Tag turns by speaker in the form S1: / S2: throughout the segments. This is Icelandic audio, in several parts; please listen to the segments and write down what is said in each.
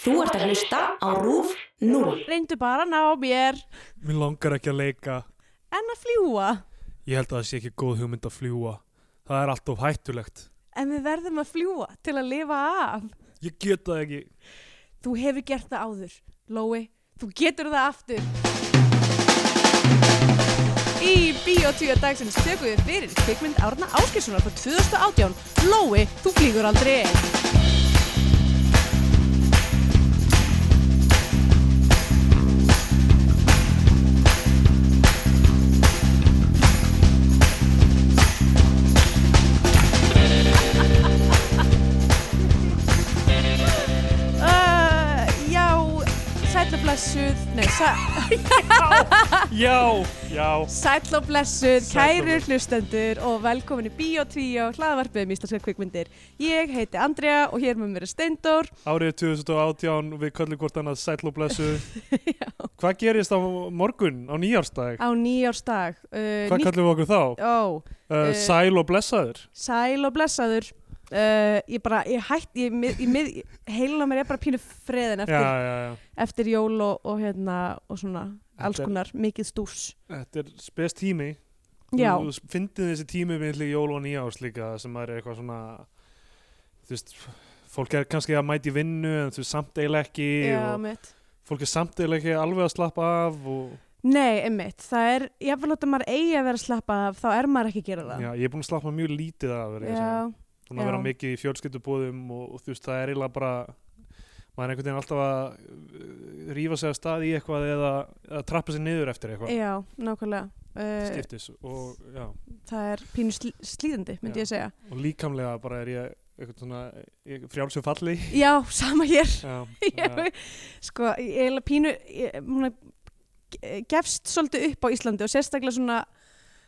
S1: Þú ert að hlusta á RÚF 0.
S2: reyndu bara að ná mér
S3: Mér langar ekki að leika.
S2: en að fljúa
S3: Ég held að það sé ekki góð hugmynd að fljúa. Það er alltof hættulegt.
S2: en við verðum að fljúa til að lifa af
S3: Ég get það ekki.
S2: þú hefur gert það áður Lói, þú getur það aftur Í Bíotvíu dagsins tökum við fyrir kvikmynd Árna Áskilssonar frá 2018 Lói, þú flýgur aldrei uh, Já, sætla blessuð Nei, sæ,
S3: Já, já.
S2: sætla blessuð,
S3: Sæll og
S2: kæru hlustendur og velkomin í Bíotvíu hlaðvarpið um íslenska kvikmyndir Ég heiti Andrea og hér með mér er Steindór
S3: Árið 2018 og við köllum hvort annað sæll og blessu. Hvað gerist á morgun, á nýjársdag?
S2: á nýjársdag uh,
S3: Hvað köllum við okkur þá?
S2: Ó,
S3: Uh,
S2: Eh,
S3: sæl og blessaður?
S2: sæl og blessaður uh, ég bara, ég hætt ég, mið, ég, mið, heilin á mér er bara pínu freðin
S3: Já,
S2: eftir,
S3: já, já.
S2: eftir jól og, og hérna og svona alls
S3: Þetta er-
S2: konar, mikið stús
S3: Þetta er spes tími.
S2: já,
S3: Þú þú fyndið þessi tími við milli jól og nýjárs líka sem maður er eitthvað svona, þú veist, fólk er kannski að mæti vinnu en þú veist, samt eiginlega ekki
S2: já,
S3: og
S2: mitt
S3: fólk er samt eiginlega ekki alveg að slappa af og
S2: nei, einmitt, það er, ég vil láta maður eigi að vera að slappa af, þá er maður ekki að gera það
S3: já, ég er búin að slappa mjög lítið af verið
S2: já,
S3: þess búin að vera
S2: já.
S3: mikið í fjölskyldubóðum og, og þú veist, það er eiginlega bara maður er einhvern veginn alltaf að uh, rífa sig af stað í eitthvað eða, eða trappa sig niður eftir eitthvað
S2: já, nákvæmlega uh,
S3: skiptis og, já,
S2: það er pínu slí, slíðandi, myndi
S3: Já.
S2: ég að segja
S3: og líkamlega bara er ég eitthvað svona frjálsum falli
S2: já, sama hér
S3: já, já,
S2: ég, sko, ég er pínu ég, hún gefst svolítið upp á Íslandi og sérstaklega svona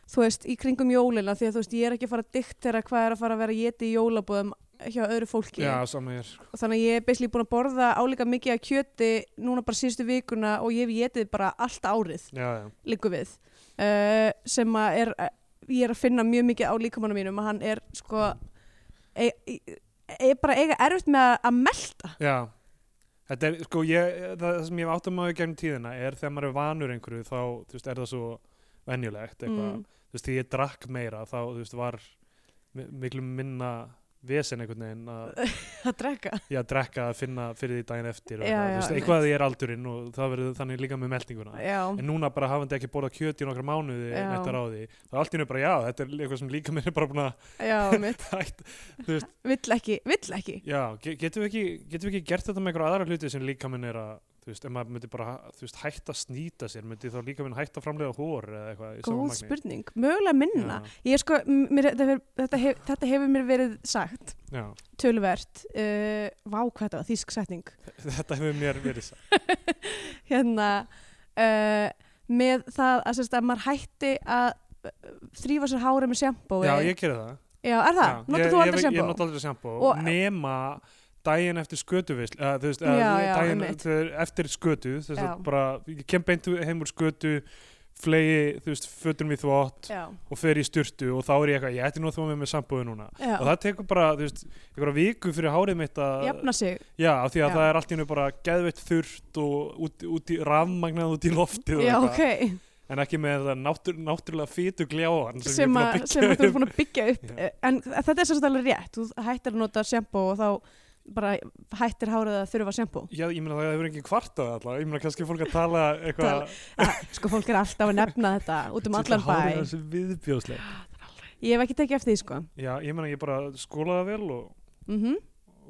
S2: þú veist, í kringum jólina því að þú veist, ég er ekki að fara að diktera hvað er að fara að vera geti í jólabúðum hjá öðru fólki
S3: já, sama hér
S2: og þannig að ég er beislega búin að borða álíka mikið af kjöti núna bara síðustu vikuna og ég hef getið bara allt árið
S3: já, já,
S2: líku við uh, sem að er, ég er að finna mjög mikið á líkamannu mínum að hann er sko er, er bara eiga erfitt með að- að melta
S3: já Þetta er, sko, ég, það sem ég hef áttum á í gegnum tíðina er þegar maður er vanur einhverju þá, þú veist, er það svo venjulegt eitthvað,
S2: Mm.
S3: þú veist, því ég drakk meira þá, þú veist, var mi- miklu minna vesen einhvern veginn að
S2: að drekka
S3: ég að drekka að finna fyrir því daginn eftir og
S2: Já,
S3: eitthvað,
S2: já,
S3: þú veist,
S2: einmitt.
S3: eitthvað að því er aldurinn og það verður þannig líka með meltinguna
S2: Já.
S3: en núna bara hafandi ekki borðað kjöt í nokkra mánuði
S2: Já.
S3: nættar á því, þá allt í nú bara já þetta er eitthvað sem líka mér er bara búin að
S2: Já, mitt,
S3: hætt,
S2: vill ekki, vill ekki.
S3: já, ge- getum við ekki getum við ekki gert þetta með einhverja aðra hluti sem líka minn er að, þú veist, ef maður myndi bara þú veist, hætta að snýta sér, myndi þá líka minn hætta að framlega hór eða eitthvað í sama
S2: Góð
S3: magni?
S2: spurning, mögulega minna. Ég er sko, m- mér, þetta, hefur, þetta, hef, þetta hefur mér verið sagt,
S3: já, já,
S2: tölvert, uh, vá hvað þetta var, þýsk setning,
S3: þetta hefur mér verið sagt
S2: hérna, uh, með það að, sérst, að maður hætti að eh, þrífa sér hára með sjampói.
S3: já, ég gerði það
S2: Já, er það?
S3: Já,
S2: Notar þú
S3: ég- ég-
S2: aldrei
S3: Ég
S2: sjampó?
S3: nota aldrei sjampó
S2: Og-
S3: nema daginn eftir skötuvisl uh, þú veist,
S2: Já,
S3: uh,
S2: já,
S3: daginn
S2: einmitt.
S3: þegar- eftir skötu þess
S2: Já.
S3: að bara, ég kem beint heim úr skötu flegi, þú veist, fötunum í þvott
S2: Já,
S3: og fer í styrtu og þá er ég eitthvað, ég ætti nú að þvá mig með sambóðu núna
S2: já,
S3: og það tekur bara, þú veist, einhverja viku fyrir hárið mitt að,
S2: jafna sig,
S3: já, af því að
S2: Já.
S3: það er allt í hennu bara geðveitt þurrt og út, út í rafmagnað út í loftið og
S2: já,
S3: eitthvað.
S2: ok,
S3: en ekki með það náttúr, náttúrulega fytu gljáan sem,
S2: sem,
S3: ég
S2: að-
S3: er
S2: sem að þú
S3: búin
S2: er búin að byggja upp,
S3: Já.
S2: Eh, en þetta er sérst alveg rétt, þú hættir að nota sjampó og þá bara hættir hárað að þurfa sjampó.
S3: Já, ég meina það hefur engin kvart á það alltaf, ég meina kannski fólk að tala
S2: Tala-
S3: eitthvað
S2: Sko fólk er alltaf að nefna þetta út um allan
S3: hárið
S2: bæ
S3: þessi viðbjóðsleg.
S2: Ég hef ekki tekið eftir því sko
S3: Já, ég meina ég bara skóla það vel og,
S2: mm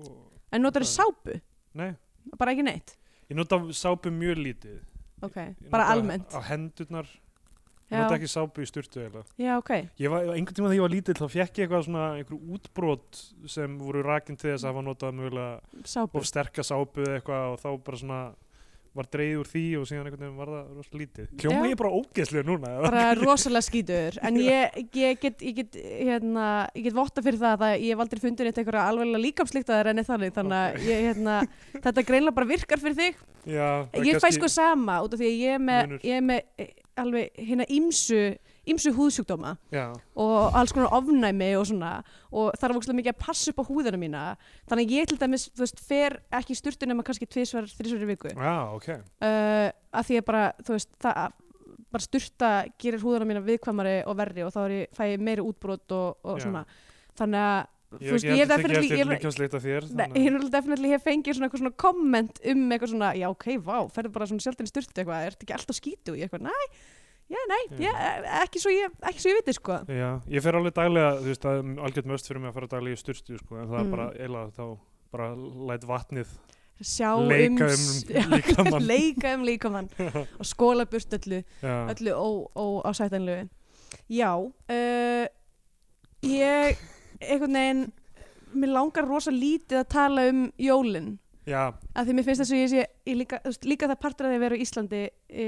S3: og,
S2: En notar það sápu,
S3: nei,
S2: bara ekki neitt
S3: ég nota sápu mjög lítið.
S2: Ok,
S3: Ég Ah.
S2: bara
S3: nota
S2: almennt
S3: Á hendurnar, ég nota
S2: Já,
S3: ekki sápu í styrtu eiginlega.
S2: já ok
S3: Ég var, einhvern tíma þegar ég var lítill þá fekk ég eitthvað svona einhver útbrot sem voru rakin til þess að hafa notað mjögulega
S2: Sápu
S3: of sterka sápu eða eitthvað og þá bara svona var dreigð úr því og síðan einhvern veginn var það rosa lítið. Hljóma
S2: Já.
S3: ég bara ógeðslega núna? eða?
S2: Bara rosalega skítur En ég, ég, get, ég, get, hérna, ég get votta fyrir það að ég hef aldrei fundið neitt einhverja alveglega líkamslíktaðar enni þannig Þannig að ég, hérna, þetta greinlega bara virkar fyrir þig
S3: Já, það er
S2: Ég fæ
S3: kannski-
S2: sko sama út af því að ég er með,
S3: Munur.
S2: ég er með eh, alveg hérna ímsu ymsu húðsjúkdóma
S3: já,
S2: og alls konar ofnæmi og svona og það er vokslega mikið að passa upp á húðina mína þannig að ég til dæmis, þú veist, fer ekki í sturtu nema kannski tvisvar, þrisvar í viku uh,
S3: já, ok
S2: að því að bara, þú veist, það bara sturta gerir húðina mína viðkvæmari og verri og þá er ég, fæ ég meiri útbrot og, og
S3: Já.
S2: svona, þannig að
S3: ég, ég, ég hef ekki
S2: definitely-
S3: eftir
S2: ég-
S3: líkjámsleita þér
S2: Nei,
S3: þannig að-
S2: Ég er alveg definitely hef fengið svona eitthvað svona komment um eitthvað svona, já ok, vá, ferðu bara svona sjaldan í styrtu eitthvað, ertu ekki alltaf skítu í eitthvað, næ, já, næ,
S3: Já.
S2: já, ekki svo ég, ekki svo ég viti, sko.
S3: já, ég fer alveg daglega, þú veist, það er algjörn möst fyrir mig að fara daglega í styrstu, sko, en það
S2: Mm.
S3: er bara eiginlega þá bara læt vatnið
S2: Sjá
S3: Leika
S2: um, já,
S3: um líkamann.
S2: leika um líkamann og skóla burt öllu,
S3: já,
S2: öllu ó- óásættanlegu. Já, uh, ég, einhvern veginn, mér langar rosa lítið að tala um jólinn.
S3: já,
S2: að því mér finnst þess að ég sé ég líka, þú veist, líka það partur að því að vera á Íslandi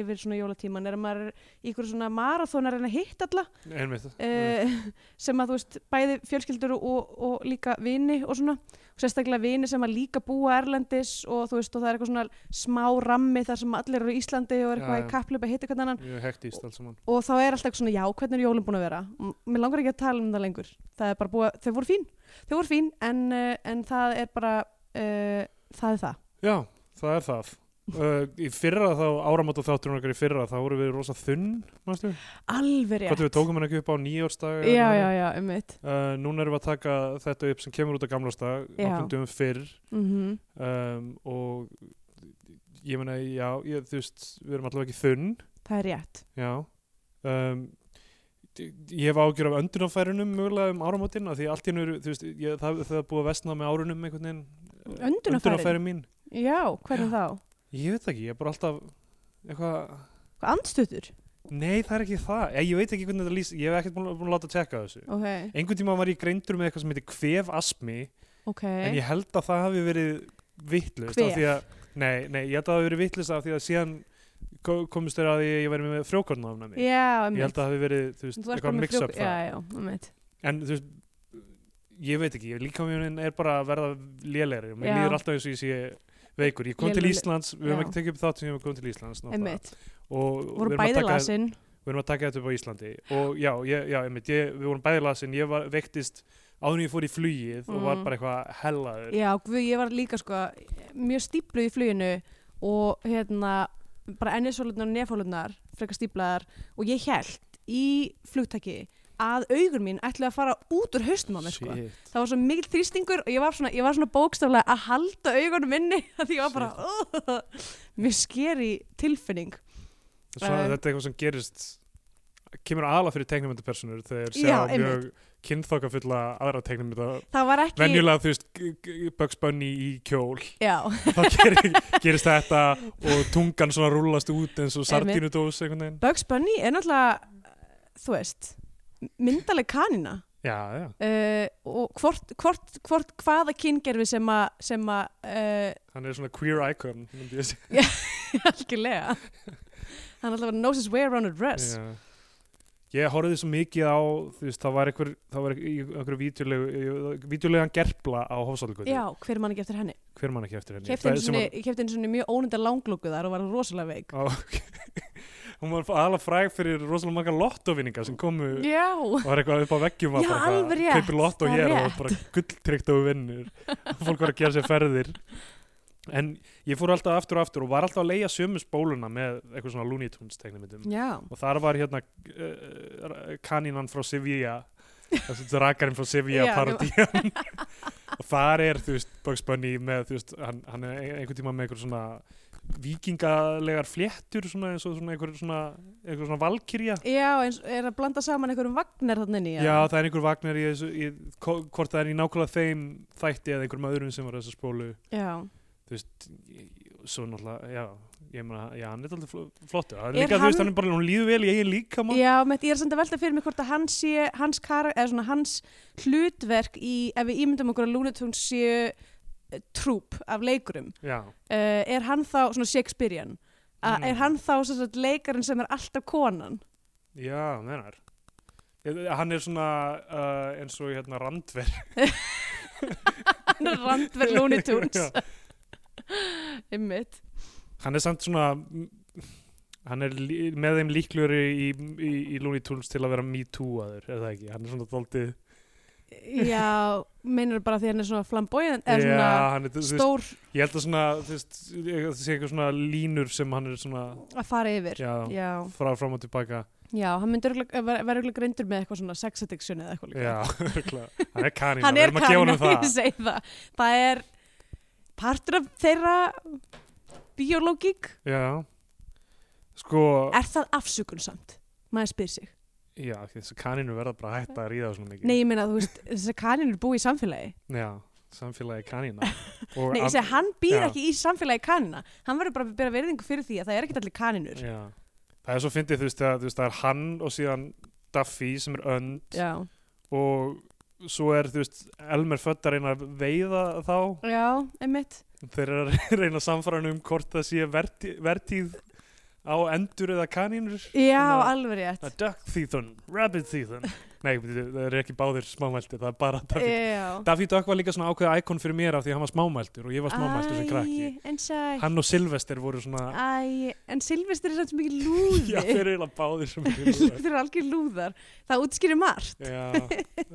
S2: yfir svona jólatíman er að maður er í ykkur svona marathón að reyna að hitta alla
S3: einmitt
S2: uh, sem að þú veist bæði fjölskyldur og, og líka vini og svona og sérstaklega vini sem að líka búa Erlendis og þú veist og það er eitthvað svona smá rammi þar sem allir eru í Íslandi og er
S3: Já,
S2: eitthvað
S3: já.
S2: í kapplup að hitta hvernig annan
S3: mjög hektist alls saman
S2: og þá er alltaf eitthvað svona já hvernig er jólum búin að vera M- mér langar ekki að tala um það lengur það er bara búið, þau voru fín, þau voru fín en, uh, en það er bara uh, það er það
S3: Já, það er það. Uh, í fyrra þá, áramóta þátturinn okkar í fyrra, þá voru við rosa þunn, mannstu?
S2: Alveg rétt.
S3: Hvort við tókum hann ekki upp á nýjórsdag?
S2: Já, já, já, um mitt.
S3: Uh, núna erum við að taka þetta upp sem kemur út á gamlástag,
S2: Já.
S3: nokkundum fyrr
S2: Mhm.
S3: um, og ég meina, já, ég, þú veist, við erum allavega ekki þunn,
S2: Það er rétt.
S3: já. Um, ég hef ágjör af öndunafærunum mögulega um áramótin, af því allt í hennu, eru, þú veist, ég, það, það er búið að vestna með árunum einhvern veginn.
S2: Öndunarfærin?
S3: Öndunarfæri mín.
S2: Já, hvernig þá?
S3: Ég veit það ekki, ég er bara alltaf eitthvað,
S2: Hvað andstutur?
S3: nei það er ekki það ég, ég veit ekki hvernig þetta lýst, ég hef ekkert búin, búin að láta að tjekka þessu
S2: Ok,
S3: einhvern tíma var ég greindur með eitthvað sem heitir kvef asmi
S2: ok.
S3: en ég held að það hafi verið vittlust af
S2: Kvef?
S3: því að, nei, nei, ég held að það hafi verið vittlust af því að síðan ko- komust þeir að því að ég væri með frjókornafnæmi
S2: Já, um
S3: ég held að það hafi verið, þú veist, eitthvað mix up
S2: Já,
S3: það
S2: já, um mitt.
S3: en þú veist, ég veit ekki líka mjög er bara að verða lélegri og mér
S2: Já.
S3: líður alltaf eins og ég sé veikur ég kom til
S2: Lélegur-
S3: Íslands, við höfum
S2: já.
S3: ekki tekið upp þátt sem ég hef komið til Íslands
S2: Um
S3: náttúrulega.
S2: mitt.
S3: og og
S2: Voru
S3: við erum að
S2: bæði
S3: taka- eh,
S2: lasin.
S3: við erum að taka þetta upp á Íslandi og já, ég, já einmitt, ég, við vorum bæði lasin ég var, veiktist áður en ég fór í flugið og var
S2: Mm.
S3: bara eitthvað hellaður
S2: Já, guð, ég var líka sko mjög stípluð í fluginu og hérna bara ennisólunar og nefólunar, frekar stíplaðar og ég held í flugtaki að augur mín ætlaði að fara út úr haustum á mér sko.
S3: Shit.
S2: það var svo mikill þrýstingur og ég var svona, ég var svona bókstaflega að halda augunum inni af því ég var bara uh, mér skeri tilfinning
S3: Svona,
S2: Um.
S3: þetta er eitthvað sem gerist kemur aðla fyrir teiknumyndapersonur þegar sjá
S2: Já,
S3: mjög kynþokkafulla aðra teiknumynda
S2: það var ekki
S3: venjulega þú veist g- g- Bugs Bunny í kjól
S2: já,
S3: þá gerir, gerist þetta og tungan svona rúlast út eins og
S2: Einmitt.
S3: sardínudós einhvern veginn
S2: Bugs Bunny er náttúrulega þú veist, myndaleg kanina
S3: já, já,
S2: uh, og hvort, hvort, hvort hvaða kyngerfi sem að sem að uh,
S3: hann er svona queer icon myndi ég segja.
S2: algjörlega hann alltaf knows his way around a dress
S3: Já. Ég horfði svo mikið á, þú veist, það var einhver, það var einhver vítjulegu, vítjulegan gerpla á Hofsálugötu,
S2: já, hver mann ekki eftir henni
S3: hver mann ekki eftir henni.
S2: kefti
S3: Það
S2: einu
S3: sem
S2: sinni- ég kefti einu sinni mjög ónundar langlúku þar og var rosalega veik
S3: Var, á, hún var alveg fræg fyrir rosalega marga lottovinninga sem komu
S2: já
S3: og var eitthvað upp á veggjum
S2: Já,
S3: að bara
S2: alveg rétt,
S3: kaupir
S2: það
S3: lottó
S2: er
S3: hér og
S2: rétt.
S3: bara gulltrykt og vinnur og fólk var að gera sér ferðir. En ég fór alltaf aftur og aftur og var alltaf að leia sömu spóluna með eitthvað svona Looney Tunes teknimyndum.
S2: já
S3: og þar var hérna uh, kanínan frá Sevilla þessi drakarinn frá Sevilla
S2: Já,
S3: parodían og þar er þú veist Bugs Bunny með þú veist hann, hann er ein- einhvern tíma með einhver svona vikingalegar fléttur svona eins og svona einhver svona, einhver svona valkyrja
S2: Já, eins, er að blanda saman einhverjum vagnar þannig
S3: já.
S2: nýja.
S3: það er einhver vagnar í þessu í, ko- hvort það er í nákvæmlega þeim þætti eða einhverjum öðrum sem var í þessu spólu
S2: Já.
S3: þú veist ég- svo náttúrulega já ég meina já hann er alltaf flottur hann
S2: Er
S3: er líka þú veist
S2: hann-
S3: hann er bara hún líður vel í eigin líkama
S2: Já, með, ég er samt að velta fyrir mig hvort að hans sé, hans kara, eða svona hans hlutverk í, ef við ímyndum okkur að Looney Tunes séu eh, trúpp af leikurum,
S3: já.
S2: uh, er hann þá svona Shakespearean, A,
S3: Mm.
S2: er hann þá sem sagt, leikarinn sem er alltaf konan?
S3: Já, meinar. Ég- Hann er svona uh, eins og hérna randver.
S2: Hann er randverð Looney Tunes,
S3: Já.
S2: ymmit.
S3: hann er samt svona, mm, hann er lí- með þeim líklur í, í, í Looney Tunes til að vera me too aður, er það ekki, hann er svona daldið
S2: Já, meinar bara því hann er svona flamboyant eða
S3: já,
S2: svona
S3: hann er, þú veist,
S2: stór
S3: ég held að svona þú veist, ég- það sé eitthvað svona línur sem hann er svona
S2: að fara yfir
S3: já,
S2: já,
S3: frá fram og tilbaka
S2: já hann myndi verður örugglega greindur með eitthvað svona sex addiction eða eitthvað líka
S3: já, örugglega. hann er kanína,
S2: hann
S3: við
S2: er
S3: erum að gefa
S2: kanna,
S3: honum það
S2: ég segi það það er partur af þeirra biológík
S3: já, sko
S2: er það afsökun samt maður spyr sig
S3: já, þessi kanínu verða bara að hætta að ríða svona mikið
S2: nei ég meina þú veist þessar kanínur búi í samfélagi
S3: já, samfélagi kanína Og
S2: nei ég
S3: af-
S2: segi hann býr
S3: já.
S2: ekki í samfélagi kanina hann verður bara að bera verðingu fyrir því að það er ekkert allir kaninur
S3: já. það er svo fyndið þú veist að þú veist, það er hann og síðan Duffy sem er önd
S2: já
S3: og svo er þú veist Elmer Född að reyna að veiða þá
S2: já einmitt
S3: þeir eru að reyna að samfara hann um hvort það sé verti, vertíð á endur eða kanínur
S2: já
S3: Svona-
S2: alveg rétt
S3: A duck thethon, rabbit thethon Nei, byrju, það eru ekki báðir smámæltir það er
S2: Eh.
S3: bara Daffy
S2: já
S3: Daffy Duck var líka svona ákveða íkon fyrir mér af því að hann var smámæltur og ég var smámæltur sem krakki
S2: Æ, en sæl
S3: Hann og Silvester voru svona
S2: Æ, en Silvestir er samt svo mikið
S3: Já,
S2: lúði
S3: þeir eru eiginlega báðir sem
S2: þeir eru algjör lúðar það útskýrir margt
S3: Já,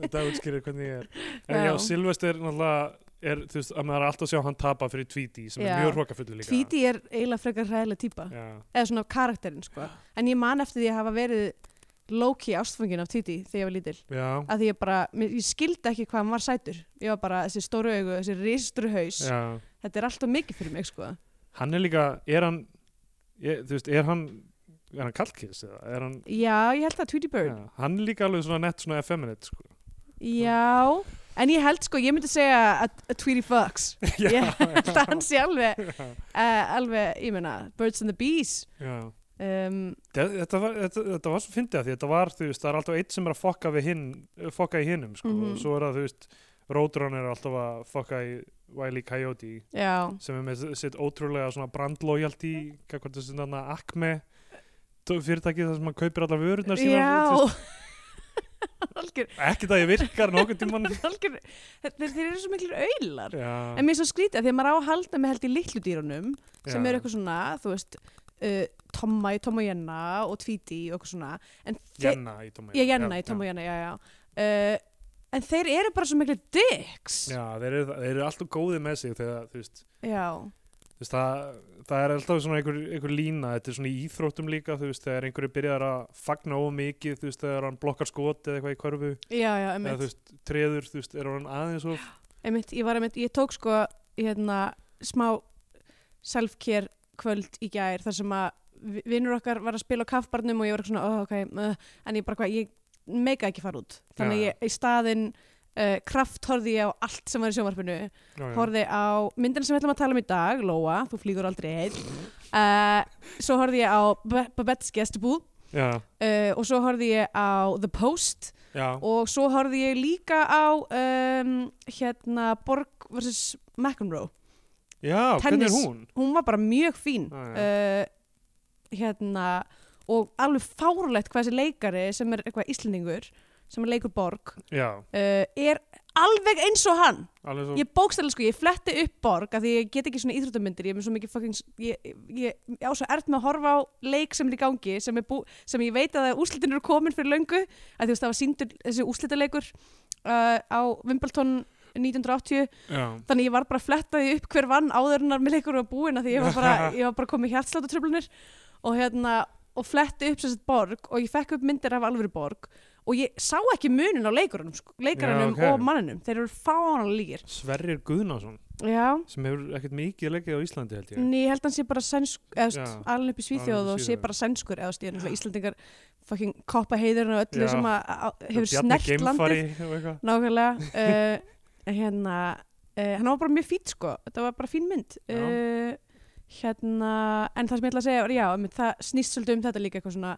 S3: þetta útskýrir hvernig ég er En
S2: Já.
S3: já, Silvester náttúrulega er, þú veist, að maður er alltaf að sjá hann tapa fyrir Tweety sem
S2: Já.
S3: er mjög hrókafullu líka
S2: Tweety er eiginlega frekar hræðilega típa
S3: Já,
S2: eða svona karakterinn sko en ég man eftir því að hafa verið Loki ástfangin af Tweety þegar ég var lítil
S3: já,
S2: að því ég bara, mér- ég skildi ekki hvað hann var sætur ég var bara þessi stóru augu, þessi ristur haus
S3: já
S2: þetta er alltaf mikið fyrir mig sko
S3: Hann er líka, er hann ég, þú veist, er hann er hann kallkiss eða, er hann
S2: já, ég held að Tweety Bird
S3: já, hann er líka alveg svona nett svona effeminate sko.
S2: já, en ég held sko, ég myndi segja að, að Tweety Fox
S3: Já,
S2: ég held að hann sé alveg
S3: já,
S2: uh, alveg, ég meina, Birds and the Bees
S3: já.
S2: um,
S3: Þe- Þetta var, þetta, þetta var svo fyndið að því þetta var, þú veist, það er alltaf eitt sem er að fokka við hinn, fokka í hinnum, sko,
S2: Mhm.
S3: og svo er það, þú veist, Rótrón er alltaf að fokka í Wiley Coyote
S2: já,
S3: sem er með sitt ótrúlega svona brandlojaldi, hvað þessi þarna Acme t- fyrirtækið þar sem hann kaupir allar vörurnar sína, þú
S2: já algjör,
S3: veist, ekki það ég virkar nokkuð tíman.
S2: algjör þeir, þeir eru svo miklir auðlar
S3: Já,
S2: En mér er svo skrítið að því að maður á að halda með held í litlu dýrunum sem
S3: já.
S2: eru eitthvað svona, þú veist, uh, Tomma í Tomma og Jenna og Tvíti og eitthvað svona. En þeir,
S3: Jenna í Tom og
S2: já, Jenna í Tomma og Jenna, já, já. Uh, en þeir eru bara svo miklu dicks.
S3: Já, þeir eru, þeir eru alltaf góðið með sig þegar, þú veist,
S2: já.
S3: þú veist, það, það er alltaf svona einhver, einhver lína, þetta er svona í íþróttum líka þú veist, þegar einhverju byrjar að fagna of mikið þú veist, þegar hann blokkar skot eða eitthvað í körfu
S2: já, já,
S3: eða þú
S2: einmitt.
S3: veist, treður, þú veist, er hann aðeins of
S2: einmitt. Ég var einmitt, ég tók sko, hérna, smá self-care kvöld í gær þar sem að vi- vinur okkar var að spila á kaffbarnum og ég var eitthvað svona, oh, ok, uh, en ég bara hvað, ég meika ekki fara út. Þannig að
S3: Já.
S2: ég í staðinn uh, kraft horfði ég á allt sem var í sjónvarpinu
S3: já, já,
S2: horfði á myndina sem við ætlum að tala um í dag Lóa, þú flýgur aldrei heil uh, svo horfði ég á Ba- Babette's Guestbúð
S3: já,
S2: uh, og svo horfði ég á The Post
S3: já,
S2: og svo horfði ég líka á um, hérna Borg vs. McEnroe
S3: já hvernig er
S2: tennis.
S3: hún?
S2: hún var bara mjög fín
S3: Ah, Já,
S2: uh, hérna og alveg fárlegt hvað þessi leikari sem er eitthvað íslendingur sem er leikur Borg
S3: Já,
S2: uh, er alveg eins og hann
S3: alveg svo
S2: Ég bókstæðilega sko, ég fletti upp borg af því ég get ekki svona íþróttamyndir, ég er með svo mikið fucking, ég, ég, ég á svo ert með að horfa á leik sem er í gangi, sem, er bú, sem ég veit að úslitin eru komin fyrir löngu, að þú veist það var síndur þessi úslitaleikur uh, á Wimbledon 1980,
S3: já,
S2: þannig ég var bara að fletta því upp hver vann áðurinnar með leikur og búin af því ég var bara, ég var bara komið hjartsláttutröflunir og hérna, og fletti upp sem sagt borg og ég fekk upp myndir af alvöru borg og ég sá ekki munin á leikurunum, sko, leikarunum
S3: ok.
S2: og manninum, þeir eru fáanlega líkir.
S3: Sverrir Guðnason
S2: Já,
S3: sem hefur ekkert mikið leikið á Íslandi held ég
S2: en ég held að hann sé bara sænskur, eða þú
S3: Já,
S2: veist, alveg upp í Svíþjóð
S3: alinn upp í
S2: og sé
S3: Svíþjóð.
S2: bara sænskur, eða þú veist, ég er náttúrulega Íslandingar fucking koppa heiðurinn og öllu
S3: Já.
S2: sem að á- hefur
S3: Bjarni
S2: snert
S3: Geimfari
S2: landið.
S3: og eitthvað.
S2: Nákvæmlega, uh, hérna, uh, hann var bara mjög fýtt sko, þetta var bara fín mynd.
S3: Já.
S2: Uh, hérna, en það sem ég ætla að segja, var, já, einmitt, það snýst svolítið um þetta líka eitthvað svona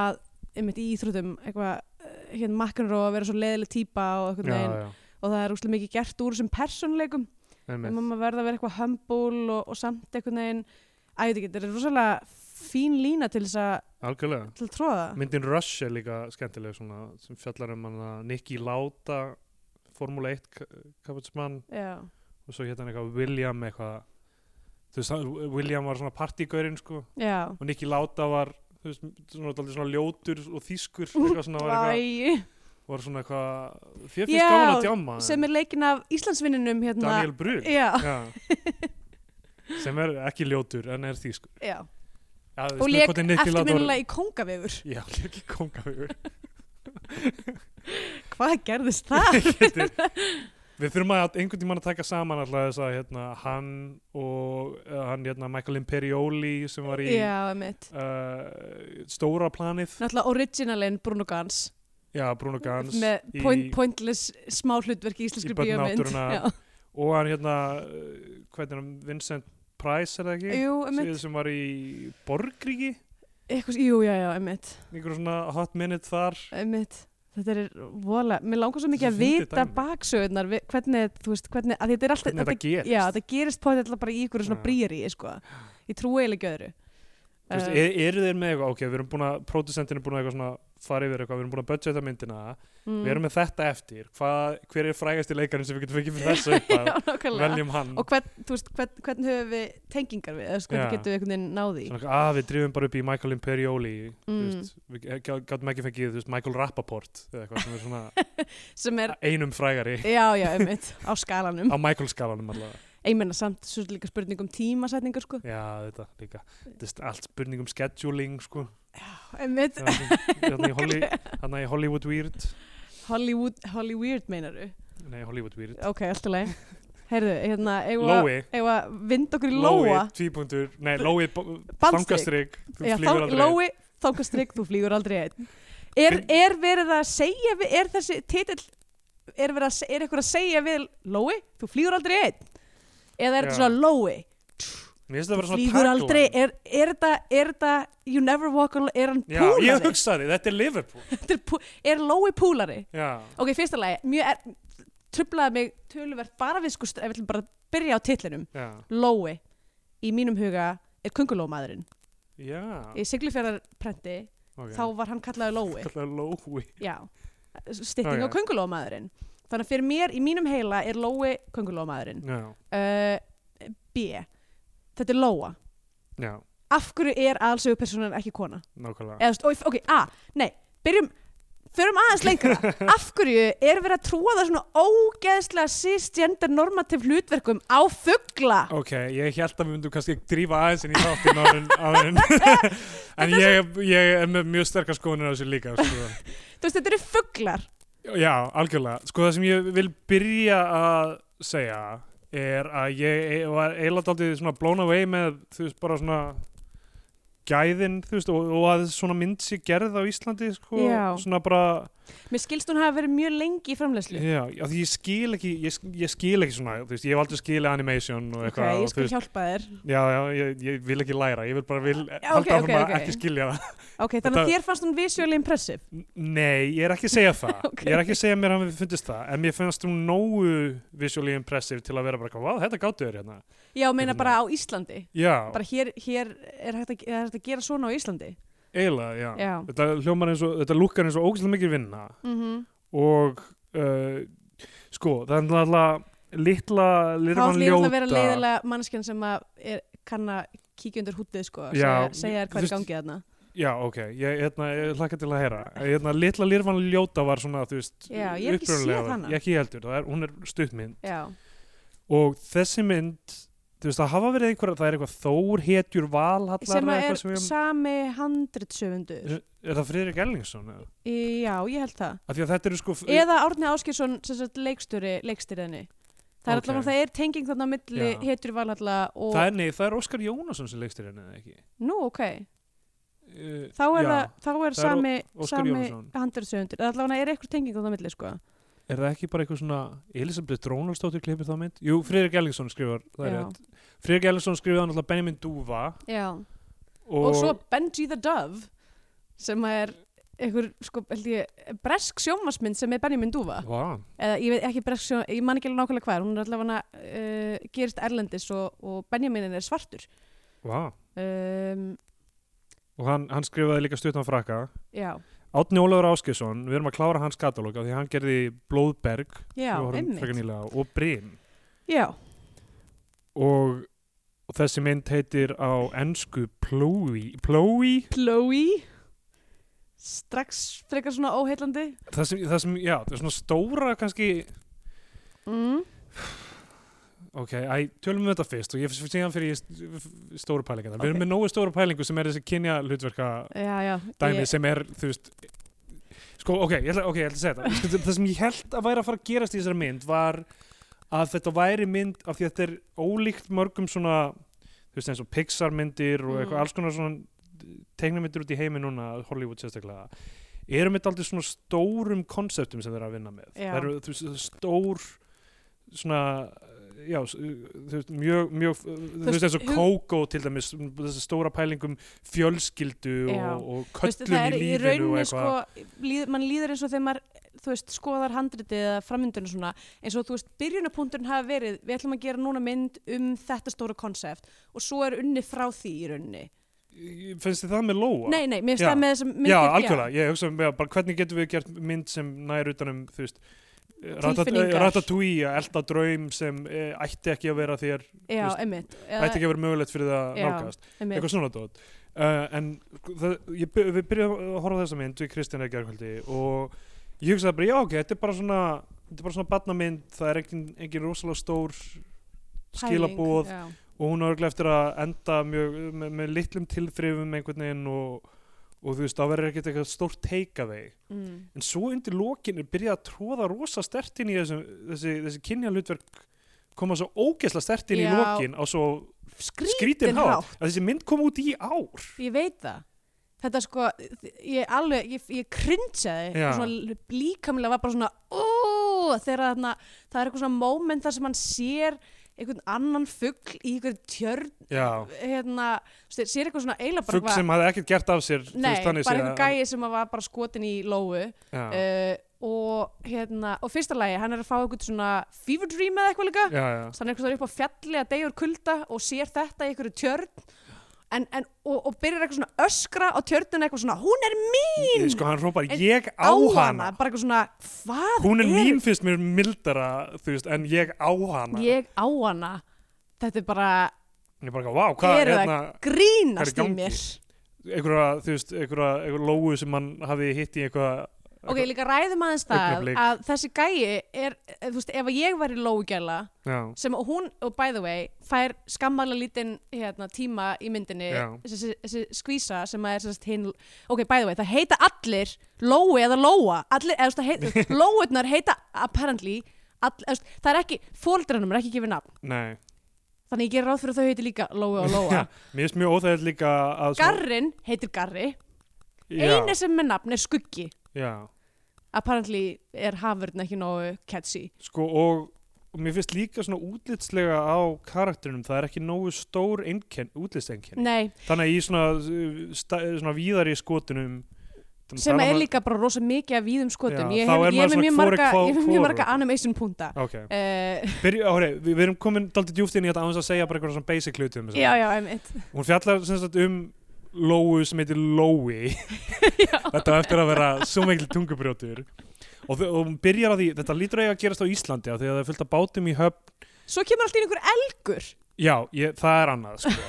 S2: að, einmitt í íþrótum, eitthvað, eh, hérna McEnroe að vera svo leiðileg típa og eitthvað
S3: Já,
S2: neginn
S3: já,
S2: og það er úrslega mikið gert úr þessum persónuleikum
S3: einmitt.
S2: um að maður verða að vera eitthvað humble og, og samt einhvern veginn að ég veit ekki, þetta er rosalega fín lína til þess að,
S3: algjörlega
S2: til að tróða
S3: Myndin Rush er líka skemmtileg svona, sem fjallar um hann að Nicky Lauda Formule 1 kapatsmann
S2: Já,
S3: og svo hétt hann eitthvað William eitthvað þú veist, hann- William var svona partígaurinn sko
S2: já
S3: og Nicky Lauda var þú veist, svona, dálítið svona ljótur og þýskur eitthvað svona var eitthvað
S2: Æ,
S3: var svona eitthvað þér
S2: Já,
S3: finnst gaman að djáma
S2: sem er leikin af Íslandsvinninum hérna
S3: Daniel Brühl
S2: já,
S3: Já. sem er ekki ljótur en er þýskur
S2: já.
S3: Já,
S2: og
S3: spurning
S2: leik
S3: hvort er Nicky Lauda var-
S2: eftirminnilega í kongavefur
S3: Já, leik í kongavegur
S2: hvað gerðist það?
S3: Við þurfum að einhvern tímann að taka saman alltaf þess að hérna, hann og uh, hann hérna, Michael Imperioli sem var í
S2: já, mitt
S3: uh, stóra planið
S2: náttúrulega originalin Bruno Gans
S3: Já, Bruno Gans
S2: með
S3: í-
S2: point, pointless smá hlutverki í íslenskri
S3: í Börn
S2: bíómynd
S3: náttúrunnar.
S2: Já.
S3: og hann hérna uh, hvernig er hann, Vincent Price er það ekki?
S2: jú,
S3: Sem-
S2: emitt
S3: sem var í Borgríki
S2: Eitthvað, jú, já, já, emitt,
S3: einhver svona hot minute þar
S2: emitt. þetta er vola, mér langar svo mikið
S3: Svo
S2: að
S3: fyndið
S2: vita
S3: dæmi.
S2: baksögurnar við- hvernig, þú veist, hvernig, að þetta er alltaf
S3: hvernig þetta gerist
S2: já, þetta gerist potið alltaf bara í ykkur svona
S3: Já.
S2: brýri, sko ég trúi eiginlega ekki öðru
S3: Þú veist, e-
S2: Eh,
S3: er, eru þeir með eitthvað, ok, við erum búin að pródusentin er búin að eitthvað svona fara yfir eitthvað, við erum búin að budgeta myndina,
S2: mm.
S3: við erum með þetta eftir hvað, hver er frægasti leikarinn sem við getum fengið fyrir þessu eitthvað,
S2: Já, nákvæmlega.
S3: veljum hann
S2: og hvern, þú veist, hvern, hvern höfum við tengingar við, eða þú veist, hvernig
S3: Já.
S2: getum við einhvern veginn náði
S3: svona, að við drifum bara upp í Michael Imperioli þú
S2: Mm.
S3: veist, við gáttum ekki fengið þú veist, Michael Rappaport eða eitthvað sem er svona
S2: sem er,
S3: einum frægari
S2: já, já, einmitt, á skalanum
S3: á Michael skalanum allavega,
S2: ég menna samt, svo er líka spurning um tímasetningar sko,
S3: já þetta líka þetta er allt spurning um scheduling sko,
S2: einmitt
S3: þannig hérna í, Holly, þarna í Hollywood Weird
S2: Hollywood, Hollyweird meinaru
S3: nei Hollywood Weird,
S2: ok, allt í lagi heyrðu, hérna, eigum
S3: Lói
S2: að vind okkur í Lóa
S3: tvípundur, nei, Lói
S2: bandstrik,
S3: þangastrygg, þú
S2: Já,
S3: flýgur
S2: þang-
S3: aldrei
S2: Lói þangastrygg, þú flýgur aldrei einn er, er verið að segja við, er þessi titill er, verið að, se- er eitthvað að segja við Lói, þú flýgur aldrei einn eða er
S3: Já.
S2: þetta svona Lói
S3: mér finnst það að vera svona
S2: flýgur aldrei,
S3: tagline.
S2: er, er þetta er þetta, you never walk alone er hann
S3: já, ég
S2: púlari,
S3: hugsaði, þetta er Liverpool
S2: Þetta er, pú- er Lói púlari
S3: já,
S2: ok, í fyrsta lagi, mjög er, trublaði mig töluvert bara við sko, ef við ætlum bara að byrja á titlinum
S3: já,
S2: Lói, í mínum huga er kungulómaðurinn,
S3: já
S2: í siglufjörðarprenti
S3: ok.
S2: þá var hann kallaði Lói
S3: kallar Lói
S2: já, stytting á
S3: Já, já.
S2: kungulómaðurinn þannig að fyrir mér, í mínum heila er Lói kungulómaðurinn
S3: já,
S2: uh, B, þetta er Lóa
S3: já,
S2: af hverju er aðalsögupersonan ekki kona
S3: nákvæmlega
S2: Eða, þú veist, ok, A, nei, byrjum förum aðeins lengra, af hverju er verið að trúa það svona ógeðslega cisgender normativ hlutverkum á fuggla
S3: Ok, ég held að við myndum kannski drífa aðeins inn í þáttin áður en- áður en en ég, ég er með mjög sterkar skoðunir á þessu líka sko.
S2: þú veist, þetta eru fugglar
S3: Já, algjörlega Sko það sem ég vil byrja að segja er að ég e- var eiginlega daldið svona blown away með þú veist bara svona gæðin þú veist og, og að svona mynd sé gerð á Íslandi sko
S2: Já.
S3: svona bara
S2: mér skilst hún hafa verið mjög lengi í framlegslu
S3: já, já, því ég skil ekki ég, sk- ég skil ekki svona þú veist ég hef aldrei skilið animation
S2: ok,
S3: og eitthvað og
S2: ég
S3: þú
S2: skal hjálpa þér
S3: já, já, ég, ég vil ekki læra ég vil bara vil
S2: Já,
S3: halda
S2: ok,
S3: áfram
S2: ok,
S3: að
S2: ok.
S3: ekki skilja það
S2: ok, þannig
S3: Þetta-
S2: að þér fannst hún visually impressive
S3: N- Nei, ég er ekki að segja það
S2: Ok.
S3: Ég er ekki að segja mér að mér fundist það En mér finnst hún nógu visually impressive til að vera bara, hvað, þetta gáttu þér hérna
S2: já, meina
S3: Hérna.
S2: bara á Íslandi
S3: Já,
S2: bara hér, hér er, hægt að, er hægt að gera svona á Íslandi
S3: eiginlega, já.
S2: já,
S3: Þetta hljómar eins og, þetta lukkar eins og ógæslega mikið vinna
S2: mm
S3: Og, uh, sko, það er náttúrulega litla,
S2: þá
S3: lirfan
S2: ætlum ég
S3: ljóta
S2: alltaf að vera leiðilega mannskjan sem að er, kann að kíkja undir húttið sko,
S3: Já,
S2: segja, segja þér
S3: þú
S2: hvað er
S3: veist-
S2: gangið þarna
S3: Já, ok, ég, hérna, ég hlakka til að heyra hérna, Litla lirfan ljóta var svona, þú veist
S2: Já, ég hef ekki
S3: upprunalega-
S2: séð hana.
S3: Ég ekki heldur, það er, hún er stuttmynd
S2: já
S3: og þessi mynd þú veist það hafa verið einhver það er eitthvað Þór hetjur valhallar
S2: sem
S3: eða
S2: að
S3: eitthvað
S2: er
S3: sem ég,
S2: sami handritsöfundur
S3: er, er það Friðrik Ellingsson eða?
S2: já, ég held það
S3: af því að þetta eru sko
S2: eða Árni Áskjesson sem sagt leikstjóri leikstýriðinni það er okay.
S3: Ok.
S2: allavega, það er tenging þarna á milli
S3: Já.
S2: hetur valhalla og
S3: það er, nei, það er Óskar Jónasson sem leikstir henni eða ekki
S2: nú, ok,
S3: uh,
S2: þá er,
S3: já,
S2: það, þá er
S3: Það er
S2: sami,
S3: Ó- Óskar
S2: sami
S3: Jóhannsson.
S2: handritsöfundur eða allavega er eitthvað tenging þarna á milli sko.
S3: er það ekki bara eitthvað svona Elisabeth Drónalsdóttir klippir þá mynd jú, Friðrik Ellingsson skrifar það er
S2: Já.
S3: rétt Friðrik Ellingsson skrifaði náttúrulega Benjamin Dúfa
S2: já.
S3: og,
S2: og svo Benji the Dove sem að er einhver, sko, held ég, bresk sjómasmynd sem er Benjamin Dúfa
S3: Vá,
S2: eða ég veit ekki bresk sjón, ég man ekki alveg nákvæmlega hvað er, hún er allavega uh, gerist erlendis og, og Benjaminin er svartur
S3: vá.
S2: um,
S3: og hann, hann skrifaði líka stuttan frakka
S2: já,
S3: Átni Ólafur Áskjesson, við erum að klára hans katalóg af því að hann gerði Blóðberg
S2: já,
S3: sem við horfum frekar
S2: einmitt
S3: nýlega á, og Brim
S2: já,
S3: og og þessi mynd heitir á ennsku Plói Plói,
S2: Chloe strax frekar svona óheillandi
S3: það sem, það sem, já, það er svona stóra kannski,
S2: mm.
S3: ok, æ, tölum við þetta fyrst og ég fyrir síðan fyrir í st- stóru pælingarna við
S2: Ok.
S3: erum með nógu stóru pælingu sem er þessi kynja hlutverka
S2: já, já,
S3: dæmi
S2: ég,
S3: sem er, þú veist sko, ok, ég ætla, okay, ég ætla að segja þetta Sko, það- það sem ég held að væri að fara að gerast í þessari mynd var að þetta væri mynd af því að þetta er ólíkt mörgum svona þú veist eins og Pixar myndir og
S2: Mm.
S3: eitthvað alls konar svona tegnamyndir út í heimi núna, Hollywood sérstaklega erum þetta aldrei svona stórum konseptum sem þeir eru að vinna með
S2: Já.
S3: það eru þú veist, stór svona já, s- þú veist, mjög, mjög þú veist, eins og
S2: hug-
S3: Coco til dæmis þessi stóra pælingum fjölskyldu
S2: Já.
S3: og, og
S2: þú veist,
S3: köllum
S2: það er
S3: í
S2: í
S3: lífinu og
S2: rauninni sko,
S3: eitthvað
S2: líð, mann líður eins og þegar maður þú veist, skoðar handritið eða framyndunum svona eins og þú veist, byrjunapunkturinn hafa verið við ætlum að gera núna mynd um þetta stóra konsept og svo er unni frá því í rauninni
S3: finnst þið það með Lóa?
S2: nei, nei, mér finnst
S3: Já.
S2: það með þessum myndir
S3: já, algjörlega, ég hugsa með bara hvernig getum við gert mynd sem nær utanum þú veist eh,
S2: Tilfinningar.
S3: ratatúi að elda draum sem e, ætti ekki að vera þér
S2: já,
S3: þú veist,
S2: einmitt,
S3: ætti ekki að vera mögulegt fyrir það að
S2: Já.
S3: nálgast
S2: einmitt.
S3: eitthvað svona dót uh, en sko, það, ég, by- við byrjum að horfa á þessa mynd við Kristján er gerðkvöldi og ég hugsaði bara, já ok, þetta er bara svona þetta er bara svona barnamynd, það er engin, engin rosalega stór skilabóð
S2: Pæling, já.
S3: og hún er eftir að enda mjög, með, með litlum tilþrifum einhvern veginn og, og þú veist, það verður ekkert eitthvað stórt teika þeig
S2: mm.
S3: en svo undir lokinu byrja að tróða rosa stert inn í þessum, þessi, þessi kynjalutverk koma svo ógeðsla stert inn í
S2: Já.
S3: lokin á svo
S2: skrítin,
S3: skrítin
S2: hátt
S3: hátt að þessi mynd kom út í ár
S2: Ég veit það. Þetta sko, ég alveg, ég, ég cringeaði,
S3: Já.
S2: og svona líkamlega var bara svona, ó, þegar þarna, það er eitthvað svona moment þar sem hann sér einhvern annan fugl í einhvern tjörn,
S3: já
S2: hérna, þú veist, sér eitthvað svona eiginlega bara
S3: fugg sem hafði ekkert gert af sér þú
S2: nei,
S3: veist,
S2: bara
S3: þannig séð
S2: einhvern
S3: að-
S2: gæi sem var bara skotin í lóu
S3: já,
S2: uh, og hérna, og fyrsta lagi, hann er að fá einhvern svona fever dream eða eitthvað líka,
S3: já, já,
S2: hann er eitthvað upp á fjalli að deyja úr kulda og sér þetta í einhverju tjörn en, en, og, og byrjar eitthvað svona öskra á tjörnuna eitthvað svona, hún er mín
S3: Ég- sko hann rópar
S2: En-
S3: ég á hana
S2: bara eitthvað svona, hvað
S3: hún er mín fyrst mér mildara þú veist, en ég á hana ég
S2: ég á hana þetta er bara,
S3: er bara, vá,
S2: er
S3: hvað er
S2: það
S3: hérna
S2: grínast
S3: hvað er
S2: í
S3: í gangi?
S2: mér
S3: einhverja, þú veist, einhverja, einhverja lóu sem hann hafi hitt í eitthvað
S2: ok, líka ræðum aðeins það
S3: Augnablik.
S2: að þessi gæi er, eh, þú veist, ef að ég væri lóugjala
S3: já,
S2: sem og hún, og by the way, fær skammalega lítinn hérna, tíma í myndinni
S3: Já.
S2: þessi, þessi skvísa sem að er sérst hinn, ok, by the way, það heita allir Lói eða Lóa, allir, eða þú veist, það heita Lóurnar heita apparently, all, eða, þú veist, það er ekki fóldranum er ekki gefið nafn,
S3: nei
S2: þannig ég ger ráð fyrir að þau heiti líka Lói og Lóa,
S3: mér finnst mjög óþægilegt líka að
S2: Garrin heitir Garri,
S3: já,
S2: eina sem er nafn er Skuggi,
S3: já,
S2: apparently er hafurinn ekki nógu catchy,
S3: sko og og mér finnst líka svona útlitslega á karakterinum, það er ekki nógu stór einkenn, útlitsenkenn
S2: nei,
S3: þannig að í svona, uh, sta, svona víðari skotunum um þannig
S2: sem
S3: það
S2: er
S3: maður-
S2: líka bara rosa mikið af víðum skotum,
S3: Já,
S2: ég
S3: þá
S2: hef,
S3: er
S2: ég hef
S3: maður
S2: með mjög
S3: svona hvor er
S2: marga,
S3: hvað-
S2: ég hef mjög
S3: hvor-
S2: marga animation punta
S3: Ok,
S2: uh,
S3: Byrju, ári, við, við erum komin daldið djúft inn í þetta á þess að segja bara eitthvað svona basic hluti um
S2: já, já, einmitt
S3: Hún fjallar sem sagt um Lóu sem heitir Lói Þetta á eftir að vera svo mikil tungubrjótur og, þau- og hún byrjar á því, þetta lítur eiga að gerast á Íslandi af því að það er fullt af bátum í höfn
S2: svo kemur alltaf einhver elgur
S3: Já, ég, það er annað sko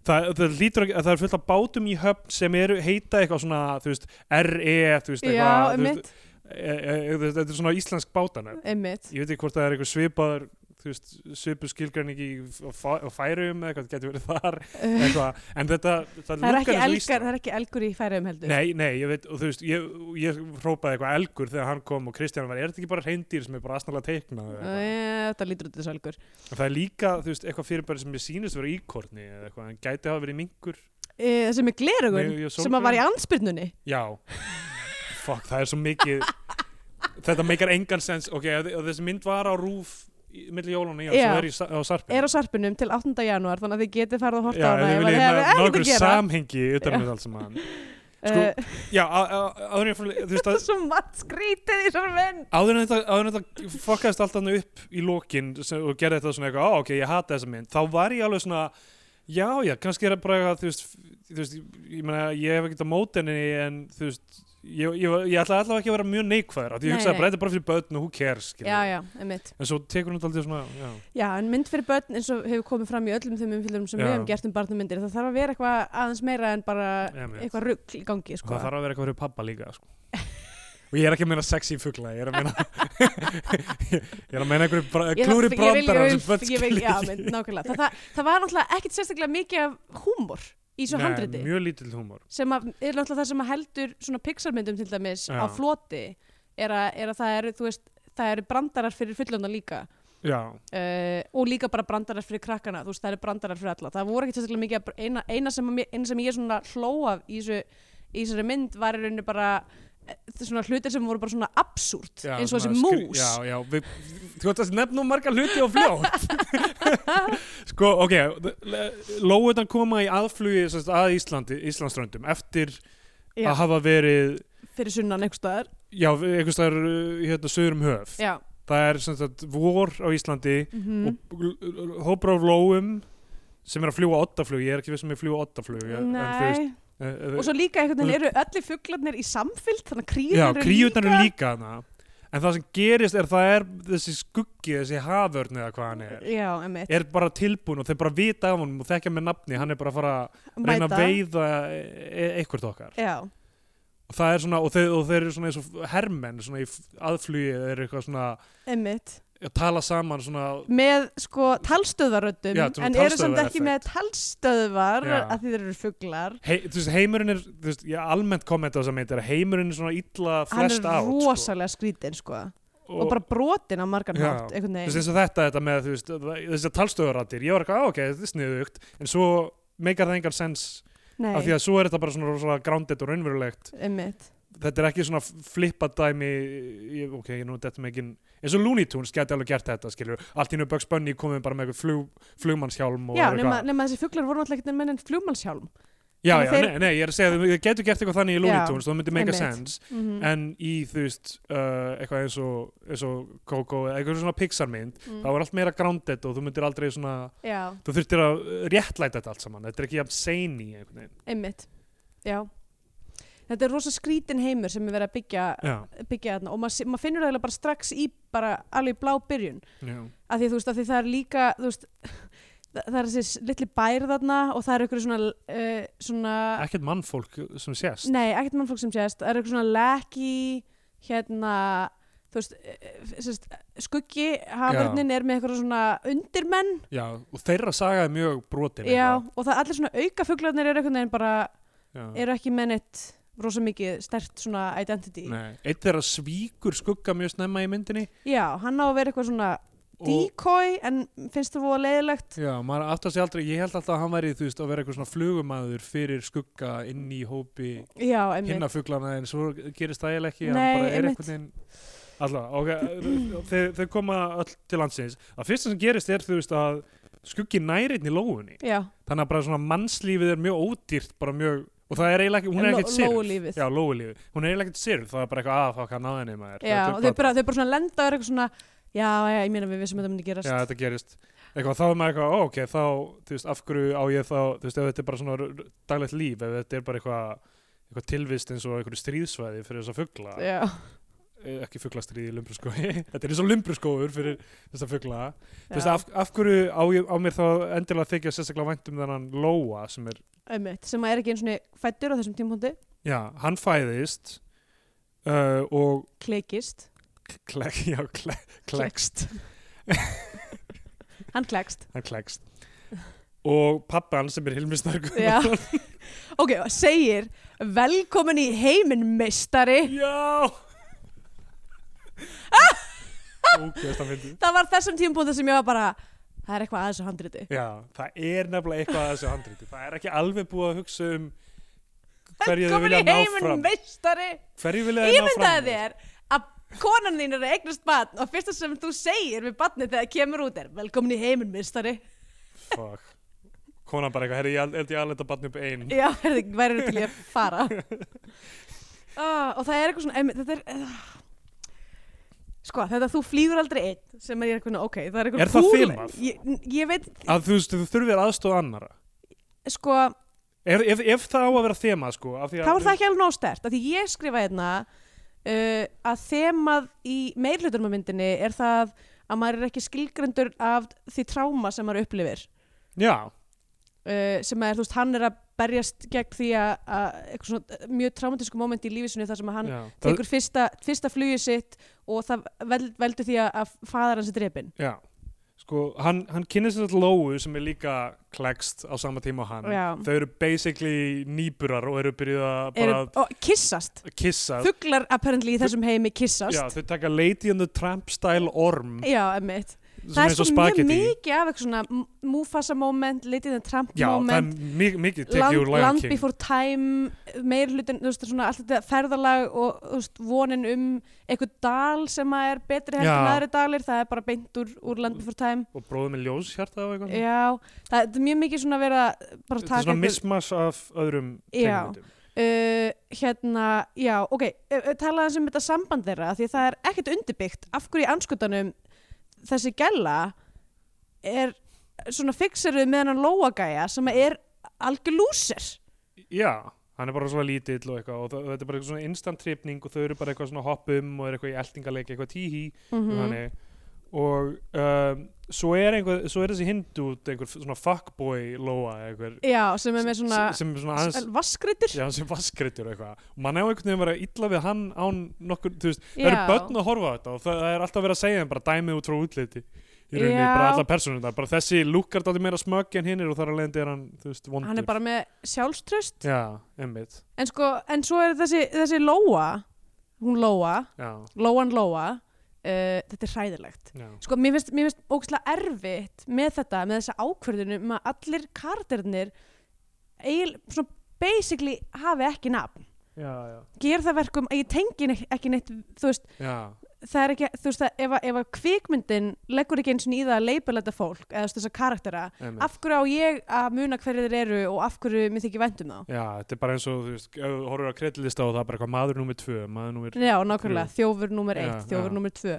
S3: Það, það, lítur, að- það er fullt af bátum í höfn sem eru, heita eitthvað svona, þú veist, RE, þú veist,
S2: já,
S3: eitthvað, þú veist,
S2: einmitt,
S3: e, e, e, þetta er svona íslensk bátanöfn.
S2: einmitt
S3: ég veit ekki hvort það er eitthvað svipaður þú veist, svipu skilgræningi og færum eða eitthvað, þetta getur verið þar
S2: uh,
S3: eitthvað, en þetta, það,
S2: það er ekki
S3: lukkar eins og
S2: elgar,
S3: Ísland.
S2: það er ekki elgur í færiðum heldur
S3: Nei, nei, ég veit, og þú veist, ég, ég hrópaði eitthvað elgur þegar hann kom og Kristján var, er þetta ekki bara reyndýr sem er bara aðsnalega teiknað? eða eitthvað?"
S2: Eh, þetta lítur út þessu elgur
S3: En Það er líka, þú veist, eitthvað fyrirbæri sem ég sýnist vera íkorni eða eitthvað, en gæti hafa verið minkur.
S2: uh, þessi með glerugun
S3: Nei, ég-
S2: sem að var í andspyrnunni
S3: Já, fuck, það er svo mikið, þetta meikar engan sens, ok, ef ef þessi mynd var á rúf millir jólunni, já,
S2: Já.
S3: svo er í, sa- á sarpinu.
S2: er á sarpinum til 8. janúar þannig að þið getið farið að horta á
S3: Já,
S2: hana
S3: þið
S2: ef
S3: viljið
S2: þið hefði
S3: hérna
S2: ekkert
S3: nokkur
S2: að gera
S3: samhengi utan um þetta allt saman sko,
S2: Eh,
S3: Já, á- á- áður en ég fór- þú veist
S2: það er
S3: að
S2: svo margt skrítið í þessari mynd
S3: Áður en þetta, áður en þetta fokkaðist allt hann upp í lokin sem, og gerði þetta svona eitthvað, á ok, ég hata þessa mynd þá var ég alveg svona, já, já kannski er það bara eitthvað, þú veist, þú veist ég meina, ég hef ekkert á móti henni en þú veist, ég, ég, var- ég ætla allavega ekki að vera mjög neikvæður af því ég
S2: Nei,
S3: hugsaði
S2: nei.
S3: bara, þetta er bara fyrir börn og who cares skilur
S2: já,
S3: við.
S2: já, einmitt
S3: en svo tekur hún alltaf svona já,
S2: já, en mynd fyrir börn eins og hefur komið fram í öllum þeim umfylgum sem
S3: Já.
S2: við hefum gert um barnamyndir það þarf að vera eitthvað aðeins meira en bara
S3: Einmitt.
S2: eitthvað rugg í gangi
S3: og það
S2: sko.
S3: þarf að vera eitthvað fyrir pappa líka sko. og ég er ekki að meina sexy fugla ég er að meina ég er að meina einhverju bra-
S2: Ég
S3: klúri
S2: þarf- ég vil-
S3: brandara
S2: ég
S3: sem
S2: vil-
S3: börn
S2: ég vil-
S3: skilja
S2: já,
S3: ekki.
S2: mynd, nákvæmlega. það, það, það var náttúrulega ekkit sérstaklega mikið af húmor í svo
S3: Nei,
S2: handriti
S3: mjög lítill húmor
S2: sem að, er náttúrulega það sem að heldur svona pixarmyndum til dæmis
S3: Já.
S2: á floti er að, er að það eru, þú veist, það eru brandarar fyrir fullönda líka
S3: já,
S2: uh, og líka bara brandarar fyrir krakkana þú veist, það eru brandarar fyrir alla, það voru ekki sérstaklega mikið að- eina, eina, sem, að mér- eina sem ég svona hlóaf í, þessu, í þessari mynd var í rauninu bara eh, svona hlutir sem voru bara svona absúrt
S3: já
S2: eins og þessi
S3: svona skri-
S2: mús
S3: já, já, við, þú ætti að nefna um marga hluti og fljótt sko, ok Lóutan koma í aðflugi sem sagt, að Íslandi, Íslandströndum eftir
S2: Já.
S3: að hafa verið
S2: fyrir sunnan einhvers staðar
S3: já, einhvers staðar uh, hérna, sögur um höf
S2: já,
S3: það er sem sagt vor á Íslandi
S2: mm
S3: og l- l- hópur af lóum sem er að fljúa ottaflug, ég er ekki við sem er að fljúa ottaflug ég- en þú veist,
S2: nei
S3: eh, eh,
S2: og svo líka einhvern veginn eru öllir fuglarnir í samfylg þannig að
S3: já,
S2: kríðan
S3: kríutan eru líka hana en það sem gerist er það er þessi skuggi, þessi haförn eða hvað hann er
S2: já, emmitt
S3: er bara tilbúin og þeir bara vita af honum og þekkja með nafni, hann er bara að fara að reyna að veiða e e eitthvað okkar
S2: Já,
S3: og það er svona, og þeir, og þeir eru svona eins og hermenn svona í f- aðflugi, þeir eru eitthvað svona
S2: einmitt.
S3: að tala saman svona
S2: Með sko talstöðvaröddum,
S3: Já, svona
S2: en eru samt
S3: talstöðvar-
S2: ekki með talstöðvar
S3: Já.
S2: að því þeir eru fuglar.
S3: hei, þú veist, heimurinn er, þú veist, ég almennt kommenta á þess að meint er að heimurinn er svona illa
S2: Hann
S3: flest sko.
S2: er
S3: átt
S2: rosalega skrítinn sko.
S3: sko.
S2: Og, bara brotin á margan
S3: Já.
S2: hátt, einhvern
S3: þú
S2: veginn.
S3: veist, eins og þetta, þetta með þú veist, þess að talstöðurattir, ég var eitthvað, "Ah, ok, þetta er sniðugt en svo meikar það engan sens
S2: Nei,
S3: af því að svo er þetta bara svona rosalega grounded og raunverulegt,
S2: einmitt.
S3: þetta er ekki svona flippað dæmi, ég, ok, ég nú þetta með ekki, eins og Looney Tunes geti alveg gert þetta, skilur, allt í nú Bugs Bunny komið bara með eitthvað flug, flugmannshjálm og
S2: Já,
S3: eitthvað-
S2: nema, nema þessi fuglar voru náttúrulega ekki með enn flugmannshjálm.
S3: já,
S2: nema
S3: já,
S2: þeir-
S3: nei, nei, ég er að segja, þau getur gert eitthvað þannig í Looney
S2: Já,
S3: Tunes, það myndi meika
S2: einmitt.
S3: sens
S2: Mm
S3: en í þú veist uh, eitthvað eins og, eins og Coco eða eitthvað svona Pixar mynd
S2: Mm.
S3: þá er allt meira grounded og þú myndir aldrei svona
S2: Mhm. Já,
S3: þú þurftir að uh, réttlæta þetta allt saman þetta er ekki jafn seini einhvern veginn
S2: einmitt. Já. Þetta er rosa skrítin heimur sem er verið að byggja,
S3: já,
S2: byggja þarna og maður sé- maður finnur það eiginlega bara strax í bara alveg í blá byrjun.
S3: já,
S2: að því, þú veist, að því það er líka þú veist, það það er þessi litli bær þarna og það er ykkur svona, uh, svona
S3: ekkert mannfólk sem sést
S2: nei, ekkert mannfólk sem sést, það er ykkur svona leki hérna þú veist, uh, sérst, skuggi hafurnin er með eitthvað svona undirmenn,
S3: já, og þeirra saga er mjög brotin
S2: Mm. já, og það allir svona aukafuglarnir eru einhvern veginn bara
S3: eitthvað. já.
S2: eru ekki með neitt rosa mikið stert svona identity,
S3: Nei, eitt þeirra svíkur skugga mjög snemma í myndinni
S2: já, hann á að vera eitthvað svona decoy en finnst það fóða leiðilegt
S3: já, maður aftar sér aldrei, ég held alltaf að hann væri þú veist að vera eitthvað svona flugumæður fyrir skugga inn í hópi
S2: já, einmitt,
S3: hinna fuglana en svo gerist það eiginlega ekki
S2: Nei,
S3: hann bara er
S2: einmitt.
S3: einhvern veginn alltaf, ok, þau- þau koma öll til landsins það fyrsta sem gerist er þú veist að skuggi nærinn í lófunni
S2: já,
S3: þannig að bara svona mannslífið er mjög ódýrt bara mjög, og það er eiginlega ekki, hún er
S2: Ló-
S3: ekkert sirf
S2: lóulífið.
S3: já, lóulífið, hún er eiginlega ekkert sirf það er bara eitthvað "Ah, aðfá hvað náðinni maður
S2: Já,
S3: Þetta er
S2: og þau
S3: bara-
S2: bara, þau bara svona lenda og eru eitthvað svona Já, já, ég meina við vissum að það myndi gerast
S3: já, þetta gerist eitthvað, þá er maður eitthvað, ó, ok, þá þú veist, af hverju á ég þá, þú veist, ef þetta er bara svona r- r- daglegt líf, ef þetta er bara eitthvað eitthvað tilvist eins og einhverju stríðsvæði fyrir þess að fugla
S2: Já,
S3: eh, ekki fuglastrið í lumbruskói þetta er eins og lumbruskófur fyrir þessa fugla þú veist
S2: já,
S3: af, af hverju á, ég- á mér þá endilega þykja sérstaklega vænt um þennan Lóa sem er,
S2: einmitt, sem að er ekki eins og fættur á þessum tímpúndi,
S3: já, hann fæðist uh, og
S2: klekist
S3: klek, já, klek, klekst
S2: Hann klekst
S3: hann klekst og pappi hann sem er Hilmi Snarkur
S2: Já. Ok, og segir Velkomin í heiminn meistari
S3: já ógæst að fyndi
S2: Það var þessum tímpúndi sem ég var bara Það er eitthvað að þessu handriti
S3: Já, það er nefnilega eitthvað að þessu handriti. Það er ekki alveg búið að hugsa um hverju þau
S2: Velkomin
S3: vilja
S2: í
S3: ná
S2: heiminn
S3: fram.
S2: meistari
S3: Hverju vilja þau ná fram?
S2: Ímyndaði
S3: með?
S2: þér að konan þín er að eignast batn og fyrsta sem þú segir við batnið þegar það kemur út er Velkomin í heiminn meistari
S3: Fuck. Konan bara eitthvað, herri, ég held ég að leta barni upp einn.
S2: Já, herði, væri til ég að fara ah, Og það er eitthvað svona einmitt, Þetta er uh, Sko, þetta þú flýgur aldrei einn sem er eitthvað, ok, það er eitthvað
S3: Er það
S2: cool-
S3: filmað?
S2: Ég, ég veit,
S3: Að þú veist, þú þurfir aðstóð annara.
S2: sko
S3: Ef, ef, ef það á að vera þema sko af því að
S2: þá er það ekki alveg nóg stert af því ég skrifa hérna uh, að þemað í meirhlutunum á myndinni er það að maður er ekki skilgrendur af því tráma sem maður upplifir
S3: Já,
S2: uh, sem er, þú veist, hann er að berjast gegn því að, að eitthvað svona eh, mjög traumatísku moment í lífisinu þar sem að hann
S3: já, það,
S2: tekur fyrsta, fyrsta flugið sitt og það vel, veldur því að, að fadar hans er drepin
S3: já Sko, hann, hann kynir sér þetta Lóu sem er líka klekst á sama tíma og hann
S2: Já.
S3: Þau eru basically nýburar og eru byrjuð að bara
S2: Eru, og kissast,
S3: að kissa
S2: fuglar apparently í þessum heimi
S3: Já,
S2: kissast
S3: þau taka Lady and the Tramp style orm
S2: já, emmitt
S3: sem
S2: það
S3: er
S2: er
S3: eins og
S2: svo mjög
S3: spagetti
S2: mikið af eitthvað svona M- Mufasa moment, Lady and the Tramp
S3: Já, það er
S2: moment
S3: mi- mikið
S2: Land,
S3: tekið úr Lion
S2: land
S3: King
S2: Before Time meir hlutin, þú veist, svona allt þetta ferðalag og þú veist, vonin um eitthvað dal sem að er betri heldur
S3: Já.
S2: en aðri dalir, það er bara beint úr, úr Land Before Time
S3: og bróðið með ljóshjarta og eitthvað
S2: Já, það er mjög mikið svona verið að bara
S3: Þetta er
S2: taka
S3: svona mismas af öðrum
S2: Já.
S3: tegundum.
S2: uh, hérna, já, ok uh, talaðum sem þetta samband þeirra af því að það er ekkert undirbyggt, af hverju í anskutanum þessi gæla er svona fixeruð með hennan lóagæja sem er algjör lúsir
S3: Já, hann er bara svona lítill og eitthvað og það- þetta er bara eitthvað svona instant tripning og þau eru bara eitthvað svona hoppum og er eitthvað í eltingaleik eitthvað tíhí
S2: mm
S3: þannig og um, svo, er einhver, svo er þessi hindút einhver svona fuckboy lóa einhver,
S2: Já, sem er með svona
S3: sem- sem er svona aðeins
S2: vaskreitir
S3: Já, sem vaskritur og eitthvað og mann á einhvern veginn að vera illa við hann án nokkur, þú veist, það
S2: Já.
S3: eru börn að horfa á þetta og það, það er alltaf verið að segja þeim bara dæmið út frá útliti í rauninni,
S2: Já.
S3: bara alla persónundar, bara þessi lúkar dálítið meira smögg en hinnir og þar alveg er hann, þú veist, vondur
S2: hann er bara með sjálfströst
S3: Já, emmitt,
S2: en, sko, en svo er þessi, þessi Lóa hún Lóa,
S3: já,
S2: Lóan Lóa uh, þetta er hræðilegt
S3: já
S2: sko, mér finnst, mér finnst ógæslega erfitt með þetta, með þessa ákvörðunum um að allir kardernir eigil, svona basically hafi ekki nafn
S3: já, já.
S2: ger það verkum að ég tengi ne- ekki neitt þú veist,
S3: já.
S2: það er ekki, þú veist, að ef, að- ef að kvikmyndin leggur ekki eins og í það að leipula þetta fólk eða þú veist, þessa karaktera,
S3: einmitt.
S2: af hverju á ég að muna hverju þeir eru og af hverju mér þykir vænt um þá
S3: já, þetta er bara eins og þú veist, ef þú horfur á kreditlista og það er bara eitthvað maður númer tvö, maður númer
S2: Já, nákvæmlega,
S3: Þrjú.
S2: þjófur númer
S3: Já,
S2: eitt, þjófur
S3: já.
S2: númer tvö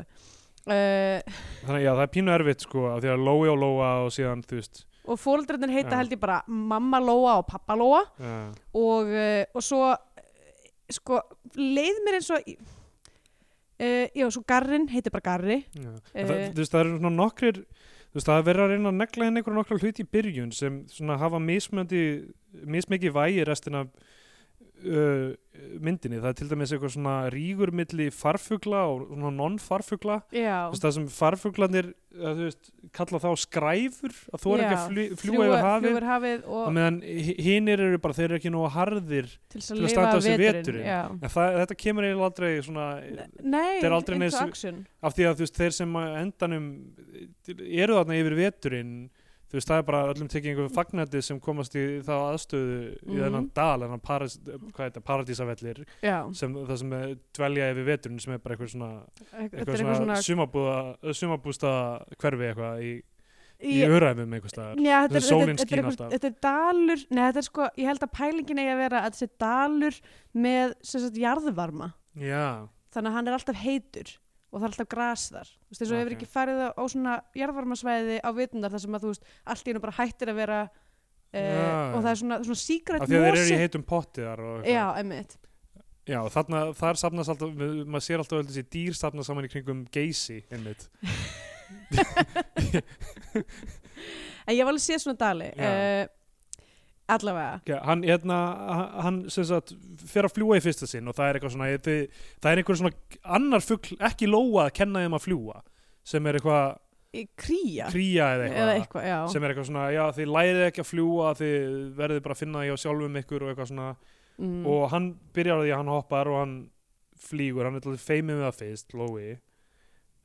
S2: uh,
S3: þannig að já, það er pínu erfitt sko, af því að Lói og Lóa og síðan, þú veist
S2: og fóreldrarnir heita
S3: Já.
S2: held ég bara mamma Lóa og pappa Lóa
S3: já,
S2: og, uh, og svo eh, sko, leið mér eins og uh, já, svo Garrin heitir bara Garri
S3: já.
S2: Eh.
S3: Uh, það, þú veist, það eru svona nokkrir þú veist, það er verið að reyna að negla henni einhverja nokkra hluti í byrjun sem svona hafa mismöndi mismikið vægi restina af uh, myndinni, það er til dæmis eitthvað svona rígur milli farfugla og svona non-farfugla
S2: Já,
S3: Þú veist, það sem farfuglanir að, þú veist, kalla þá skræfur að þú er ekki
S2: Já,
S3: að fljúa yfir hafið
S2: fljúga yfir hafið og
S3: og meðan hinnir eru bara þeir eru ekki nógu harðir
S2: til þess
S3: til að
S2: að lifa
S3: standa af sér
S2: veturinn,
S3: veturinn.
S2: Já.
S3: en það, þetta kemur eiginlega aldrei svona
S2: Nei,
S3: Þetta er aldrei neins-
S2: interaction
S3: af því að þú veist þeir sem að endanum eru þarna yfir veturinn þú veist það er bara öllum tekið einhver fagnandi sem komast í þá aðstöðu í
S2: Mhm.
S3: þennan dal, þennan paras, hvað er þetta, paradísavellir
S2: Já,
S3: sem, það sem eh, dvelja yfir veturinn sem er bara eitthvað svona,
S2: þetta
S3: eitthvað
S2: er eitthvað
S3: svona,
S2: svona
S3: sumabúða, sumabústa hverfi eitthvað í, í
S2: Ég-
S3: öræfum einhver staðar
S2: Já, þetta er,
S3: Þetta er
S2: þetta,
S3: sólin
S2: er- þetta,
S3: skín
S2: er einhver,
S3: alltaf.
S2: þetta er dalur Nei, þetta er sko, ég held að pælingin eigi að vera að þetta er dalur með sem sagt jarðvarma
S3: já,
S2: þannig að hann er alltaf heitur og það er alltaf gras þar þú veist, eins og hefur
S3: Ok.
S2: ekki farið á, á svona jarðvarmasvæði á vitundar þar sem að þú veist, allt í hennu bara hættir að vera uh,
S3: Já.
S2: og það er svona, svona
S3: af
S2: síkrætt
S3: því að þeir eru í heitum potti þar og eitthvað.
S2: Já, emmitt
S3: Já, þarna, þar safnast alltaf, við- maður sér alltaf öll þessi dýr safnast saman í kringum geysi, einmitt.
S2: En ég var alveg séð svona dali
S3: Já.
S2: uh, Allavega
S3: Okay, hann, hérna, hann, sem sagt, fer að fljúa í fyrsta sinn og það er eitthvað svona, þið, það er einhver svona annar fugl, ekki lóa að kenna þeim að fljúa, sem er eitthvað
S2: Í Kría
S3: kría eða eitthvað,
S2: eða eitthvað, já
S3: sem er eitthvað svona, já, þið lærið ekki að fljúa, þið verðið bara að finna því á sjálfum ykkur og eitthvað svona,
S2: mm.
S3: og hann byrjar á því að hann hoppar og hann flýgur, hann er alltaf feimið með það fyrst, Lói,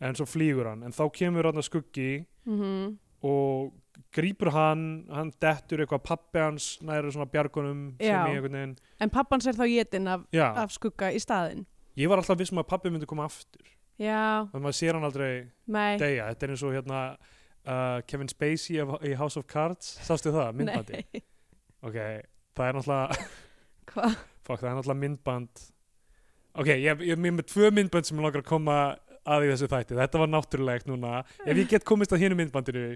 S3: en svo flýgur hann, en þá kemur hann að skuggi
S2: mm
S3: og grýpur hann hann dettur eitthvað pappi hans næri svona bjargunum sem
S2: Já.
S3: ég einhvern veginn
S2: En pappan sér þá getinn af,
S3: já,
S2: af skugga í staðinn
S3: ég var alltaf viss um að pappi myndi koma aftur
S2: Já,
S3: þannig að maður sér hann aldrei
S2: mei
S3: deyja þetta er eins og hérna uh, Kevin Spacey af, í House of Cards sástu það, myndbandi
S2: Nei,
S3: ok, það er náttúrulega
S2: hvað?
S3: fuck, það er náttúrulega myndband ok, ég, ég, ég er með tvö myndband sem ég langar að koma að í þessu þætti þetta var náttúrulegt núna ef ég get komist að hinu myndbandinu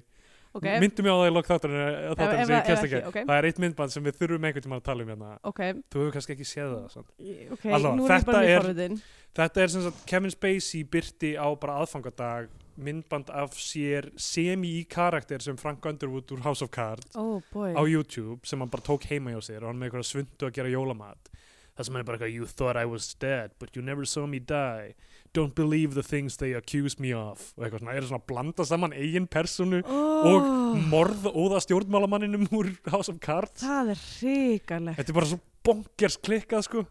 S2: ok,
S3: myndum ég á það í lokk þátturinn
S2: Ef- ef
S3: sem
S2: það
S3: ég
S2: er
S3: kemst
S2: ekki,
S3: ekki,
S2: ok.
S3: það er eitt myndband sem við þurfum einhvern tímann að tala um hérna
S2: ok,
S3: þú hefur kannski ekki séð það samt.
S2: ok,
S3: Allavega,
S2: nú er ég
S3: þetta
S2: bara mjög
S3: er-
S2: forvitin.
S3: þetta er sem sagt Kevin Spacey byrti á bara aðfangadag myndband af sér semi í karakter sem Frank Underwood úr House of Cards
S2: Oh boy,
S3: á YouTube sem hann bara tók heima hjá sér og hann með einhverja svundu að gera jólamat það sem hann er bara eitthvað you thought I was dead but you never saw me die don't believe the things they accuse me of og eitthvað svona, er svona að blanda saman eigin personu og morð óða stjórnmálamanninum úr House of Cards
S2: það er ríkalegt.
S3: þetta er bara svo bonkers klikkað sko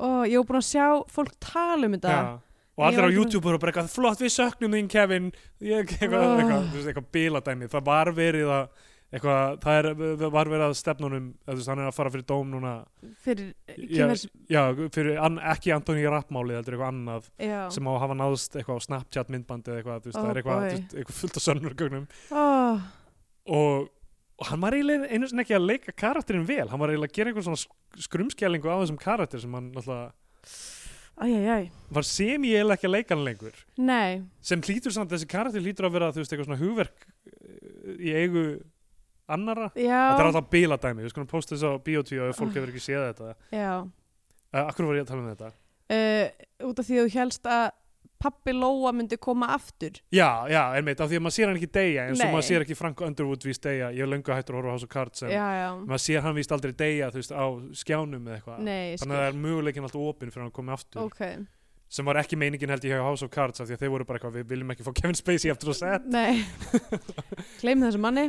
S2: Ó, ég hef búin að sjá fólk tala um þetta.
S3: Já. og
S2: Ég
S3: allir
S2: var
S3: á
S2: ekki búin-
S3: YouTube eru bara eitthvað flott við söknum þín Kevin ég, eitthvað,
S2: Oh.
S3: eitthvað, þú veist, eitthvað bíladæmi það var verið að eitthvað, það er, það var verið að stefnunum eða þú veist, hann er að fara fyrir dóm núna
S2: Fyrir eh,
S3: Já,
S2: kemur,
S3: Já, fyrir an, ekki Antoni Rappmálið, heldur eitthvað annað
S2: já.
S3: sem á að hafa náðst eitthvað á Snapchat myndbandi eða eitthvað, þú veist,
S2: Oh
S3: það er eitthvað,
S2: boy.
S3: þú veist, eitthvað fullt af sönnurgögnum
S2: Ó,
S3: og, og hann var eiginlega einu sinni ekki að leika karakterinn vel, hann var eiginlega að gera einhver svona sk- skrumskælingu á þessum karakter sem hann náttúrulega
S2: æjæjæj,
S3: var sem ég eiginlega ekki að leika hann lengur
S2: nei,
S3: sem hlýtur samt, þessi karakter hlýtur að vera þú veist, eitthvað svona hugverk eh, í eigu annara, þetta er
S2: já,
S3: alltaf bíladæmi við skulum posta þess á Biotíu og ef fólk
S2: Oh.
S3: hefur ekki séð þetta
S2: já.
S3: uh, Akkur var ég að tala um þetta?
S2: Uh, út af því að þú helst að pappi Lóa myndi koma aftur.
S3: Já, já, einmitt, af því að maður sér hann ekki deyja eins og
S2: Nei.
S3: maður sér ekki Frank Underwood víst deyja ég er löngu hættur að horfa á House of Cards en
S2: Já, já,
S3: maður sér hann víst aldrei deyja þú veist, á skjánum eða eitthvað
S2: nei, ég
S3: þannig að
S2: skil.
S3: það er möguleikin alltaf opinn fyrir hann að koma aftur
S2: Ok,
S3: sem var ekki meiningin held ég hjá House of Cards af því að þeir voru bara eitthvað, við viljum ekki fá Kevin Spacey aftur á set
S2: nei, gleym þessu manni,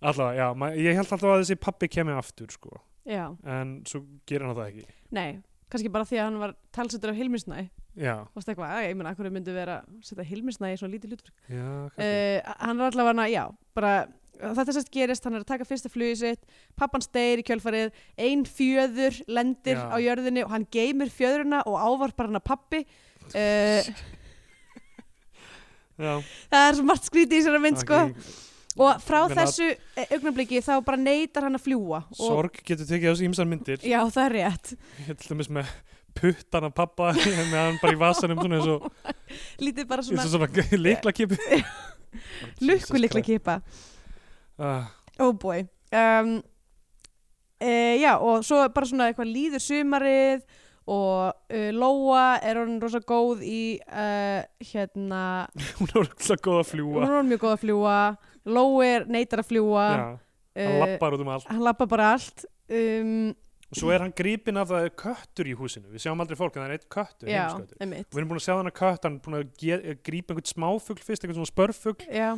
S3: allavega, já, ma- ég held alltaf að þessi pappi kemi aftur sko,
S2: já,
S3: en svo gerir hann það ekki
S2: nei, kannski bara því að hann var talsettur af Hilmisnæ.
S3: Já,
S2: Varst eitthvað, æ, ég meina, akkur myndi vera að setja Hilmisnæ í svona lítið hlutverk.
S3: já, kannski
S2: uh, hann er allavega hana, já, bara þetta sérst gerist, hann er að taka fyrsta flugið sitt pappan steir í kjölfarið ein fjöður lendir
S3: Já.
S2: á jörðinni og hann geymir fjöðurina og ávarpar hann að pappi uh,
S3: Já,
S2: það er svo margt skrítið í sér að mynd
S3: það
S2: sko.
S3: er ekki-
S2: og frá
S3: Ég meina-
S2: þessu eh, augnabliki þá bara neytar hann að fljúa og,
S3: Sorg getur tekið á þessu ímsan myndir
S2: já, það er rétt,
S3: Ég held til dæmis með puttana pappa með hann bara í vasanum svona eins og
S2: lítið bara
S3: Svona,
S2: svona
S3: svona líkla kipi
S2: lukku líkla kipa
S3: uh,
S2: oh boy um, e, já og svo bara svona eitthvað líður sumarið og uh, Lóa er hún rosa góð í uh, hérna
S3: Hún er orðslega góð að
S2: hún
S3: fljúa
S2: er orðin mjög góð að fljúa Lóa er neitar að fljúa
S3: Já, hann
S2: eh,
S3: lappar út um allt
S2: hann lappa bara allt um,
S3: Og svo er hann gripinn af það er köttur í húsinu Við sjáum aldrei fólk en það er eitt köttur
S2: já,
S3: heimsköttur.
S2: einmitt
S3: Við erum búin að sjá þannig kött Hann er búin að ge- eh, grípa einhvern smáfugl fyrst Einhvern svona spörfugl
S2: já,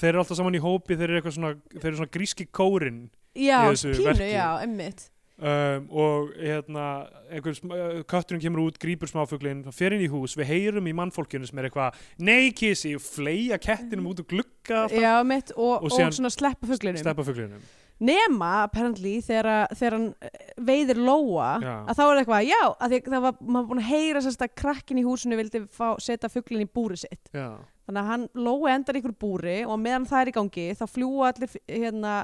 S3: Þeir eru alltaf saman í hópi Þeir eru, eitthvað svona, þeir eru svona gríski kórin
S2: já
S3: Í þessu
S2: pínu,
S3: verki.
S2: já, einmitt
S3: um, Og hérna einhver, sm- eh, Kötturinn kemur út, grípur smáfuglinn hann Fer inn í hús, við heyrum í mannfólkinu Sem er eitthvað, nei kissi, fleia kettinum út og glugga
S2: já, einmitt og,
S3: Og
S2: og,
S3: síðan
S2: svona sleppa fuglinum
S3: Steppa fuglinum
S2: nema, apparently, þegar, að- þegar hann eh, veiðir Lóa
S3: Já.
S2: að þá er eitthvað, já, að því að það var maður búin að heyra sérst að krakkin í húsinu vildi fá, setja fuglin í búri sitt
S3: Já,
S2: þannig að hann, Lóa endar í ykkur búri og meðan það er í gangi, þá fljúa allir f- hérna,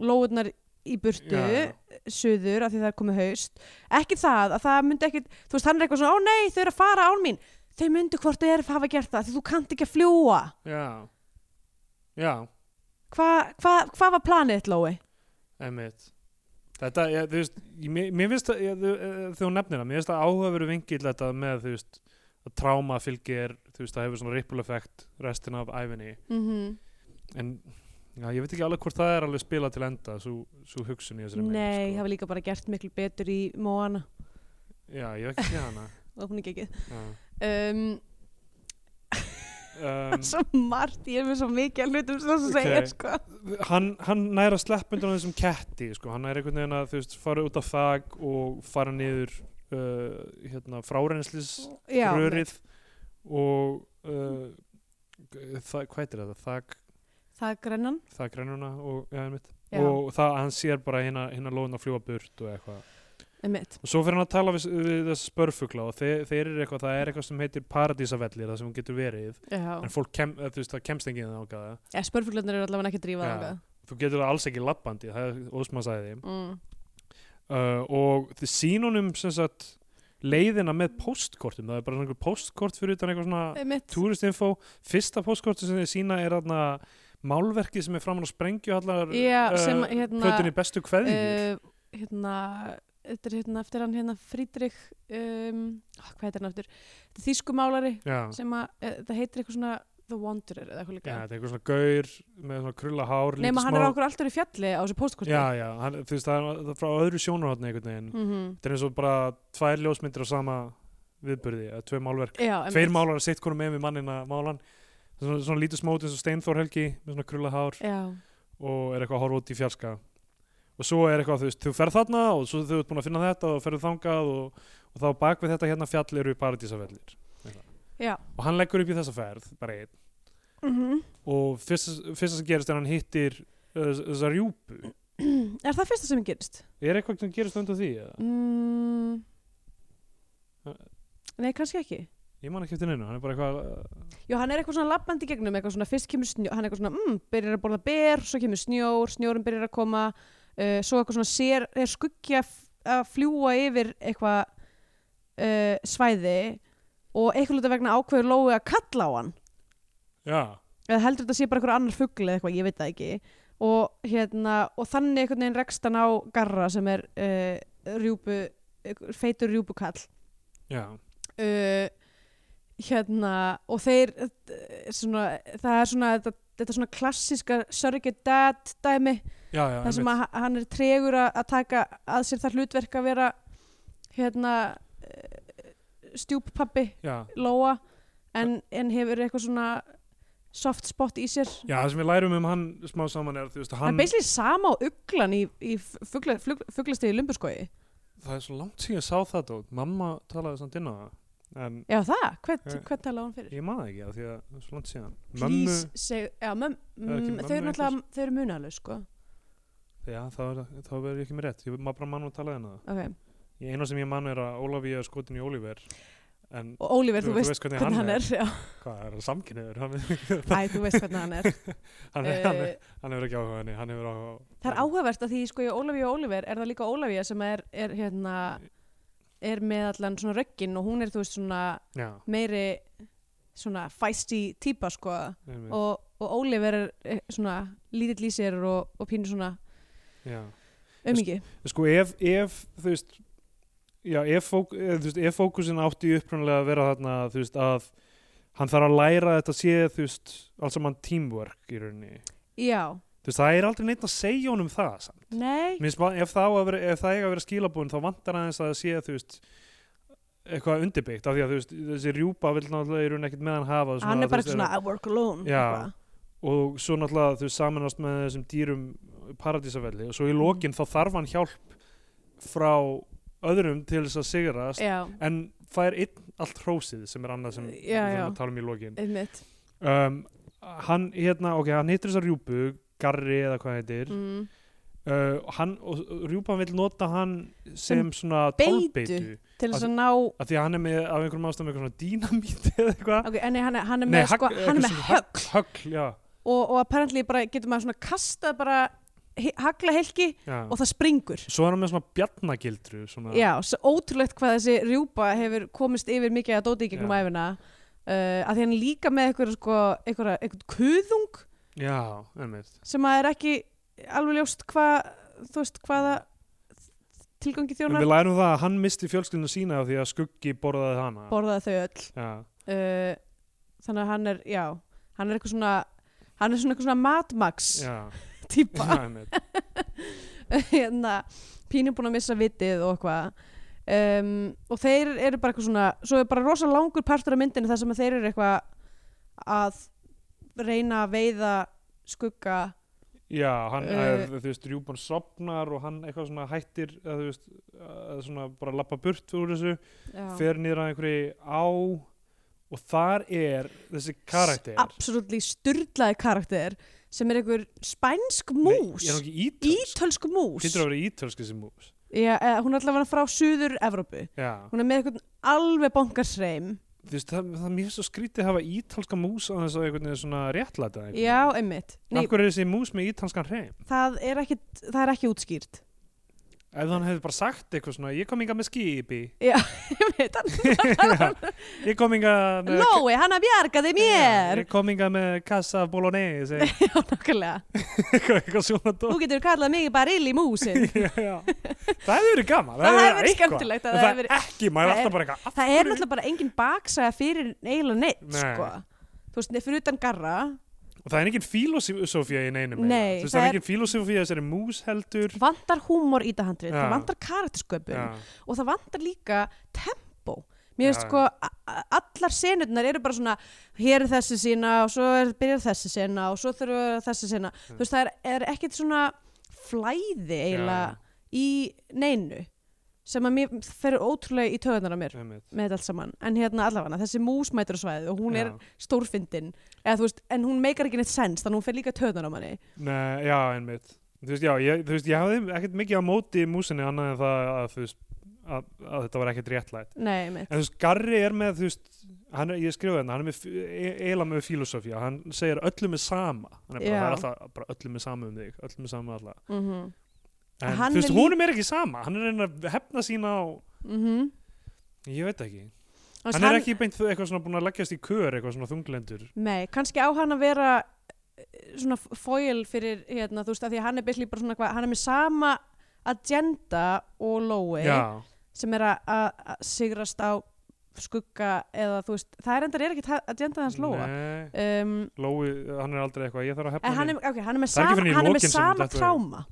S2: Lóurnar í burtu,
S3: Já,
S2: suður af því það er komið haust, ekki það að það myndi ekki, þú veist, hann er eitthvað svona, ó nei, þau eru að fara án mín, þau myndu hvort þau eru að hafa gert það, því þú kannt ekki að fljúa
S3: já Já,
S2: hvað hva, hva var planið þitt, Lói?
S3: Einmitt. Þetta, ég, þú veist, ég, mér- mér finnst að, ég, þú- eh, þegar hún nefnir það, mér finnst að áhugaveru vingill þetta með, þú veist, að tráma fylgir, þú veist, það hefur svona ripple effect restina af æfinni.
S2: Mm
S3: En, já, ég veit ekki alveg hvort það er alveg spilað til enda, svo, svo hugsun í þessari
S2: Nei,
S3: mynd,
S2: það var líka bara gert miklu betur í Moana
S3: Sko. Já, ég hef ekki séð hana.
S2: og hún er ekki
S3: Já.
S2: um,
S3: Um,
S2: Svo margt, ég er með svo mikið að hlutum sem það
S3: Ok.
S2: segja sko.
S3: hann, hann næra sleppundan þessum ketti, sko, hann er einhvern veginn að, þú veist, fara út af þag og fara niður, uh, hérna, frárennslis
S2: Já,
S3: rörið og uh, það, hvað heitir þetta? Þak,
S2: Það er grennan
S3: þak rennuna og, ja, einmitt.
S2: Já.
S3: og það að hann sér bara hérna, hérna lóðin að fljúa burt og eitthvað
S2: einmitt.
S3: og svo fyrir hann að tala við, við þessi spörfugla og þeir, þeir eru eitthvað, það er eitthvað sem heitir paradísavellir það sem hún getur verið
S2: Já.
S3: en fólk kem, eða, þú veist, það kemst enginn þangað
S2: Ja, Spörfuglarnir eru allavega ekki að drífa
S3: Já.
S2: það
S3: þú getur það alls ekki lappandi, það er ósmansæði
S2: mm.
S3: uh, og þið sínunum sem sagt leiðina með postkortum, það er bara svona Ah,
S2: Eh,
S3: einhver postkort fyrir utan eitthvað svona
S2: Einmitt
S3: Tourist Info, fyrsta postkort sem þið sína er þarna málverkið sem er framann á sprengju allar
S2: Já, sem, hérna,
S3: plötunni bestu kveðjur
S2: uh, hérna þetta er hérna eftir hann hérna Frídrik um, ah, hvað heitir hann eftir þetta er þýsku málari
S3: já,
S2: sem að uh, það heitir eitthvað svona The Wanderer eða eitthvað
S3: Ah. já,
S2: líka
S3: þetta er eitthvað svona gaur með svona krulla hár lítið
S2: nema hann er
S3: smá-
S2: okkur alltaf í fjalli á þessu póstkorti
S3: já, já, hann, þú veist, það er það er frá öðru sjónarhóttni einhvern veginn
S2: mm
S3: þetta er eins og bara tvær ljósmyndir á sama viðburði, eða tvei málverk
S2: já
S3: tveir
S2: einmitt.
S3: málar að sitt konum með við mannina málan svona, svona lítið smót eins og Steinþór Helgi með svona krulla hár
S2: já,
S3: og er eitthvað að horfa út í fjarska og svo er eitthvað, þú veist, þú ferð þarna og svo þú ert búin að finna þetta og ferðu þangað og, og þá bak við þetta hérna fjall eru paradísafellir
S2: já
S3: og hann leggur upp í þessa ferð, bara einn
S2: mm
S3: og fyrst, fyrsta sem gerist er hann hittir uh, þessa rjúpu
S2: er það fyrsta sem gerist?
S3: er eitthvað sem gerist undan því? Eða?
S2: Mm. nei, kannski ekki
S3: Ég man ekki eftir neinu, hann er bara eitthvað uh,
S2: Jú, hann er eitthvað svona labbandi í gegnum, eitthvað svona fyrst kemur snjór, hann er eitthvað svona, mm, byrjar að borða ber, svo kemur snjór, snjórin byrjar að koma, uh, svo eitthvað svona sér, er skuggja f- að fljúa yfir eitthvað uh, svæði og eitthvað hluta vegna ákveður Lói að kalla á hann,
S3: Já,
S2: eða heldur þetta sé bara eitthvað annar fugli eða eitthvað, ég veit það ekki, og hérna, og þannig einhvern veginn rekst hann á Garra sem er uh, rjúpu, feitur rjúpukall
S3: já,
S2: uh, hérna og þeir uh, svona, það er svona þetta, þetta svona klassiska surrogate dad dæmi
S3: já, já
S2: þar sem
S3: einmitt.
S2: að ha- hann er tregur að að taka að sér það hlutverk að vera hérna uh, stjúppappi
S3: já.
S2: Lóa en, en hefur eitthvað svona soft spot í sér
S3: já, það sem við lærum um hann smá saman er, þú veist,
S2: hann
S3: hann
S2: er basically sama á uglan í, í fugla, flug, fuglastegi lumburskogi
S3: það er svo langt síðan ég sá þetta og mamma talaði samt inn á það en
S2: já það, hvern,
S3: Já.
S2: hvern talaði hún fyrir?
S3: ég man það ekki af því að það er svo langt síðan
S2: Please seg, já, möm,
S3: Það er ekki
S2: mm, þau
S3: mömmu
S2: eru náttúrulega þau eru munalög sko
S3: já, þá, er- þá verður ég ekki með rétt ég maður bara mann og talaði hennar
S2: okay.
S3: það eina sem ég mann er að Ólafía er skotin í Ólíver en
S2: og Oliver, þú, veist hvernig, hann er, Já,
S3: hvað, er hann samkynniður? hann,
S2: Æ, þú veist hvernig hann er
S3: hann, er- hann, er-
S2: uh,
S3: hann hefur ekki áhuga á henni hann hefur áhuga á-
S2: það er áhugavert að því sko í Oliver og Oliver er það líka Oliver sem er, er hérna er með allan svona röggin og hún er þú veist svona
S3: já,
S2: meiri svona feisty típa sko
S3: einmitt,
S2: og, og Oliver er eh, svona lítill í sér og, og pínur svona
S3: já.
S2: ömingi
S3: sko ef, ef þú veist já, ef, fók, eh, þú veist, ef fókusin átti upprunalega að vera þarna þú veist að hann þarf að læra að þetta sé þú veist alls saman teamwork í rauninni
S2: já,
S3: þú veist það er aldrei neitt að segja honum það samt.
S2: nei
S3: Mér finnst bara- ef það á að vera, ef það eiga að vera skilabúin þá vantar aðeins að það sé þú veist eitthvað undirbyggt af því að þú veist þessi rjúpa vil náttúrulega í rauninni ekkert með hann hafa
S2: hann er
S3: þú
S2: bara
S3: veist,
S2: eitthvað svona I work alone
S3: Já.
S2: eitthvað.
S3: og svo náttúrulega þau samanast með þessum dýrum paradísafelli og svo
S2: Mhm.
S3: í lokin þá þarf hann hjálp frá öðrum til þess að sigrast
S2: já,
S3: en fær einn allt hrósið sem er annað sem
S2: Já,
S3: við
S2: já.
S3: þurfum að tala um í lokin
S2: einmitt
S3: um, hann hérna, ok, hann hittir þessa rjúpu Garri eða hvað hann heitir
S2: mm.
S3: uh, hann, og og rjúpan vill nota hann
S2: Sem
S3: sem, svona
S2: beitu.
S3: tálbeitu
S2: til þess
S3: Að-
S2: að ná
S3: af því að hann er með af einhverjum ástæðum eitthvað svona dínamít eða eitthvað
S2: Ok, en nei, hann er, hann er
S3: Nei,
S2: með, sko,
S3: högg-
S2: hann er
S3: eitthvað
S2: með
S3: svona
S2: högl
S3: högl, já,
S2: og, og apparently bara getur maður svona kastað bara he- hagla helgi
S3: já.
S2: og það springur.
S3: svo er hann með svona bjarnagildru svona,
S2: Já, svo ótrúlegt hvað þessi rjúpa hefur komist yfir mikið að dóti í gegnum
S3: Já.
S2: æfina. Uh, að því hann er líka með eitthvað, sko, eitthvað, eitthvað kuðung
S3: Já, einmitt.
S2: sem að er ekki alveg ljóst hvað, þú veist, hvaða tilgangi
S3: En
S2: þjónar
S3: við lærum það að hann misti fjölskyldinu sína af því að skuggi borðaði hana.
S2: borðaði þau öll.
S3: já,
S2: Uh, þannig að hann er, já, hann er eitthvað svona, hann er svona eitthvað svona matmags
S3: já,
S2: típa.
S3: já, einmitt.
S2: hérna, pínu búin að missa vitið og eitthvað um, og þeir eru bara eitthvað svona svo er bara rosa langur partur af myndinu þar sem að þeir eru eitthvað að reyna að veiða skugga
S3: Já, hann,
S2: Eh.
S3: uh, þú veist, rjúpan sopnar og hann eitthvað svona hættir, að, þú veist, að svona bara lappa burt úr þessu, fer niður að einhverju á og þar er þessi karakter.
S2: absolutt styrlaði karakter sem er einhver spænsk mús
S3: Nei, er hann ekki ítölsk?
S2: ítölsk mús
S3: Hittur að vera ítölsk þessi mús.
S2: Já, eða, hún er allavega frá suður Evrópu
S3: Já,
S2: hún er með eitthvað alveg bongarsreim
S3: þú veist, það, það er mjög svo skrítið að hafa ítalska mús á þess að einhvern veginn svona réttlæta. einhvern
S2: já,
S3: veginn.
S2: einmitt
S3: Af
S2: Nei,
S3: hverju er þessi mús með ítalskan hreim?
S2: það, er ekki, það er ekki útskýrt
S3: ef hann hefði bara sagt eitthvað svona ég kom hinga með skýpi
S2: Einmitt, hann-
S3: ég kom hinga með
S2: Lói, hann að bjargaði mér
S3: ég kom hinga með kassa af bolognese
S2: Já, nákvæmlega
S3: eitthvað, eitthvað svona dó
S2: Þú getur kallað mig bara ill í músin
S3: Já, já. það hefði verið gaman
S2: Það hefði verið
S3: eitthvað.
S2: skemmtilegt að
S3: En
S2: það hefði
S3: það er
S2: verið-
S3: ekki, maður er
S2: Það er-
S3: alltaf bara eitthvað af
S2: Það er
S3: hverju-
S2: náttúrulega bara engin baksaga fyrir eiginlega neitt,
S3: Nei.
S2: sko Þú veist, fyrir utan garra
S3: og það er engin filosofía í neinum eiginlega.
S2: Nei,
S3: Þú
S2: það
S3: veist, það er
S2: er-
S3: engin filosofía í þessari mús heldur
S2: Vantar húmor í þetta handrið,
S3: Já.
S2: það vantar karaktersköpun
S3: Já.
S2: og það vantar líka tempo mér
S3: Já,
S2: veist sko a- a- allar senurnar eru bara svona hér er þessi sína og svo er, byrjar þessi sína og svo þurfa þessi sína þú veist það er, er ekkert svona flæði eiginlega í neinu sem að mér fer ótrúlega í töðunar á mér
S3: Einmitt.
S2: með þetta allt saman, en hérna allavega þessi mús mætur á svæðið og hún
S3: Já.
S2: er stórfyndin eða þú veist, en hún meikar ekki neitt sens þannig að hún fer líka töðunar á manni
S3: Nei, já, einmitt Þú veist, já, ég, þú veist, ég hafði ekkert mikið á móti músinni annað en það að, þú veist, að, að þetta var ekkert réttlætt
S2: Nei, mitt,
S3: En þú veist, Garri er með, þú veist, hann er, ég skrifaði hérna, hann er með, f- e- eiginlega með filosofía, hann segir öllum er sama, hann er bara,
S2: Já.
S3: það er alltaf, bara öllum er sama um þig, öllum er sama alltaf.
S2: mhm mhm
S3: En
S2: Hann
S3: þú veist,
S2: er lí-
S3: honum er ekki sama, hann er að reyna að hefna sína á,
S2: Mhm.
S3: ég veit ekki,
S2: Þú veist,
S3: hann er ekki beint þau- eitthvað svona búin að leggjast í kör, eitthvað svona þunglendur.
S2: Nei, kannski á hann að vera eh, svona fóil fyrir hérna, þú veist, af því að hann er basically bara svona hvað, hann er með sama agenda og Lói
S3: Já,
S2: sem er að- að að sigrast á skugga eða þú veist, það er endar er ekkert ha- agenda hans Lóa
S3: Nei,
S2: um,
S3: Lói, hann er aldrei eitthvað, ég þarf að hefna
S2: en hann er,
S3: mín.
S2: okay, hann er með
S3: Það er ekki
S2: sama,
S3: fyrr en í
S2: hann er
S3: lokin
S2: með
S3: sem
S2: sama
S3: þetta er.
S2: tráma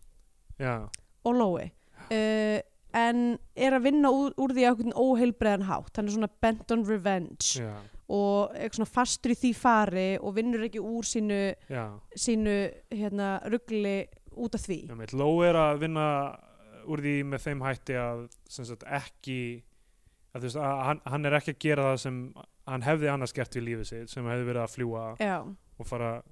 S3: Já,
S2: og Lói uh, en er að vinna úr, úr því á einhvern óheilbreðan hátt hann er svona bent on revenge
S3: já,
S2: og er svona fastur í því fari og vinnur ekki úr sínu
S3: já.
S2: sínu hérna, ruggli út af því
S3: Einmitt, Ló er að vinna úr því með þeim hætti að sem sagt, ekki að, þú veist, að hann, hann er ekki að gera það sem hann hefði annars gert við lífið sitt sem hefði verið að fljúa
S2: Já.
S3: og fara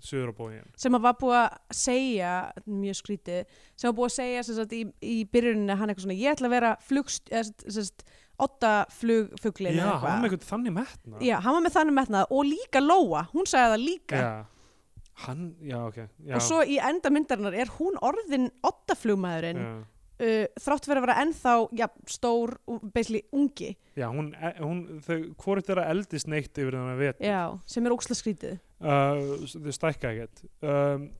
S3: söður á bógin
S2: sem að var búið að segja mjög skrítið, sem var búið að segja sem sagt, í, í byrjuninu hann eitthvað svona ég ætla að vera flugst eða, sem sagt, otta flugfuglin
S3: Já, hann var með eitthvað þannig metna
S2: Já, hann var með þannig metnað og líka Lóa, hún sagði það líka
S3: Já. Hann, já, ok já,
S2: og svo í enda myndarinnar er hún orðin otta flugmaðurinn uh,
S3: já.
S2: þrátt fyrir að vera ennþá já, stór, og basically ungi
S3: Já, hún, e- hún þau, hvort er að eldist neitt yfir þannig að veta
S2: já, sem er óksla skrítið
S3: uh, s- þau stækka ekkert um,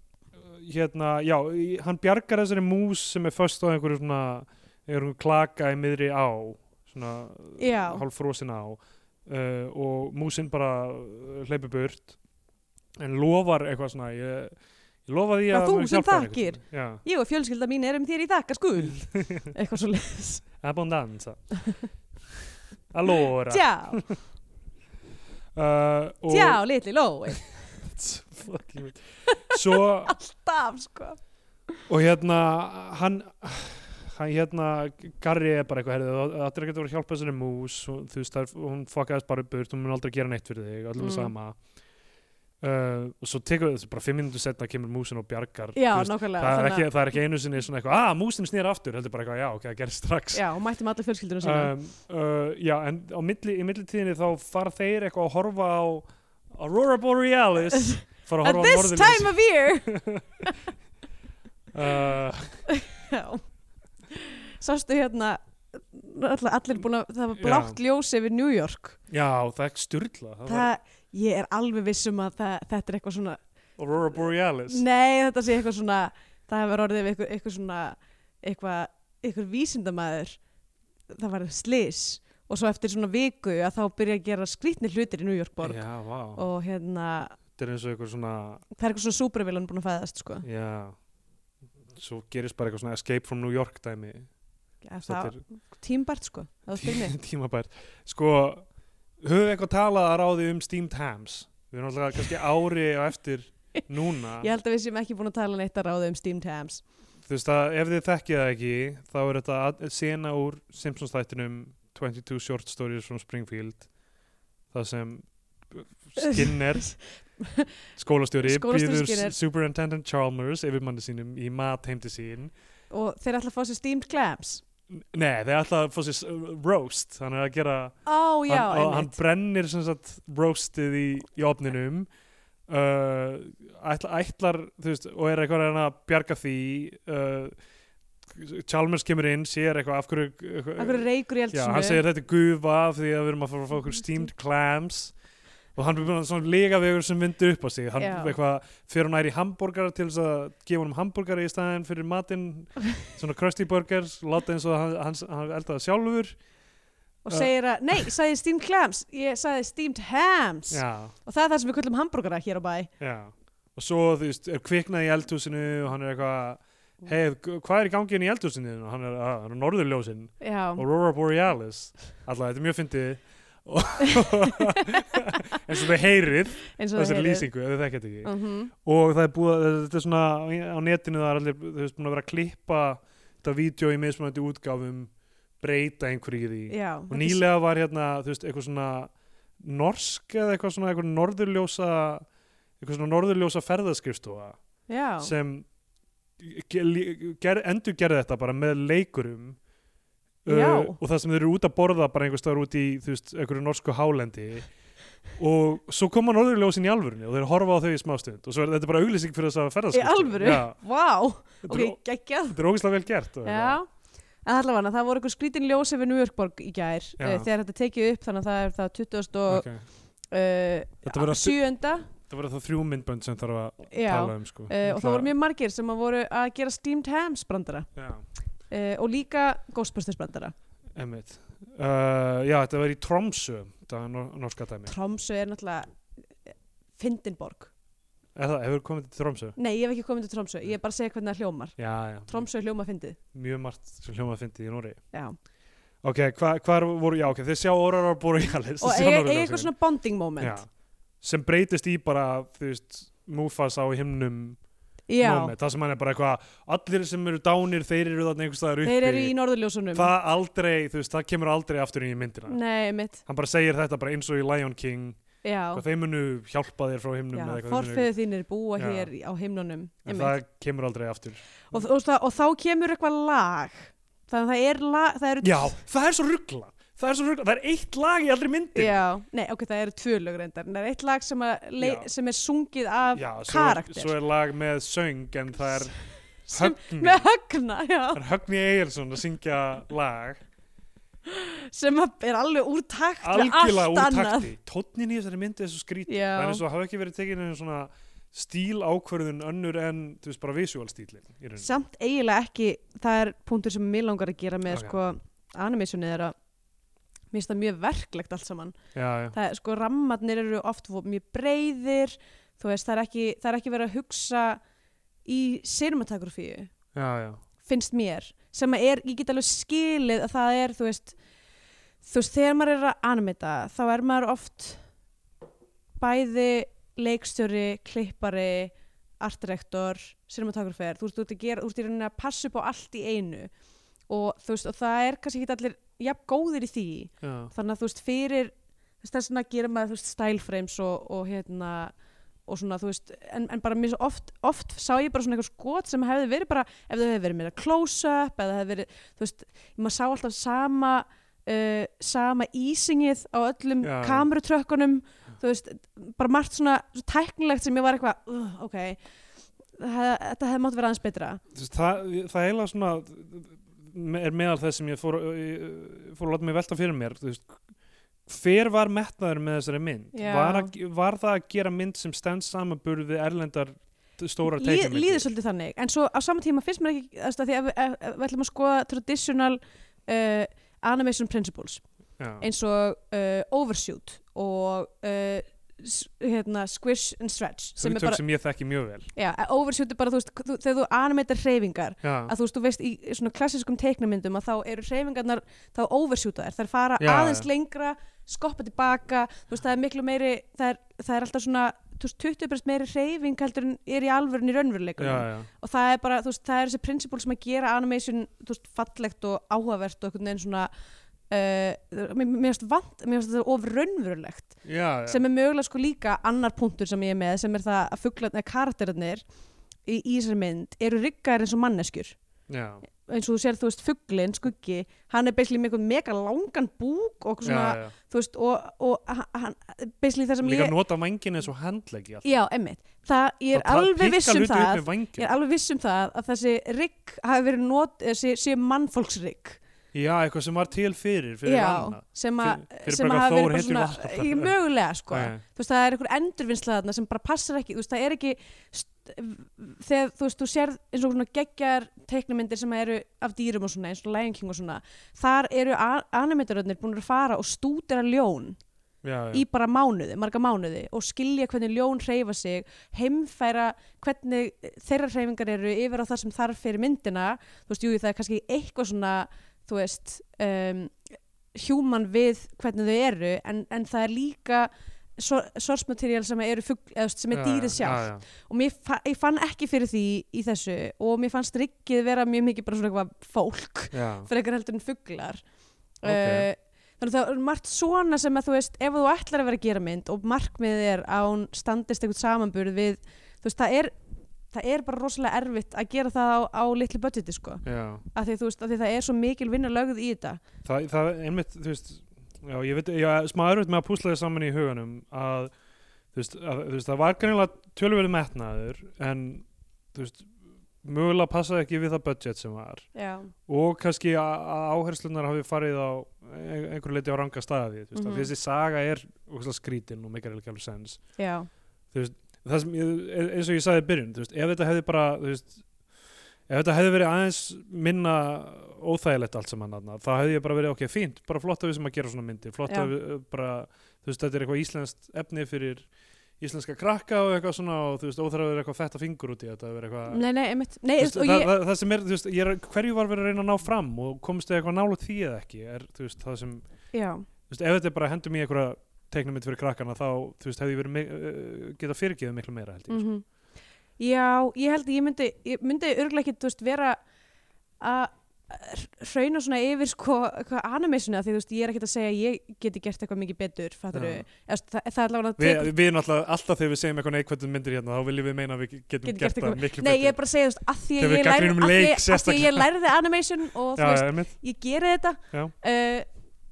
S3: hérna, já, í- hann bjargar þessari mús sem er föst á einhverju svona einhverju klaka í miðri á svona
S2: Já.
S3: hálffrosin á uh, og músin bara uh, hleypur burt en lofar eitthvað svona ég, ég lofa því
S2: Já,
S3: að
S2: þú
S3: mun
S2: sem
S3: hjálpa henni einhvern
S2: þakkir.
S3: tímann. já,
S2: Ég og fjölskylda mín erum þér í þakka skuld eitthvað svo leiðis
S3: abundanza allora
S2: Tjá,
S3: uh, og
S2: tjá, litli lói
S3: Fucking hell. svo
S2: Alltaf, sko
S3: og hérna hann, hann hérna Garri er bara eitthvað herðið það ættir ekki að vera að hjálpa þessari mús og, þú veist það er, hún fuckaðist bara upp burt hún mun aldrei gera neitt fyrir þig
S2: Mm.
S3: öllum mm. sama uh, og svo tekur þessu bara fimm minnundu setna kemur músin og bjargar
S2: Já,
S3: þú veist,
S2: nákvæmlega
S3: það, er
S2: þannig að-
S3: ekki, það er ekki einu sinni svona eitthvað að músin snýr aftur heldur bara eitthvað já ok það gerist strax
S2: Já, og mættum allir fjölskyldunum sína
S3: um, uh, já en á milli, í millitíðinni þá fara þeir eitthvað að horfa á Aurora Borealis fara að
S2: At
S3: horfa á
S2: this time
S3: norðurljósin
S2: of year
S3: uh,
S2: Já Sástu hérna allir, allir búin að, það var
S3: Já.
S2: blátt ljós yfir New York
S3: já það er styrla það var-
S2: Það, ég er alveg viss um að það, þetta er eitthvað svona
S3: Aurora Borealis
S2: Nei, þetta sé eitthvað svona Það hefur orðið við eitthvað, eitthvað svona eitthvað, eitthvað vísindamaður það var slis og svo eftir svona viku að þá byrja að gera skrítni hlutir í New York borg
S3: Já, vá,
S2: og hérna
S3: þetta er eins og einhver svona
S2: það er eitthvað svona súpervilan búin að fæðast sko.
S3: Já Svo gerist bara eitthvað svona Escape from New York dæmi
S2: Já,
S3: Þetta
S2: það tímbært sko það var spyrir mig
S3: er tímabært Sko, höfum við eitthvað talað að ráði um Steamed Hams Við erum alltaf kannski ári á eftir núna
S2: ég held að við séum ekki búin að tala neitt að ráða um Steam Tams
S3: Þú veist að ef þið þekkið það ekki þá er þetta að- sena úr Simpsons þættinum 22 Short Stories from Springfield það sem Skinner skólastjóri,
S2: Skólastjóri
S3: býður
S2: Skinner.
S3: Superintendent Chalmers yfirmanni sínum í mat heim til sín
S2: og þeir ætla að fá sér Steam Clams
S3: Nei, þeir ætla að fá sér s- uh, roast hann er að gera,
S2: ó já,
S3: hann, og hann
S2: einmitt
S3: brennir sem sagt roastið í, í opninum uh, ætla, ætlar þú veist, og er eitthvað að reyna að bjarga því uh, Chalmers kemur inn, sér eitthvað af hverju, eitthvað-
S2: af hverju reykur í
S3: Já, hann
S2: eldsinu
S3: segir þetta er gufa af því að við erum að fara að fá
S2: Mhm.
S3: okkur steamed clams og hann er búin að svona legavegur sem vindur upp á sig hann
S2: Já.
S3: eitthvað fyrir hann næri hambúrgar til þess að gefa hann hambúrgar í staðin fyrir matinn, svona crusty burgers láta eins og hann, hann, hann eldaði sjálfur
S2: og segir að, nei, sagði steamed clams ég sagði steamed hams
S3: já,
S2: og það er það sem við köllum hambúrgara hér á bæ
S3: já og svo þú veist, er kviknað í eldhúsinu og hann er eitthvað hei, hvað er í gangi inn í eldhúsinu og hann er, að, hann er norðurljósin
S2: já,
S3: Aurora Borealis alltaf, þetta er mjög fyndið Og- eins og þau heyrið
S2: eins og
S3: þessari
S2: það
S3: lýsingu, ef þið þekkjast ekki
S2: mm
S3: og það er búið, að- þetta er svona á netinu það er allir, þú veist, búin að vera að klippa þetta vídeo í mismunandi útgáfum breyta einhverju í því
S2: já,
S3: og nýlega var hérna, þú veist, eitthvað svona norsk eða eitthvað svona eitthvað norðurljósa eitthvað svona norðurljósa ferðaskrifstofa
S2: já,
S3: sem ge- lí- ger, endur gerði þetta bara með leikurum Uh,
S2: Já.
S3: og það sem þeir eru út að borða bara einhvers staðar út í þú veist, einhverju norsku hálendi og svo koma norðurljósin í alvörunni og þeir horfa á þau í smástund og svo er þetta er bara auglýsing fyrir þess að
S2: í
S3: ferðast
S2: alvöru
S3: Já,
S2: vá,
S3: þetta,
S2: ok,
S3: okay.
S2: geggjað
S3: þetta er ógeðslega vel gert og
S2: já, en allavega það voru eitthvað skrítin ljósi við Njörgborg í gær
S3: Já.
S2: já. þegar þetta tekið upp þannig að það er það 20.
S3: eitthvað.
S2: og
S3: Ok. Þetta
S2: okay.
S3: verða-
S2: uh, 7.
S3: þetta var það þrjú myndbönd sem þarf að
S2: Já,
S3: tala um sko.
S2: Uh, og það voru mjög margir sem að voru að gera steamed hams brandara
S3: já,
S2: uh, og líka Ghostbusters brandara
S3: einmitt. uh, já, þetta var í Tromsö þetta var nor- norska dæmi
S2: Tromsö er náttúrulega eh, Fyndinborg.
S3: er það, hefur komið til Tromsö?
S2: Nei, ég hef ekki komið til Tromsö, ég er bara að segja hvernig það hljómar
S3: Já, já,
S2: Tromsö hljóma fyndið,
S3: mjög margt sem hljóma að fyndi í Nóri
S2: já
S3: Ok, hva, hvar voru, já ok, þeir sjá Aurora Borealis
S2: og eiga
S3: þeir sjá
S2: eiga
S3: norðurljósin.
S2: eitthvað svona bonding moment
S3: Já. sem breytist í bara, þú veist Mufasa á himnum
S2: já,
S3: moment, það sem hann er bara eitthvað allir sem eru dánir, þeir eru þarna einhvers staðar uppi
S2: þeir eru í norðurljósunum
S3: það aldrei, þú veist, það kemur aldrei aftur inn í myndina
S2: Nei, mitt,
S3: hann bara segir þetta bara eins og í Lion King
S2: já,
S3: hvað þeir munu hjálpa þér frá
S2: já.
S3: himnum eða eitthvað þeir munu-
S2: forfeðu þínir búa
S3: Já.
S2: hér í- á himnunum
S3: en
S2: einmitt.
S3: það kemur aldrei aftur
S2: og, og, og, og þá kemur eitthvað lag þannig að það er lag það eru
S3: já, það er svo ruggla það er svo ruggla, það er eitt lag í allri myndin
S2: Já, nei, ok, það eru tvö lög reyndar en það er eitt lag sem, að
S3: Já.
S2: le- sem er sungið af
S3: Já, svo,
S2: karakter
S3: svo er lag með söng en það er
S2: Sem-
S3: högni
S2: með högna,
S3: það
S2: já,
S3: er högni Egilson að syngja lag
S2: sem að er alveg úr takt við
S3: algjörlega
S2: allt
S3: úr
S2: annað
S3: takti tónnin í þessari myndi er svo skrítið
S2: Já.
S3: það er eins og hafa ekki verið tekinn einu svona stíl ákvörðun önnur en þú veist bara visual stílin í rauninni.
S2: samt eiginlega ekki, það er punktur sem mér langar að gera með
S3: Ok.
S2: sko animationið er að mér finnst það mjög verklegt allt saman
S3: já, já.
S2: það er sko rammarnir eru oft vo- mjög breyðir þú veist, það er ekki, það er ekki verið að hugsa í cinematografíu
S3: já, já.
S2: finnst mér sem að er, ég get alveg skilið að það er, þú veist þú veist, þegar maður er að animita þá er maður oft bæði leikstjóri, klippari artdirektor, cinematografer þú veist, þú ert að gera, þú ert í rauninni að passa upp á allt í einu og þú veist, og það er kannski ekki allir jafn góðir í því
S3: já.
S2: þannig að þú veist, fyrir þú veist, þess að gera maður, þú veist, style frames og, og hérna og svona, þú veist, en, en bara mér svo oft, oft sá ég bara svona eitthvað skot sem hefði verið bara, ef það hefði verið meira close-up eða hefði verið, þú veist, maður sá alltaf sama uh, sama ísingið á öllum
S3: Já.
S2: kamerutrökkunum, þú veist bara margt svona, svo tæknilegt sem ég var eitthvað, uh, ok hef, þetta hefði mátt vera aðeins betra
S3: Þú veist, það, það er eiginlega svona me- er meðal þess sem ég fór, ég fór að láta mig velta fyrir mér þú veist, hver var metnaður með þessari mynd
S2: Já.
S3: var, að, var það að gera mynd sem stend samanburð við erlendar stórar
S2: Líð-
S3: teiknumyndir
S2: líður svolítið þannig, en svo á sama tíma finnst mér ekki, þú veist, af því að við- ef- ef við ætlum að skoða traditional uh, animation principles
S3: já,
S2: eins og uh, overshoot og uh, s- hérna, squish and stretch sem er
S3: hugtök
S2: bara,
S3: sem ég þekki mjög vel
S2: já, overshoot er bara þú veist, þú, þegar þú animatir hreyfingar
S3: já.
S2: að þú veist, þú veist í svona klassískum teiknumyndum að þá eru hreyfingarnar, þá overshoota þær þær fara
S3: Já,
S2: aðeins
S3: já.
S2: lengra skoppa tilbaka, þú veist, það er miklu meiri það er, það er alltaf svona þú veist, 20% meiri hreyfing heldur en er í alvörun í raunveruleikunum
S3: já, já.
S2: og það er bara, þú veist, það er þessi prinsipól sem að gera animation, þú veist, fallegt og áhugavert og einhvern veginn svona uh, mér mér finnst vant, mér finnst þetta of raunverulegt,
S3: Já, já.
S2: sem er mögulega sko líka annar punktur sem ég er með, sem er það að fuglarnir, karakterinir í, í þessari mynd eru riggaðir eins og manneskjur
S3: já.
S2: eins og þú sér, þú veist, fugglin, skuggi hann er basically með einhvern mega langan búk og svona,
S3: já, já.
S2: þú veist, og, og h- hann, basically það sem
S3: líka
S2: ég
S3: nota vængin eins og handleggi alltaf.
S2: já, emmitt, það, ég er
S3: Það ta-
S2: alveg viss
S3: pikka
S2: um
S3: hluti upp
S2: það
S3: með vængin.
S2: ég er alveg viss um það að þessi rigg hafi verið not, þessi, sé mannfólksrygg
S3: já, eitthvað sem var til fyrir, fyrir
S2: já,
S3: annað.
S2: sem að
S3: Fyrir- fyrir
S2: sem
S3: bara
S2: að hafi
S3: Þór
S2: verið
S3: heitir
S2: bara
S3: Valhalla.
S2: svona ég, mögulega sko,
S3: Nei.
S2: þú veist það er einhver endurvinnsla þarna sem bara passar ekki, þú veist það er ekki st- þegar þú veist þú sér eins og svona geggjar teiknumyndir sem eru af dýrum og svona eins og Lion King og svona þar eru a- animatorarnir búin að fara og stúdera ljón
S3: já, já.
S2: í bara mánuði, marga mánuði og skilja hvernig ljón hreyfa sig heimfæra hvernig þeirra hreyfingar eru yfir á það sem þarf fyrir myndina þú veist, jú, það er kannski eitthvað svona þú veist um, human við hvernig þau eru en, en það er líka so- source material sem eru fugl, eða, þú veist, sem er
S3: Já,
S2: dýrið
S3: já,
S2: sjálf
S3: já,
S2: og mér, fa ég fann ekki fyrir því í þessu og mér fannst riggið vera mjög mikið bara svona eitthvað fólk
S3: já.
S2: frekar heldur en fuglar
S3: Ok.
S2: okay. þannig að það er margt svona sem að þú veist, ef þú ætlar að vera að gera mynd og markmiðið er að hún standist einhvern samanburð við, þú veist, það er það er bara rosalega erfitt að gera það á, á litlu budgeti, sko,
S3: já.
S2: af því, þú veist, af því það er svo mikil vinna lögð í þetta
S3: það, það er einmitt, þú veist já, ég veit, já, smá erfitt með að púsla þið saman í huganum að, þú veist, að, þú veist það var greinilega tölverið metnaður en, þú veist mögulega passaði ekki við það budget sem var
S2: Já,
S3: og kannski að að áherslunar hafi farið á ein- einhverju leiti á ranga staði þú veist, mm
S2: Mhm.
S3: -hmm. þessi saga er ógeðslega skrítin og meikar ekki alveg sens
S2: já,
S3: það sem, ég- eins og ég sagði í byrjun þú veist, ef þetta hefði bara þú veist, ef þetta hefði verið aðeins minna óþægilegt allt saman þarna þá hefði ég bara verið, ok, fínt, bara flott að við sem að gera svona myndir, flott
S2: Já.
S3: að við eh, bara þú veist, þetta er eitthvað íslenskt efni fyrir íslenska krakka og eitthvað svona og þú veist, óþægilegt að vera eitthvað fætta fingur út í þetta vera eitthvað,
S2: nei, nei, einmitt nei, þú
S3: þú
S2: veist,
S3: veist,
S2: og
S3: það,
S2: ég,
S3: það, það sem er, þú veist, ég er hverju var verið að reyna að ná fram og komst þið eitthvað nálægt því eða ekki er, þú veist, það sem
S2: já,
S3: þú veist, ef þetta er bara hendum í einhverja teiknumind fyrir krakkana þá, þú veist, hefði ég verið mi- eh, geta fyrirgeðið miklu meira held ég, sko.
S2: mm já, ég held að ég myndi, ég myndi örgulega ekki, þú veist, vera að hrauna svona yfir sko, hvað animesuna því þú veist, ég er ekkert að segja að ég geti gert eitthvað mikið betur, fattur
S3: Já.
S2: Eðast, það, það er alveg að
S3: Við, við erum alltaf, alltaf þegar við segjum eitthvað neikvæmt um myndir hérna, þá viljum við meina að við getum
S2: Getum
S3: gert
S2: gert
S3: það
S2: eitthvað-
S3: miklu
S2: Nei, ég er bara að segja, þú veist, að því
S3: Þegar
S2: að
S3: við
S2: ég, lærði,
S3: gagnrýnum
S2: að,
S3: leik
S2: því, að því að ég
S3: sérstaklega.
S2: lærði animation og þú
S3: Já,
S2: veist,
S3: einmitt.
S2: ég geri þetta
S3: Já.
S2: uh,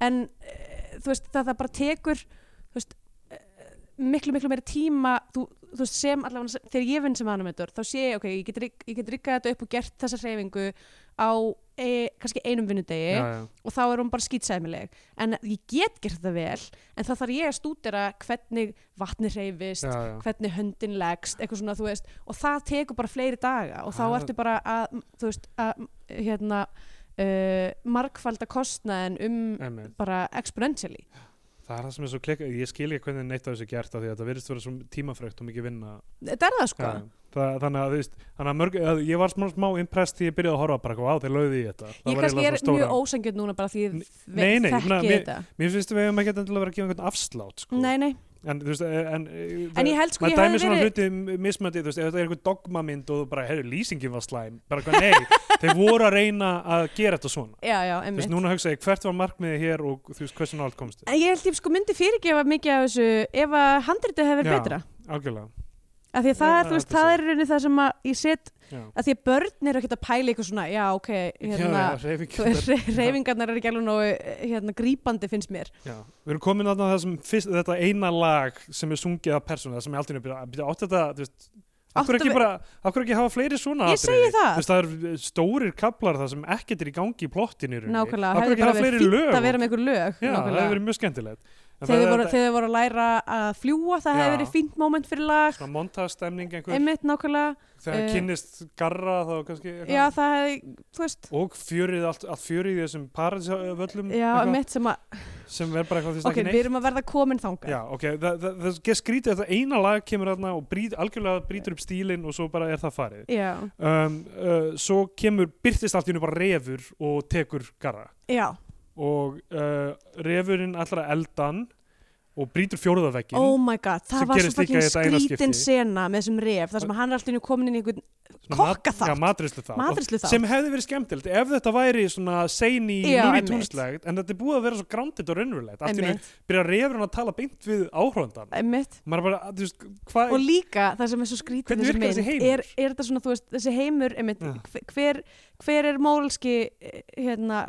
S2: en uh, þú veist, það, það bara tekur þú veist, uh, miklu, miklu meira tíma þú, þú veist, sem allavega sem- þegar ég vinn sem animator, þá sé ég, ok, ég get, rigg- ég get riggað þetta upp og gert þessa hreyfingu á e, kannski einum vinnudegi
S3: já, já.
S2: og þá er hún bara skýtsæmileg en ég get gert það vel en þá þarf ég að stúdera hvernig vatni hreyfist
S3: Já, já.
S2: hvernig höndin leggst, eitthvað svona, þú veist og það tekur bara fleiri daga og þá
S3: Ha.
S2: ertu bara að, þú veist, að hérna, uh, markfalda kostnaðin um
S3: Einmitt.
S2: bara exponentially
S3: Það er það sem er svo klikka, ég skil ekki hvernig neitt af þessu er gert af því að þetta virðist vera svo tímafrekt og mikið vinna
S2: þetta er það sko
S3: Já, já. það, þannig að þú veist, þannig að mörg, að ég var smá, smá impress því ég byrjaði að horfa bara eitthvað á þeir lögði í þetta
S2: ég
S3: Það var
S2: kannski
S3: eiginlega
S2: er
S3: svona stóra-
S2: mjög ósangjöld núna bara því ég
S3: N-
S2: ve-
S3: nei, nei, ég
S2: þekki
S3: meina, mér-
S2: þetta
S3: Mér finnst við hefum ekki endilega verið að gefa einhvern afslátt sko.
S2: nei, nei,
S3: en, þú veist, eh, en,
S2: En ég held, sko, ég
S3: maður dæmi
S2: hefði
S3: svona
S2: verið-
S3: hluti mismöndi, þú veist, ef þetta er einhver dogmamynd og þú bara, heyrðu, lýsingin var slæm bara hvað, nei, þeir voru að reyna að gera þetta svona
S2: já, já,
S3: Þú veist,
S2: emmitt
S3: núna hugsa ég, hvert var markmiðið hér og þú veist, hversu nált komst þið?
S2: en ég held ég sko myndi fyrirgefa mikið af þessu ef að handritið hefur
S3: Já.
S2: verið betra
S3: Algjörlega.
S2: af því að það
S3: Já,
S2: er, þú veist,
S3: þetta er
S2: það
S3: svo.
S2: er í rauninni það sem að ég set,
S3: Já.
S2: af því að börn eru ekkert að pæla eitthvað svona, já, ok hérna,
S3: já, hreyfing.
S2: þú veist, re- reyfingarnar eru ekki alveg nógu hérna, grípandi finnst mér
S3: Já. Við erum komin að það sem fyrst, þetta eina lag sem er sungið af persónu, það sem ég aldrei byrja, byrja átt þetta, þú veist, af
S2: Áttu
S3: hverju ekki
S2: við-
S3: bara, af hverju ekki hafa fleiri svona
S2: Ég segi það.
S3: Þú veist, það er stórir kaplar það sem ekkert er í gangi í plottinu.
S2: nákvæmlega,
S3: Af hverju
S2: hefði
S3: ekki
S2: bara
S3: hafa
S2: verið
S3: fleiri
S2: fínt
S3: lög?
S2: að vera með einhver lög
S3: Já, það hefur
S2: nákvæmlega.
S3: verið mjög skemmtilegt. En
S2: þegar þau
S3: það er
S2: voru,
S3: þetta-
S2: þegar þau voru að læra að fljúa það hefði
S3: Já.
S2: verið fínt moment fyrir lag
S3: Svona montastemning einhver,
S2: einmitt nákvæmlega,
S3: þegar hann
S2: eh,
S3: kynnist garra þá kannski eitthvað.
S2: já það hefði þú veist,
S3: og fjörið, allt, allt fjörið í þessum paradisvöllum
S2: já einmitt sem að
S3: sem verður bara eitthvað þú veist,
S2: ok,
S3: ekki neitt.
S2: við erum að verða komin þanga
S3: Já, ok, það, það, það, það skrítið þetta eina lag kemur þarna og brýt, algjörlega brýtur upp stílinn og svo bara er það farið.
S2: já,
S3: Um, uh, svo kemur, byrtist allt í hennu bara refur og tekur garra
S2: já,
S3: og uh, refurinn allra eldan og brýtur fjóruðavekkin
S2: oh my god, það
S3: sem
S2: var svo
S3: gerist líka
S2: fucking
S3: í þetta eina
S2: skrítin
S3: skipti.
S2: sena með þessum ref, þar sem hann er alltaf inn komin inn í einhvern kokkaþátt.
S3: Já, matrislu þátt.
S2: Matreiðsluþátt.
S3: Sem hefði verið skemmtilegt ef þetta væri svona seini
S2: Já,
S3: núri
S2: einmitt.
S3: tónslegt, en þetta er búið að vera svo grándið og raunverulegt. Allt í hennu
S2: Einmitt.
S3: byrja refurinn að tala beint við áhróndan.
S2: einmitt
S3: Maður er bara, þú veist, hvað...
S2: og líka það sem er svo skrítið
S3: Hvernig
S2: þessi
S3: virkar þessi
S2: mynd
S3: heimur?
S2: er, er þetta svona, þú veist, þessi heimur einmitt,
S3: Já.
S2: hve- hver, hver er móralski eh, hérna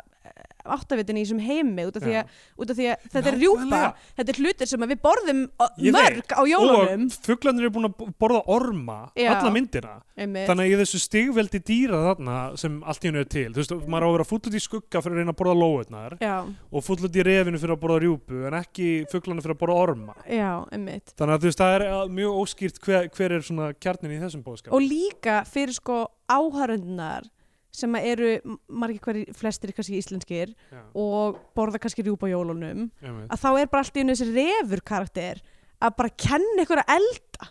S2: áttavitin í þessum heimi út af því
S3: Já.
S2: að, út af því að þetta er rjúpa
S3: Nákvæmlega.
S2: þetta er hlutir sem að við borðum o-
S3: Ég
S2: mörg á jólunum
S3: Og fugglanir eru búin að b- borða orma
S2: Já.
S3: alla myndina.
S2: einmitt,
S3: Þannig að í þessu stigveldi dýra þarna sem allt í hennu er til, þú veist, maður á að vera fúll út í skugga fyrir að reyna að borða lóðurnar
S2: já,
S3: og fúll út í refinu fyrir að borða rjúpu en ekki fugglanir fyrir að borða orma.
S2: já, einmitt
S3: Þannig að þú veist, það er uh, mjög óskýrt hver, hver er svona kjarnin í þessum bóðskap.
S2: og líka fyrir sko áhörundunar sem að eru m- margir hverjir, flestir kannski íslenskir
S3: Já.
S2: og borða kannski rjúpa á jólunum
S3: Einmitt.
S2: að þá er bara allt í einu þessi refur karakter að bara kenna ykkur að elda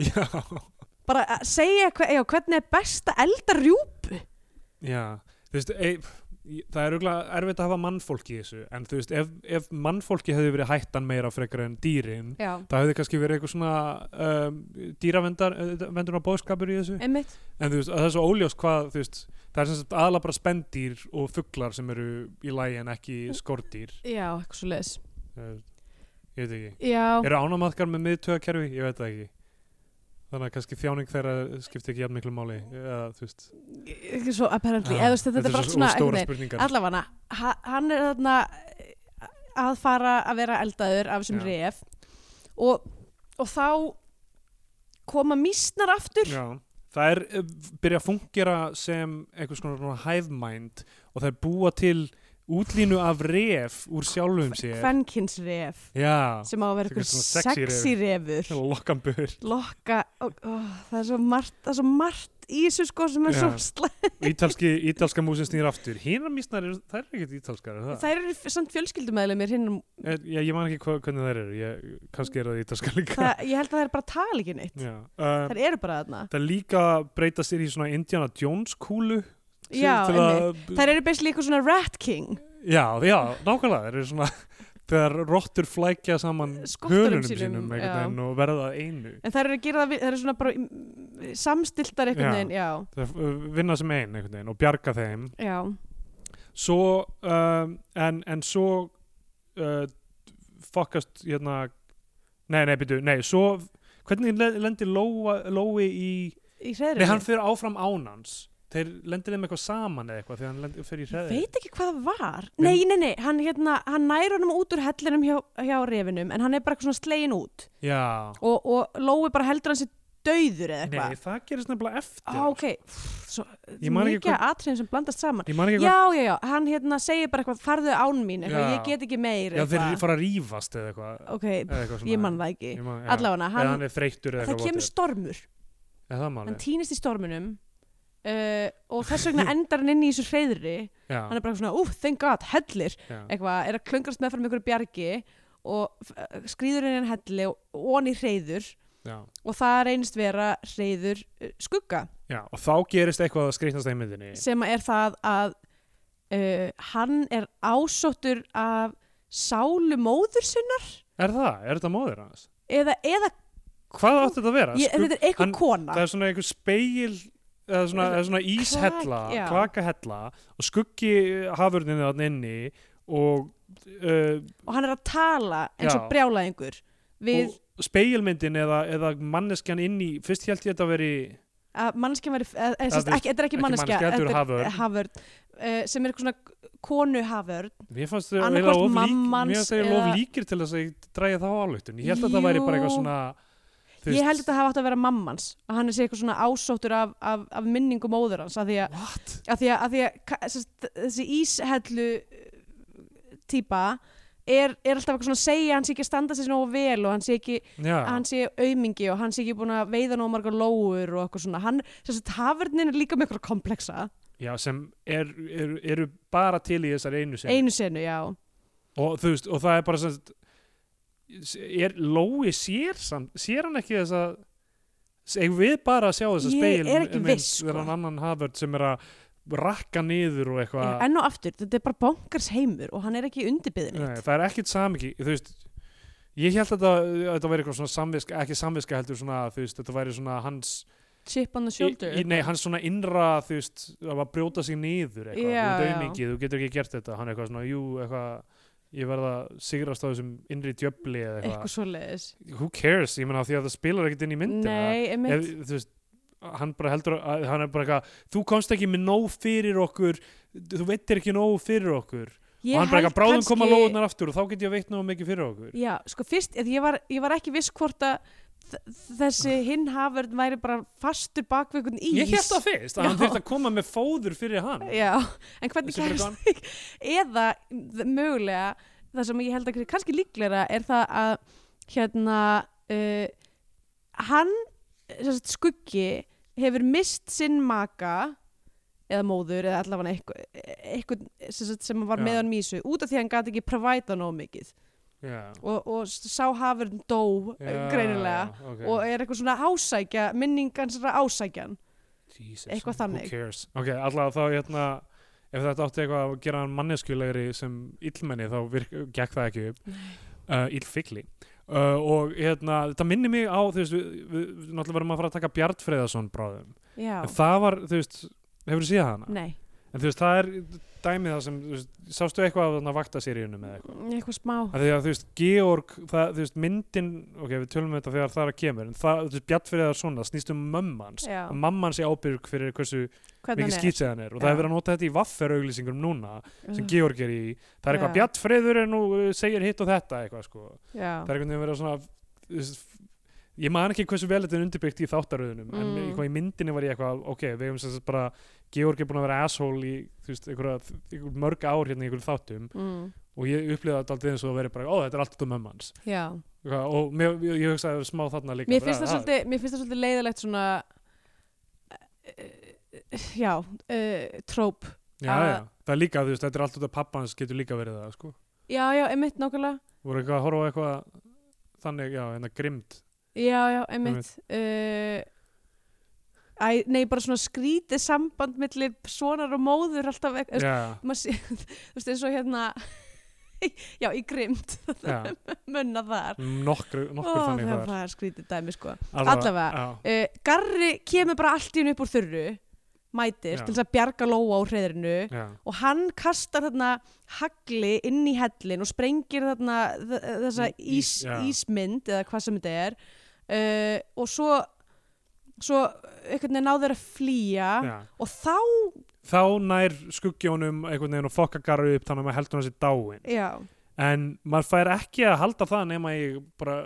S3: Já,
S2: bara að segja hver, já, hvernig er best að elda rjúpu
S3: já. Þú veist, e, það er auðvitað erfitt að hafa mannfólki í þessu, en þú veist, ef, ef mannfólki hefði verið hættan meira frekar en dýrin,
S2: já,
S3: það hefði kannski verið eitthvað svona um, eh, dýravendurna bóðskapur í þessu.
S2: einmitt
S3: En þú veist, að það er svo óljós hvað, þú veist, það er sem sagt aðla bara spendýr og fuglar sem eru í lagi en ekki skordýr.
S2: já, eitthvað svo leis
S3: Uh, ég veit ekki.
S2: já,
S3: Eru ánamaðkar með miðtöðakerfi? Ég veit það ekki. Þannig að kannski þjáning þeirra skiptir ekki jafn miklu máli. Eða, þú veist,
S2: ekki svo apparently
S3: Já,
S2: eða þú veist, þetta er bara allt svona einhvern
S3: stóra
S2: veginn.
S3: spurningar.
S2: allavega, ha- hann er þarna eh, að fara að vera eldaður af þessum
S3: Já.
S2: ref og, og þá koma mísnar aftur
S3: Já, það er eh, byrja að fungera sem einhvers konar svona hive mind og það er búa til útlínu af ref úr sjálfum sér.
S2: kvenkins ref
S3: Já,
S2: sem á að vera
S3: Þetta er
S2: ykkur
S3: svona sexy
S2: sexy refur
S3: lokkambur.
S2: lokka ó, ó, það, er svo margt, það er svo margt í þessu sko sem er
S3: Já.
S2: svo slæmt
S3: Ítalski, ítalska músin snýr aftur. Hina mísnar, eru- þær eru ekkert ítalskar, er það?
S2: það eru f- samt fjölskyldumæðlemir hinn um-
S3: það... Ég, ég man ekki hva, hvernig þær eru, ég, kannski eru það ítalska líka.
S2: það- ég held að það er bara tala ekki neitt
S3: Já, um,
S2: það eru bara þarna
S3: það líka breyta sér í svona Indiana Jones kúlu. til-
S2: Já,
S3: til að-
S2: það eru basically eitthvað svona rat king
S3: Já, já, nákvæmlega, þeir eru svona þegar rottur flækja saman
S2: Skottunum
S3: hölunum sínum,
S2: sínum, já.
S3: einhvern veginn og verða að einu
S2: En það eru að gera það, við- það eru svona bara mm, samstiltar einhvern
S3: Já.
S2: veginn, já,
S3: þeir uh, vinna sem ein einhvern veginn og bjarga þeim
S2: já,
S3: svo, um, en, en svo uh, fokkast hérna, nei, nei, byrju nei, svo, hvernig le- lendir Lóa- Lói í,
S2: í hreðri.
S3: nei, hann fyrir áfram ánans þeir lendir þeim eitthvað saman eða eitthvað þegar hann lendir, fyrir í
S2: Ég
S3: hreðir
S2: veit ekki hvað það var. Nei, nei, nei, hann, hérna, hann nær honum út úr hellinum hjá, hjá refinum, en hann er bara eitthvað svona slegin út
S3: já,
S2: og, og Lói bara heldur hann sér döður eða
S3: nei,
S2: eitthvað.
S3: það gerist nefnilega eftir
S2: Á, ok, Pff, svo,
S3: Ég man ekki
S2: mikið hvern... atriðum sem blandast saman.
S3: ég man ekki hvað,
S2: Já, já, já, hann hérna segir bara eitthvað, farðu án mín, eitthvað,
S3: Já.
S2: ég get ekki meir,
S3: já, þeir
S2: eitthvað.
S3: fara að rífast eða eitthvað
S2: Ok,
S3: eða eitthvað svona
S2: ég man það ekki.
S3: Ég man- já.
S2: Allavega, hann,
S3: eða hann er þreyttur eða
S2: það
S3: eitthvað
S2: kemur stormur.
S3: whatever. er það
S2: hann
S3: málið?
S2: týnist í storminum uh, og þess vegna endar hann inn í þessu hreyðri
S3: já,
S2: hann er bara svona, úf, thank god, hellir
S3: já.
S2: eitthvað, er að klöngrast meðfram ykkur bjargi og uh, skrýður inn í hann helli og onni hreyður
S3: Já.
S2: og það reynist vera hreyður uh, skugga
S3: já, og þá gerist eitthvað að skrýtnast í myndinni
S2: sem er það að uh, hann er ásóttur af sálu móður sinnar
S3: er það, er þetta móðir hans?
S2: eða, eða
S3: hvað átti þetta að vera?
S2: ég,
S3: Skugg-
S2: þetta er eitthvað
S3: hann-
S2: kona
S3: það er svona einhver speil eða svona, eða svona íshella,
S2: já.
S3: klakahella og skuggi hafurninni þarna inni og, uh,
S2: og hann er að tala eins og
S3: Já.
S2: brjálaðingur við
S3: og speilmyndin eða, eða manneskjan inni fyrst held ég þetta að veri
S2: að manneskja veri, eða, eða,
S3: þú
S2: sérst,
S3: veist,
S2: ekki, þetta er ekki
S3: ekki
S2: manneskja,
S3: manneskja, heldur
S2: þetta er
S3: haförn.
S2: haförn uh, sem er eitthvað svona konu haförn
S3: Mér fannst þau
S2: Annaðhvort
S3: eiginlega of, lík,
S2: mamma
S3: mér
S2: hans
S3: fannst þau eiginlega
S2: eða-
S3: of líkir til þess að ég dræja þá álöktun. Ég held að það væri bara eitthvað
S2: Jú.
S3: svona... þú
S2: ég
S3: veist,
S2: held að þetta hafa átt að vera mammans að hann er sér eitthvað svona ásóttur af, af, af minningu móður hans að því að,
S3: What?
S2: að, því að, að, því að ka- sérst, þessi íshellu eh, típa er, er alltaf eitthvað svona að segja að hann sé ekki að standa sér nógu vel og hann sé ekki
S3: Já.
S2: að hann sé aumingi og hann sé ekki búin að veiða nógu margar lóur og eitthvað svona hann, sérst, hafurnin er líka með eitthvað komplexa
S3: Já, sem er, er, eru bara til í þessar einu sem
S2: einu senu, já
S3: og þú veist, og það er bara sem sagt, er Lói sér samt, sér hann ekki þess að eigum við bara að sjá þess að
S2: Ég
S3: speil
S2: er ekki viss, sko.
S3: þegar hann annan hafvörd sem er að rakka niður og
S2: Já,
S3: eitthvað
S2: enn og aftur, þetta er bara bankars heimur og hann er ekki í undirbyðinni
S3: Nei, það er ekkit samiki þú veist Ég held að þetta, að þetta væri eitthvað svona samviska, ekki samviska heldur svona, þú veist, þetta væri svona hans,
S2: Chip on the
S3: í,
S2: shoulder
S3: í- nei, hans svona innra, þú veist, að bara brjóta sig niður eitthvað,
S2: Já,
S3: þú
S2: já.
S3: dömingi, þú getur ekki gert þetta, hann eitthvað svona, jú, eitthvað, ég verð að sigrast á þessum innri djöfli eða eitthvað.
S2: eitthvað svoleiðis
S3: Who cares, ég meina af því að það spilar ekkert inn í myndina.
S2: Nei,
S3: ef,
S2: einmitt
S3: þú veist, hann bara heldur að, hann er bara eitthvað, þú komst ekki með nóg fyrir okkur, þú veitir ekki nóg fyrir okkur
S2: Ég
S3: og hann bara
S2: held
S3: eitthvað bráðum koma
S2: kannski-
S3: lóðunar aftur og þá get ég veitt nóg mikið fyrir okkur
S2: Já, sko fyrst, eða ég var, ég var ekki viss hvort að þ- þessi hinn hafverð væri bara fastur bak við einhvern ís
S3: Ég held það fyrst, að
S2: Já.
S3: hann þurfti að koma með fóður fyrir hann
S2: Já, en hvernig
S3: Sem er
S2: kemst eða þ- mögulega það sem ég held að kannski líklega er það að hérna uh, hann sem sagt, skuggi hefur mist sinn maka eða móður eða allavega eitthvað, eitthvað sem, sagt, sem var
S3: Já.
S2: með hann mísu út af því að hann gati ekki provæta nóg mikið
S3: Já,
S2: og, og sá hafur dó
S3: já,
S2: já, greinilega
S3: já, ok.
S2: og er eitthvað svona ásækja minningan svona ásækjan
S3: Jesus,
S2: eitthvað þannig.
S3: Who cares Ok, allavega þá hérna ef þetta átti eitthvað að gera hann manneskulegri sem illmenni þá virk, gekk það ekki upp uh, illfigli uh, og hérna, þetta minnir mig á þú veist, við, við, við náttúrulega verðum að fara að taka Bjart Freyðarsson bráðum,
S2: já,
S3: en það var þú veist, hefur þú séð hana?
S2: nei,
S3: En þú veist, það er dæmið það sem, þú veist, sástu eitthvað af þarna vaktaseríunum eða eitthvað?
S2: eitthvað smá
S3: að því að þú veist, Georg það, þú veist, myndin, ok, við tölum um þetta þegar það er að kemur, en það, þú veist, Bjartfriðar svona snýst um mömmans,
S2: Já.
S3: að mamman sé ábyrg fyrir hversu
S2: hvernig
S3: mikið skýtsið hann er og
S2: Já.
S3: það er verið að nota þetta í vaffer auglýsingum núna sem
S2: hann er
S3: Georg er í, það er eitthvað
S2: Já.
S3: Bjartfriður en nú uh, segir hitt og þetta eitthvað sko,
S2: já,
S3: það er einhvern veginn verið að svona þú veist, ég man ekki hversu vel þetta er undirbyggt í þáttaröðunum en
S2: Mm.
S3: eitthvað í myndinni var ég eitthvað, ok, við hefum sem sagt bara Georg er búin að vera asshole í, þú veist, einhverja, einhver mörg ár hérna í einhverjum þáttum
S2: mm,
S3: og ég upplýða þetta aldrei eins og það verið bara, ó þetta er alltaf um mömmans
S2: já.
S3: Eitthvað, og mér, ég, ég hugsaði að það er smá þarna líka
S2: Mér
S3: bara,
S2: finnst það
S3: "Ah,
S2: svolítið, mér finnst það svolítið leiðilegt svona uh, já, uh, tróp
S3: já,
S2: að-
S3: já, það er líka, þú veist, þetta er alltaf pappans getur líka verið það, sko
S2: já, já, emitt nákvæmlega
S3: voru eitthvað að horfa á eitthvað þannig, já, hérna grimmt
S2: já, já, emitt uh, æ, nei, bara svona skrítið samband millir sonar og móður alltaf ekki,
S3: já,
S2: maður sé, þú veist, eins og hérna já, í grimt
S3: já,
S2: munna þar
S3: nokkur, nokkur
S2: Ó,
S3: þannig
S2: það
S3: það er
S2: var skrítið dæmi sko
S3: Allavega,
S2: Allavega. uh, Garri kemur bara allt í hennu upp úr þurru mætir
S3: Já.
S2: til þess að bjarga Lóa á hreðrinu
S3: já, já,
S2: og hann kastar þarna hagli inn í hellin og sprengir þarna þ- þessa
S3: Í-
S2: ís,
S3: ís- já.
S2: ísmynd eða hvað sem þetta er uh, og svo svo einhvern veginn náður að flýja
S3: já
S2: og þá,
S3: þá nær skuggjónum einhvern veginn og fokkagarru upp þannig að maður heldur hann sér dáin
S2: já,
S3: en maður fær ekki að halda það nema ég bara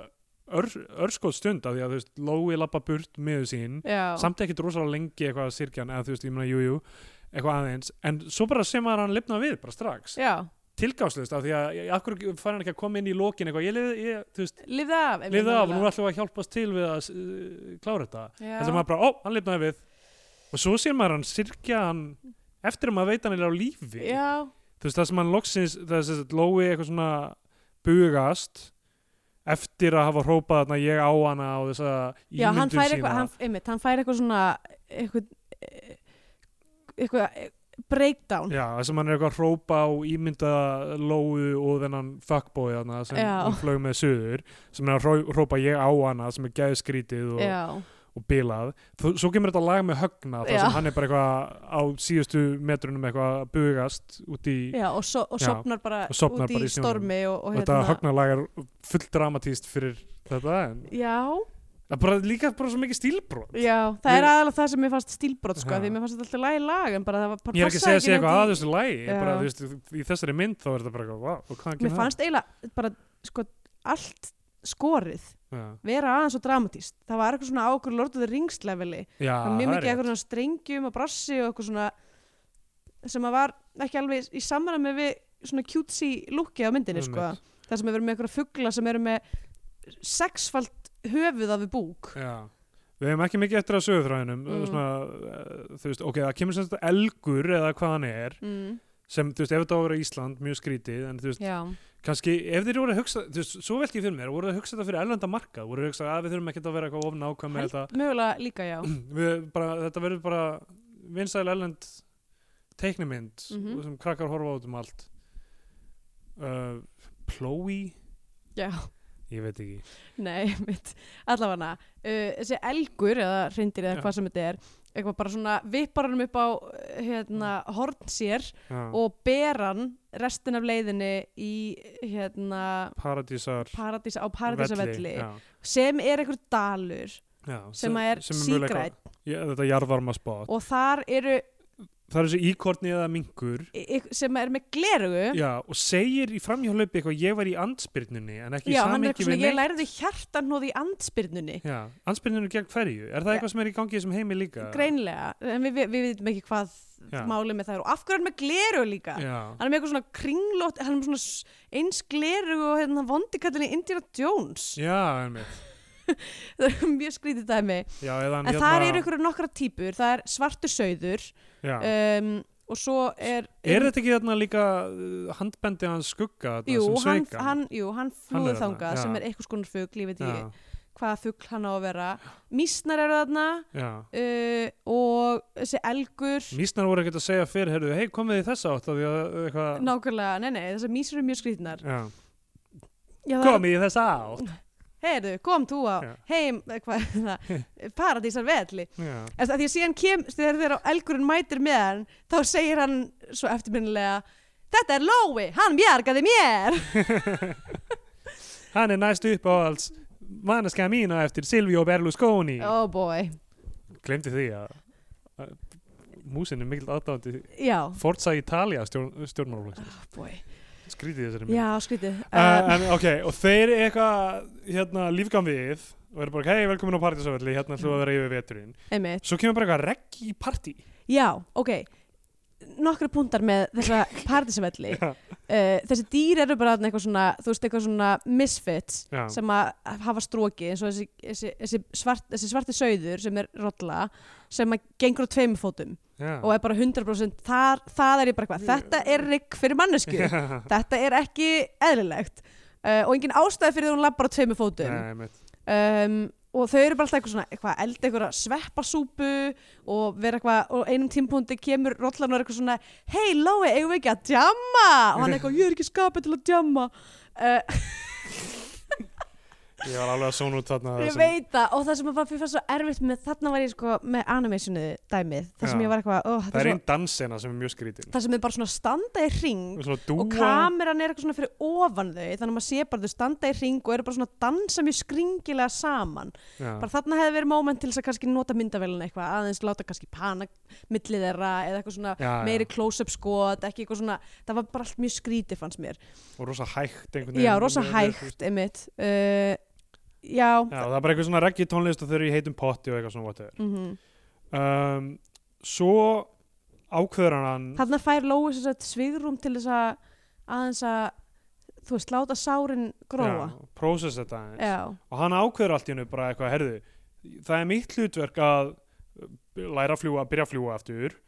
S3: ör, örskot stund af því að þú veist, Lói lappa burt miður sín
S2: já
S3: samt ekki rosalega lengi eitthvað að sirkja hann eða þú veist, ég meina, jú, jú, eitthvað aðeins en svo bara sem að hann lifna við, bara strax
S2: já,
S3: tilgangslust, af því að ég- af hverju fær hann ekki að koma inn í lokin eitthvað, ég, lið- ég þú veist,
S2: lifða af einmitt
S3: lifði af og nú
S2: nálega.
S3: ætlum við að hjálpast til við að uh, klára þetta
S2: Já.
S3: heldur maður bara, ó, hann lifnaði við og svo sem maður hann sirkja hann eftir að maður veit hann er á lífi
S2: já,
S3: þú veist, það sem hann loksins, það er sem sagt Lói eitthvað svona bugast eftir að hafa hrópað þarna ég á hana og þess að
S2: já, hann
S3: ímyndun
S2: fær
S3: sína
S2: eitthvað hann, einmitt, hann fær eitthvað svona eitthvað, eh, eitthvað eh, breakdown
S3: Já, það sem hann er eitthvað að hrópa á ímyndaða lóu og þennan fuckboy hana sem
S2: Já.
S3: hann flög með suður sem er að hró- hrópa ég á hana sem er gæðskrítið og,
S2: já,
S3: og bilað Þó, svo kemur þetta lag með högna þar
S2: Já.
S3: sem hann er bara eitthvað á síðustu metrunum eitthvað að bugast út í
S2: já, og, so, og
S3: Já,
S2: sofnar bara
S3: og sofnar
S2: út
S3: bara í
S2: í
S3: snjónum.
S2: stormi og, hérna- og
S3: þetta högna lag er full dramatíst fyrir þetta en
S2: Já,
S3: það er bara líka bara svo mikið stílbrot
S2: já, það er
S3: Ég-
S2: aðalega það sem mér fannst stílbrot sko,
S3: Já.
S2: því mér fannst þetta alltaf lægi lag en bara það var bara
S3: Ég er ekki að
S2: passaði
S3: segja að sé eitthvað að
S2: neitt í-
S3: þessu lagi ég bara,
S2: Já.
S3: þú veist, í þessari mynd þá er þetta bara eitthvað wow, og hvað hann
S2: Mér fannst eiginlega bara sko allt skorið
S3: Já,
S2: vera aðeins og dramatíst það var eitthvað svona á okkur Lord of the Rings leveli
S3: Já,
S2: það var mjög
S3: það er
S2: mikið
S3: rétt.
S2: eitthvað svona strengjum og brassi og eitthvað svona sem að var ekki alveg í samræmi við svona cutesy looki á myndinni sko
S3: Einmitt.
S2: það sem er verið með eitthvað fugla sem eru með sexfalt höfuð af við búk
S3: Já. Við hefum ekki mikið eftir að sögurþræðinum
S2: Mm.
S3: svona, eh, þú veist, ok, það kemur sem þetta elgur eða hvað hann er
S2: mm,
S3: sem, þú veist, ef þetta á að vera Ísland, mjög skrítið en þú veist,
S2: já,
S3: kannski, ef þeir voru að hugsa þú veist, svo velkið fyrir mér, voru að hugsa þetta fyrir erlenda marka voru að hugsa að við þurfum ekkert að vera eitthvað ofn ákvæm með Mm.
S2: Held,
S3: þetta,
S2: mögulega líka já
S3: við, bara, þetta verður bara vinsæl erlend teiknimynd
S2: Mhm.
S3: sem krakkar horfa út um allt uh, Plói
S2: Já.
S3: ég veit ekki
S2: Nei, mitt, allavega uh, þessi elgur eða reyndir eða
S3: Já.
S2: hvað sem þetta er eitthvað bara svona vippar hann upp á uh, hérna, horn sér
S3: Mm. Já.
S2: og ber hann restin af leiðinni í hérna
S3: paradísar
S2: paradís, á
S3: velli,
S2: paradísavelli
S3: já.
S2: sem er einhver dalur
S3: Já,
S2: sem að er
S3: mögulega
S2: sígræn
S3: eitthvað- Já, þetta jarðvarma spot
S2: og þar eru
S3: það er þessi íkorni eða minkur
S2: y- y- sem er með glerugu
S3: já, og segir í framhjálaupi eitthvað ég var í andspyrnunni en ekki
S2: já,
S3: í
S2: hann er eitthvað
S3: samingi
S2: svona,
S3: við
S2: ég
S3: neitt
S2: lærði hjartanóð í andspyrnunni
S3: já, andspyrnunni gegn hverju, er það
S2: Já.
S3: eitthvað sem er í gangi í þessum heimi líka?
S2: greinlega, en við, við, við veitum ekki hvað
S3: Já.
S2: málið með það er og af hverju er hann með glerugu líka
S3: já,
S2: hann er með eitthvað svona kringlótt hann er með svona s- eins glerugu og hérna vondikallin í Indiana Jones
S3: já, einmitt
S2: það er mjög skrítið dæmi en
S3: já, eða hann hérna-
S2: þar eru ykkur nokkra típur, það er svartur sauður
S3: já.
S2: um, og svo er
S3: er þetta ekki þarna líka uh, handbendi hans skugga þarna,
S2: jú,
S3: sem
S2: hann,
S3: sveik hann,
S2: hann, jú, hann
S3: Hann er
S2: flúði
S3: þarna,
S2: þangað
S3: já.
S2: sem er eitthvað skonar fugl, ég veit ekki
S3: já,
S2: hvaða fugl hann á að vera mísnar eru þarna
S3: já.
S2: uh, og þessi elgur
S3: Mísnar voru ekkert að segja fyrir, heyrðu, hei, komið í þessa átt af því að uh, eitthvað
S2: nákvæmlega, nei nei, þessar mísur eru mjög skrýtnar
S3: Já.
S2: Já, það-
S3: Komið í þessa átt
S2: heyrðu, kom þú á
S3: Já.
S2: heim, eh, hvað er það paradísar velli,
S3: Já,
S2: eftir að því að síðan kem þegar þegar elgurinn mætir með hann þá segir hann svo eftirminnilega þetta er Lói, hann bjargaði mér
S3: hann er næst upp á alls manneska mína eftir Silvio Berlusconi
S2: oh boy,
S3: Glemdi því að, að músin er mikill aðdáðandi
S2: já,
S3: Forza Italia stjórn, stjórnmálaflokks
S2: oh boy
S3: skrítið í þessari mynd
S2: já, Um, skrítið
S3: uh, en, ok, og þeir eitthvað hérna, lífgan við og eru bara, hei, velkomin á partísafelli hérna ætlum við að vera yfir veturinn
S2: einmitt
S3: svo kemur bara eitthvað reggi í partí
S2: Já, ok nokkru puntar með þessa partísavelli
S3: Já.
S2: uh, þessi dýr eru bara þarna eitthvað svona, þú veist, eitthvað svona misfits
S3: Já.
S2: sem að hafa stróki eins og þessi, þessi, þessi, svart, þessi svarti sauður sem er rolla sem að gengur á tveimur fótum
S3: Já.
S2: og er bara 100% þar, það er ég bara hvað, þetta er rigg fyrir mannesku
S3: Já.
S2: þetta er ekki eðlilegt uh, og engin ástæði fyrir því að hún labbar á tveimur fótum
S3: Nei, einmitt.
S2: um, og þau eru bara alltaf eitthvað svona eitthvað elda eitthvað sveppasúpu og vera eitthvað og einum tímpúndi kemur rollan og er eitthvað svona hei Lói, eigum við ekki að djamma og hann er eitthvað, ég er ekki skapið til að djamma uh,
S3: ég var alveg að svona út þarna
S2: ég
S3: þessum-
S2: veit það og það sem var fyrir fannst svo erfitt með þarna var ég sko með animationu dæmið það sem
S3: Já.
S2: ég var eitthvað, ó,
S3: það
S2: þetta
S3: er
S2: er
S3: einn
S2: svo
S3: dansena sem er mjög skrítin
S2: það sem er bara svona standa í ring
S3: og svona
S2: og
S3: dúa
S2: kameran er eitthvað svona fyrir ofan þau þannig að maður sé bara þau standa í ring og eru bara svona að dansa mjög skringilega saman
S3: Já.
S2: bara þarna hefði verið moment til þess að kannski nota myndavélina eitthvað, aðeins láta kannski pana millið þeirra eða eitthvað svona
S3: Já, já.
S2: meiri close-up skot, ekki eitthvað svona það var bara allt mjög skrítið fannst mér
S3: og rosa hægt einhvern
S2: já,
S3: veginn.
S2: rosa hægt, einmitt uh, já,
S3: Já, það er bara eitthvað svona reggi tónlist og þau eru í heitum potti og eitthvað svona whatever.
S2: mhm
S3: Um, svo ákveður hann
S2: þarna fær Lóis þess að svigrum til þess að aðeins að þú veist, láta sárin gróa
S3: Já, process þetta aðeins.
S2: já,
S3: Og hann ákveður allt í hennu bara eitthvað, herðu, það er mitt hlutverk að eh, læra að fljúa, byrja að fljúa aftur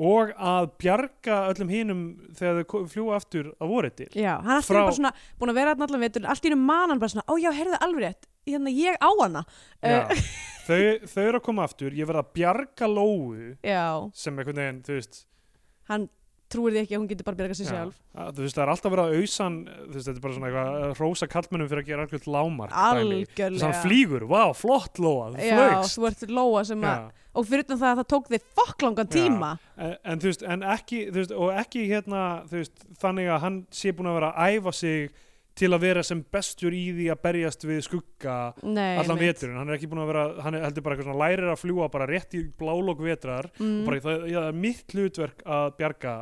S3: og að bjarga öllum hinum þegar þau ko- fljúa aftur að voru til.
S2: já, hann allt í
S3: Frá-
S2: einu bara svona búin að vera þarna allan vetur, allt í einu man hann bara svona, ó já, heyrðu alveg rétt, hérna ég á hana
S3: Já, þau, þau eru að koma aftur, ég verð að bjarga lóu
S2: já,
S3: sem einhvern veginn, þú veist,
S2: hann trúir því ekki að hún getur bara að sig
S3: Já.
S2: sjálf
S3: að, þú veist, það er alltaf verið að auðsan, þú veist, þetta er bara svona eitthvað að hrósa kallmennum fyrir að gera algjörð lámark. dæmi. Þú veist,
S2: algjörlega
S3: hann flýgur, vá, flott lóa, þú
S2: já,
S3: flögst.
S2: þú ert lóa sem að og fyrir utan það að það tók þig fokk langan
S3: Já.
S2: tíma
S3: En, en þú veist, en ekki, þú veist, og ekki hérna, þú veist, þannig að hann sé búin að vera að æfa sig til að vera sem bestur í því að berjast við skugga
S2: Nei,
S3: allan
S2: einmitt.
S3: veturinn, hann er ekki búin að vera, hann er heldur bara eitthvað svona lærir að fljúa bara rétt í blálok vetrar,
S2: mm,
S3: bara það, já, það er mitt hlutverk að bjarga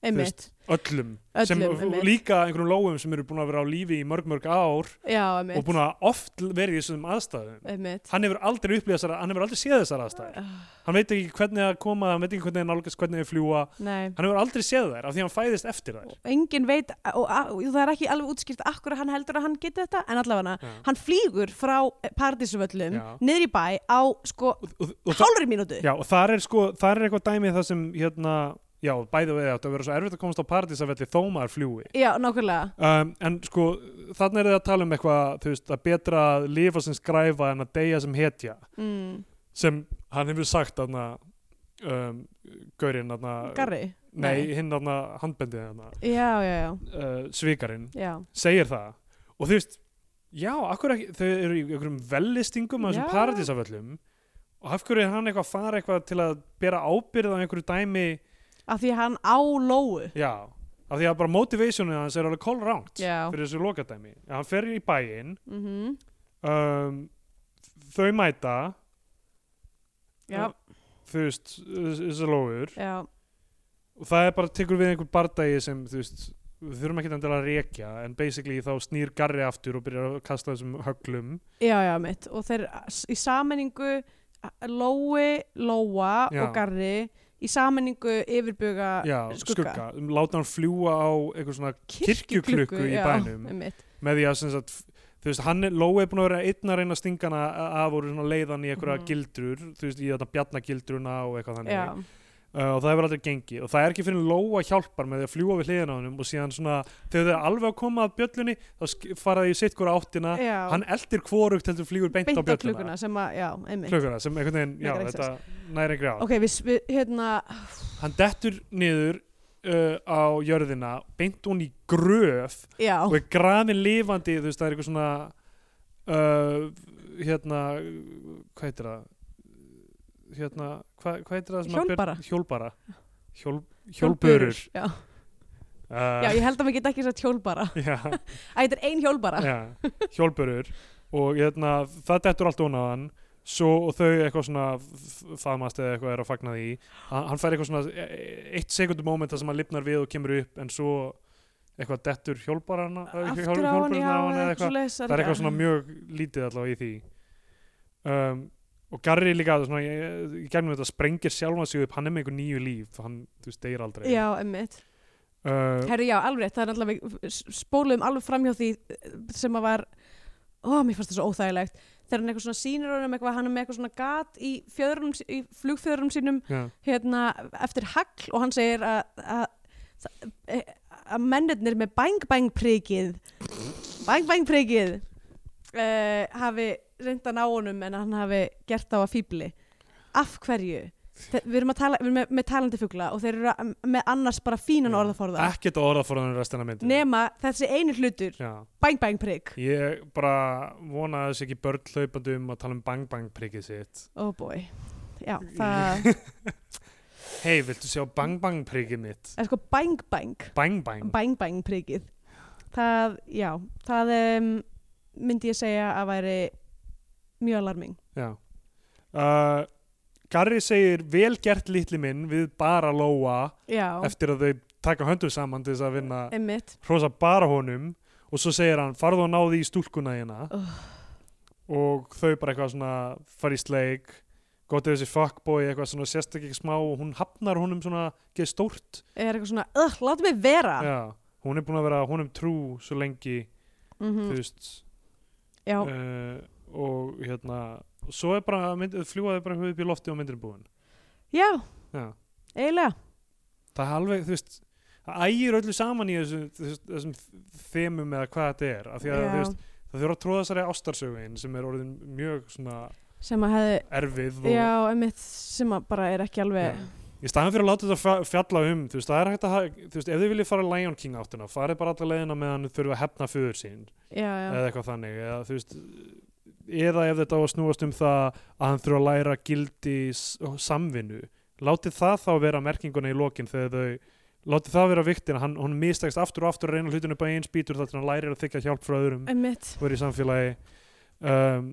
S2: einmitt,
S3: öllum, sem,
S2: Öllum, einmitt.
S3: líka einhverjum lóum sem eru búin að vera á lífi í mörg mörg ár
S2: já,
S3: og
S2: einmitt,
S3: búin að oft verið í þessum aðstæðum.
S2: einmitt.
S3: Hann hefur aldrei upplýð þessar, hann hefur aldrei séð þessar aðstæður. Hann veit ekki hvernig að koma, hann veit ekki hvernig að nálgast, hvernig að fljúa,
S2: Nei.
S3: hann hefur aldrei séð þær af því að hann fæðist eftir þær
S2: engin veit og, og, og það er ekki alveg útskýrt akkur að hann heldur að hann geti þetta en allavega
S3: Já.
S2: hann flýgur frá pardísuvöllum
S3: Já.
S2: niður í bæ á sko
S3: og, og, og, það,
S2: hálfri mínútu
S3: já, og þar er sko þar er eitthvað dæmi það sem hérna, já, bæði við átt að vera svo erfitt að komast á paradísafelli þó maður fljúi
S2: já, nákvæmlega
S3: um, en sko þannig er það að tala um eitthvað þú veist, að betra að lifa sem skræfa en að deyja sem hetja
S2: mm,
S3: sem hann hefur sagt aðna um, gaurinn aðna
S2: Garri,
S3: nei, hinn aðna handbendið aðna
S2: já, já, já,
S3: uh, svikarinn
S2: já.
S3: segir það og þú veist Já, akkur ekki, þau eru í einhverjum vellistingum af þessum
S2: Já.
S3: paradísaföllum og af hverju er hann eitthvað að fara eitthvað til að bera ábyrð á einhverju dæmi
S2: af því að hann á lóu
S3: já, af því að bara motivationið hans er alveg kolránt
S2: já,
S3: fyrir þessu lokadæmi hann fer í bæinn
S2: mm
S3: um, þau mæta
S2: já,
S3: þú veist, þessu lóður
S2: já,
S3: og það er bara tekur við einhver bardagi sem þú veist, við þurfum ekki endilega að rekja en basically þá snýr Garri aftur og byrjar að kasta þessum höglum
S2: já, já, mitt og þeir í sammenningu lói, lóa
S3: Já.
S2: og garri í sammenningu yfirbuga
S3: já, skugga,
S2: skugga.
S3: láta hann fljúa á eitthvað svona kirkjuklukku í
S2: já,
S3: bænum
S2: einmitt.
S3: með því að sem sagt, þú veist, hann er, Lói er búin að vera einn að reyna að stinga hana af og svona leiðan í einhverja
S2: Mhm.
S3: gildrur, þú veist, í þarna bjarnagildruna og eitthvað þannig
S2: já,
S3: uh, og það hefur aldrei gengið og það er ekki fyrir Lóa hjálpar með því að fljúa við hliðina á honum og síðan svona, þegar þau er alveg að koma að bjöllunni þá sk- fara þau í sitt hvora áttina
S2: já,
S3: hann eldir hvorugt heldur flýgur beint,
S2: beint
S3: á bjölluna
S2: klukkuna sem að, já, einmitt
S3: klukkuna, sem einhvern veginn, já,
S2: Megar ekki
S3: þetta næri einhverja á
S2: ok, við, s- við hérna
S3: hann dettur niður uh, á jörðina, beint hún í gröf
S2: já,
S3: og er grafin lifandi þú veist það er eitthvað svona uh, hérna hvað heitir það hérna, hva, hvað heitir það sem að ber-
S2: Hjólbara.
S3: hjólbara Hjól, hjólbörur
S2: já,
S3: uh,
S2: já, ég held að maður get ekki sagt hjólbara
S3: já,
S2: að þetta er ein hjólbara
S3: já, hjólbörur og hérna það dettur allt ofan á hann svo og þau eitthvað svona f- faðmast eða eitthvað er að fagna því hann, hann fær eitthvað svona e- eitt sekundum moment þar sem hann lifnar við og kemur upp en svo eitthvað dettur hjólbarana
S2: aftur á hann, já, eða eitthvað leys,
S3: það er eitthvað svona mjög lítið allavega í því um, og Garri líka svona, ég, ég gegnum þetta sprengir sjálfan sig upp hann er með einhver nýju líf hann, þú veist, deyr aldrei
S2: já, emmitt
S3: uh,
S2: Herri, já, alveg, rétt, það er allavega spólum alveg framhjá því eh, sem að var ó, mér fannst það svo óþægilegt þegar hann eitthvað svona sýnir honum eitthvað hann er með eitthvað svona gat í, fjöðrum, í flugfjöðurum sínum
S3: já,
S2: hérna, eftir hagl og hann segir að- að að- að mennirnir með bang bang prikið bang bang prikið uh, hafi reynda ná honum en hann hafi gert þá að fýbli af hverju? Þe- Við erum, að tala, við erum með, með talandi fugla og þeir eru að, með annars bara fínan
S3: Já.
S2: orðaforða
S3: ekkert orða fór hann restina myndin
S2: nema þessi einu hlutur
S3: já,
S2: bang bang prik
S3: ég bara vona að þessi ekki börn hlaupandi um að tala um bang bang prikið sitt
S2: oh boy já, það
S3: hei, viltu sjá bang bang prikið mitt
S2: er sko bang bang
S3: bang bang,
S2: bang bang prikið það, já, það um, myndi ég segja að væri mjög alarming
S3: já uh, Garri segir vel gert litli minn við bara Lóa
S2: já,
S3: eftir að þau taka höndum saman til þess að vinna
S2: emmitt
S3: hrósa bara honum og svo segir hann farðu og náðu í stúlkuna hérna
S2: Ugh.
S3: og þau bara eitthvað svona fara í sleik gott ef þessi fuckboy eitthvað svona sérst ekki smá og hún hafnar honum svona geð stórt
S2: er eitthvað svona, öll, láta mig vera
S3: já, hún er búin að vera honum trú svo lengi þú
S2: Mhm,
S3: veist
S2: já,
S3: uh, og hérna og svo er bara mynd, fljúaði bara eitthvað upp í lofti og myndir búin
S2: já,
S3: já.
S2: eiginlega
S3: það er alveg þú veist það ægir öllu saman í þessu, þessu, þessum þemum eða hvað þetta er af því að
S2: já,
S3: þú veist það þurfa að tróða þessari ástarsögin sem er orðin mjög svona
S2: sem að hefði
S3: erfið og
S2: já, emmitt, sem að bara er ekki alveg
S3: Já. í staðan fyrir að láta þetta fa- fjalla um þú veist, það er hægt að, ha- þú veist, ef þið viljið fara Lion King áttuna, farið bara alla leiðina meðan þau þurfa að hefna föður sín
S2: já, já,
S3: eða eitthvað þannig, eða þú veist eða ef þetta á að snúast um það að hann þurfa að læra gildi s- og samvinnu, látið það þá vera merkinguna í lokin þegar þau látið það vera viktin, hann, hann mistekst aftur og aftur að reyna hlutinu bara eins býtur þar til hann lærir að þykja hjálp frá öðrum
S2: emmitt
S3: og er í samfélagi um,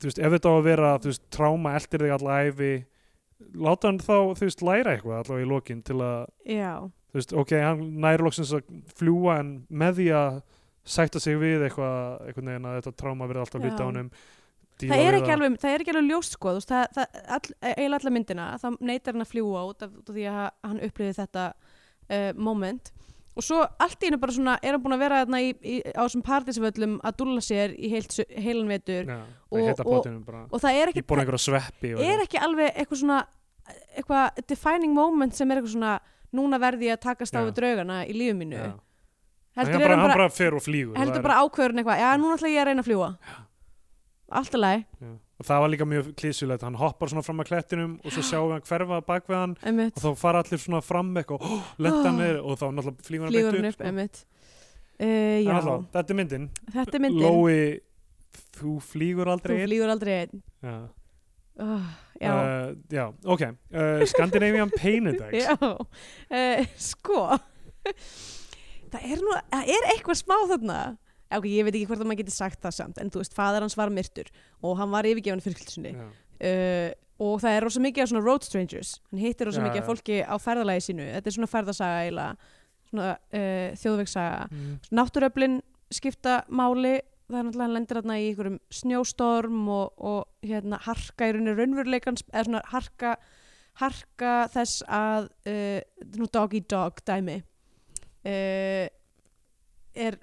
S3: þú veist, ef þetta á að vera þú veist, tráma eldir þig alla æfi láta hann þá, þú veist, læra eitthvað allavega í lokin til að,
S2: já,
S3: þú veist, ok, hann nær loksins að fljúa en með því að sætta sig við eitthvað, einhvern veginn að þetta tráma verið alltaf hluti á
S2: Já.
S3: honum
S2: það er, ekki alveg, það er ekki alveg ljóst sko, þú veist, það, það, all, eiginlega alla myndina þá neytar hann að fljúa út af, út af því að hann upplifið þetta uh, moment og svo allt í hennu bara svona er hann búin að vera þarna í, í, á þessum partísvöllum að dúlla sér í heilt, su- heilan vetur
S3: Já,
S2: Og-
S3: það heita
S2: og-
S3: plottinum bara
S2: og það er
S3: ég
S2: ekki,
S3: borði einhverja sveppi og
S2: það er ekki alveg eitthvað svona eitthvað defining moment sem er eitthvað svona núna verði ég að takast á
S3: Já.
S2: við draugana í lífu mínu
S3: Já. Nei,
S2: heldur
S3: hann
S2: er
S3: bara,
S2: hann bara,
S3: bara fer og flýgur
S2: heldur
S3: það er-
S2: bara ákvörun eitthvað já núna ætla ég að reyna að fljúa allt í lagi,
S3: já. og það var líka mjög klísulegt, hann hoppar svona fram að klettinum og svo sjáum við hann hverfa bak við hann
S2: einmitt
S3: og þá fara allir svona fram eitthvað oh, lenda hann niður og þá náttúrulega flýgur hann
S2: flýgur
S3: beint
S2: hann
S3: upp
S2: upp, einmitt Uh,
S3: En
S2: já,
S3: allá, þetta er myndin,
S2: þetta er myndin.
S3: Lói, þú flýgur
S2: Þú
S3: aldrei einn
S2: flýgur aldrei einn.
S3: já.
S2: Oh, já.
S3: Uh, já, ok uh, Scandinavian Painted
S2: Já, uh, sko það er nú það er eitthvað smá þarna ok, ég veit ekki hvort að maður getur sagt það samt en þú veist, faðar hans var myrtur og hann var yfirgefin fyrkjöldsunni
S3: Já.
S2: uh, og það er rosa mikið af svona road strangers hann hittir rosa
S3: Já,
S2: mikið af
S3: já.
S2: fólki á ferðalagi sínu þetta er svona ferðasaga eiginlega svona uh, þjóðvegsaga
S3: Mm.
S2: náttúröflin skipta máli það er náttúrulega hann lendir þarna í einhverjum snjóstorm og, og hérna harka í rauninni raunveruleikans eða svona harka, harka þess að uh, þetta er nú dog í dog dæmi uh, er uh,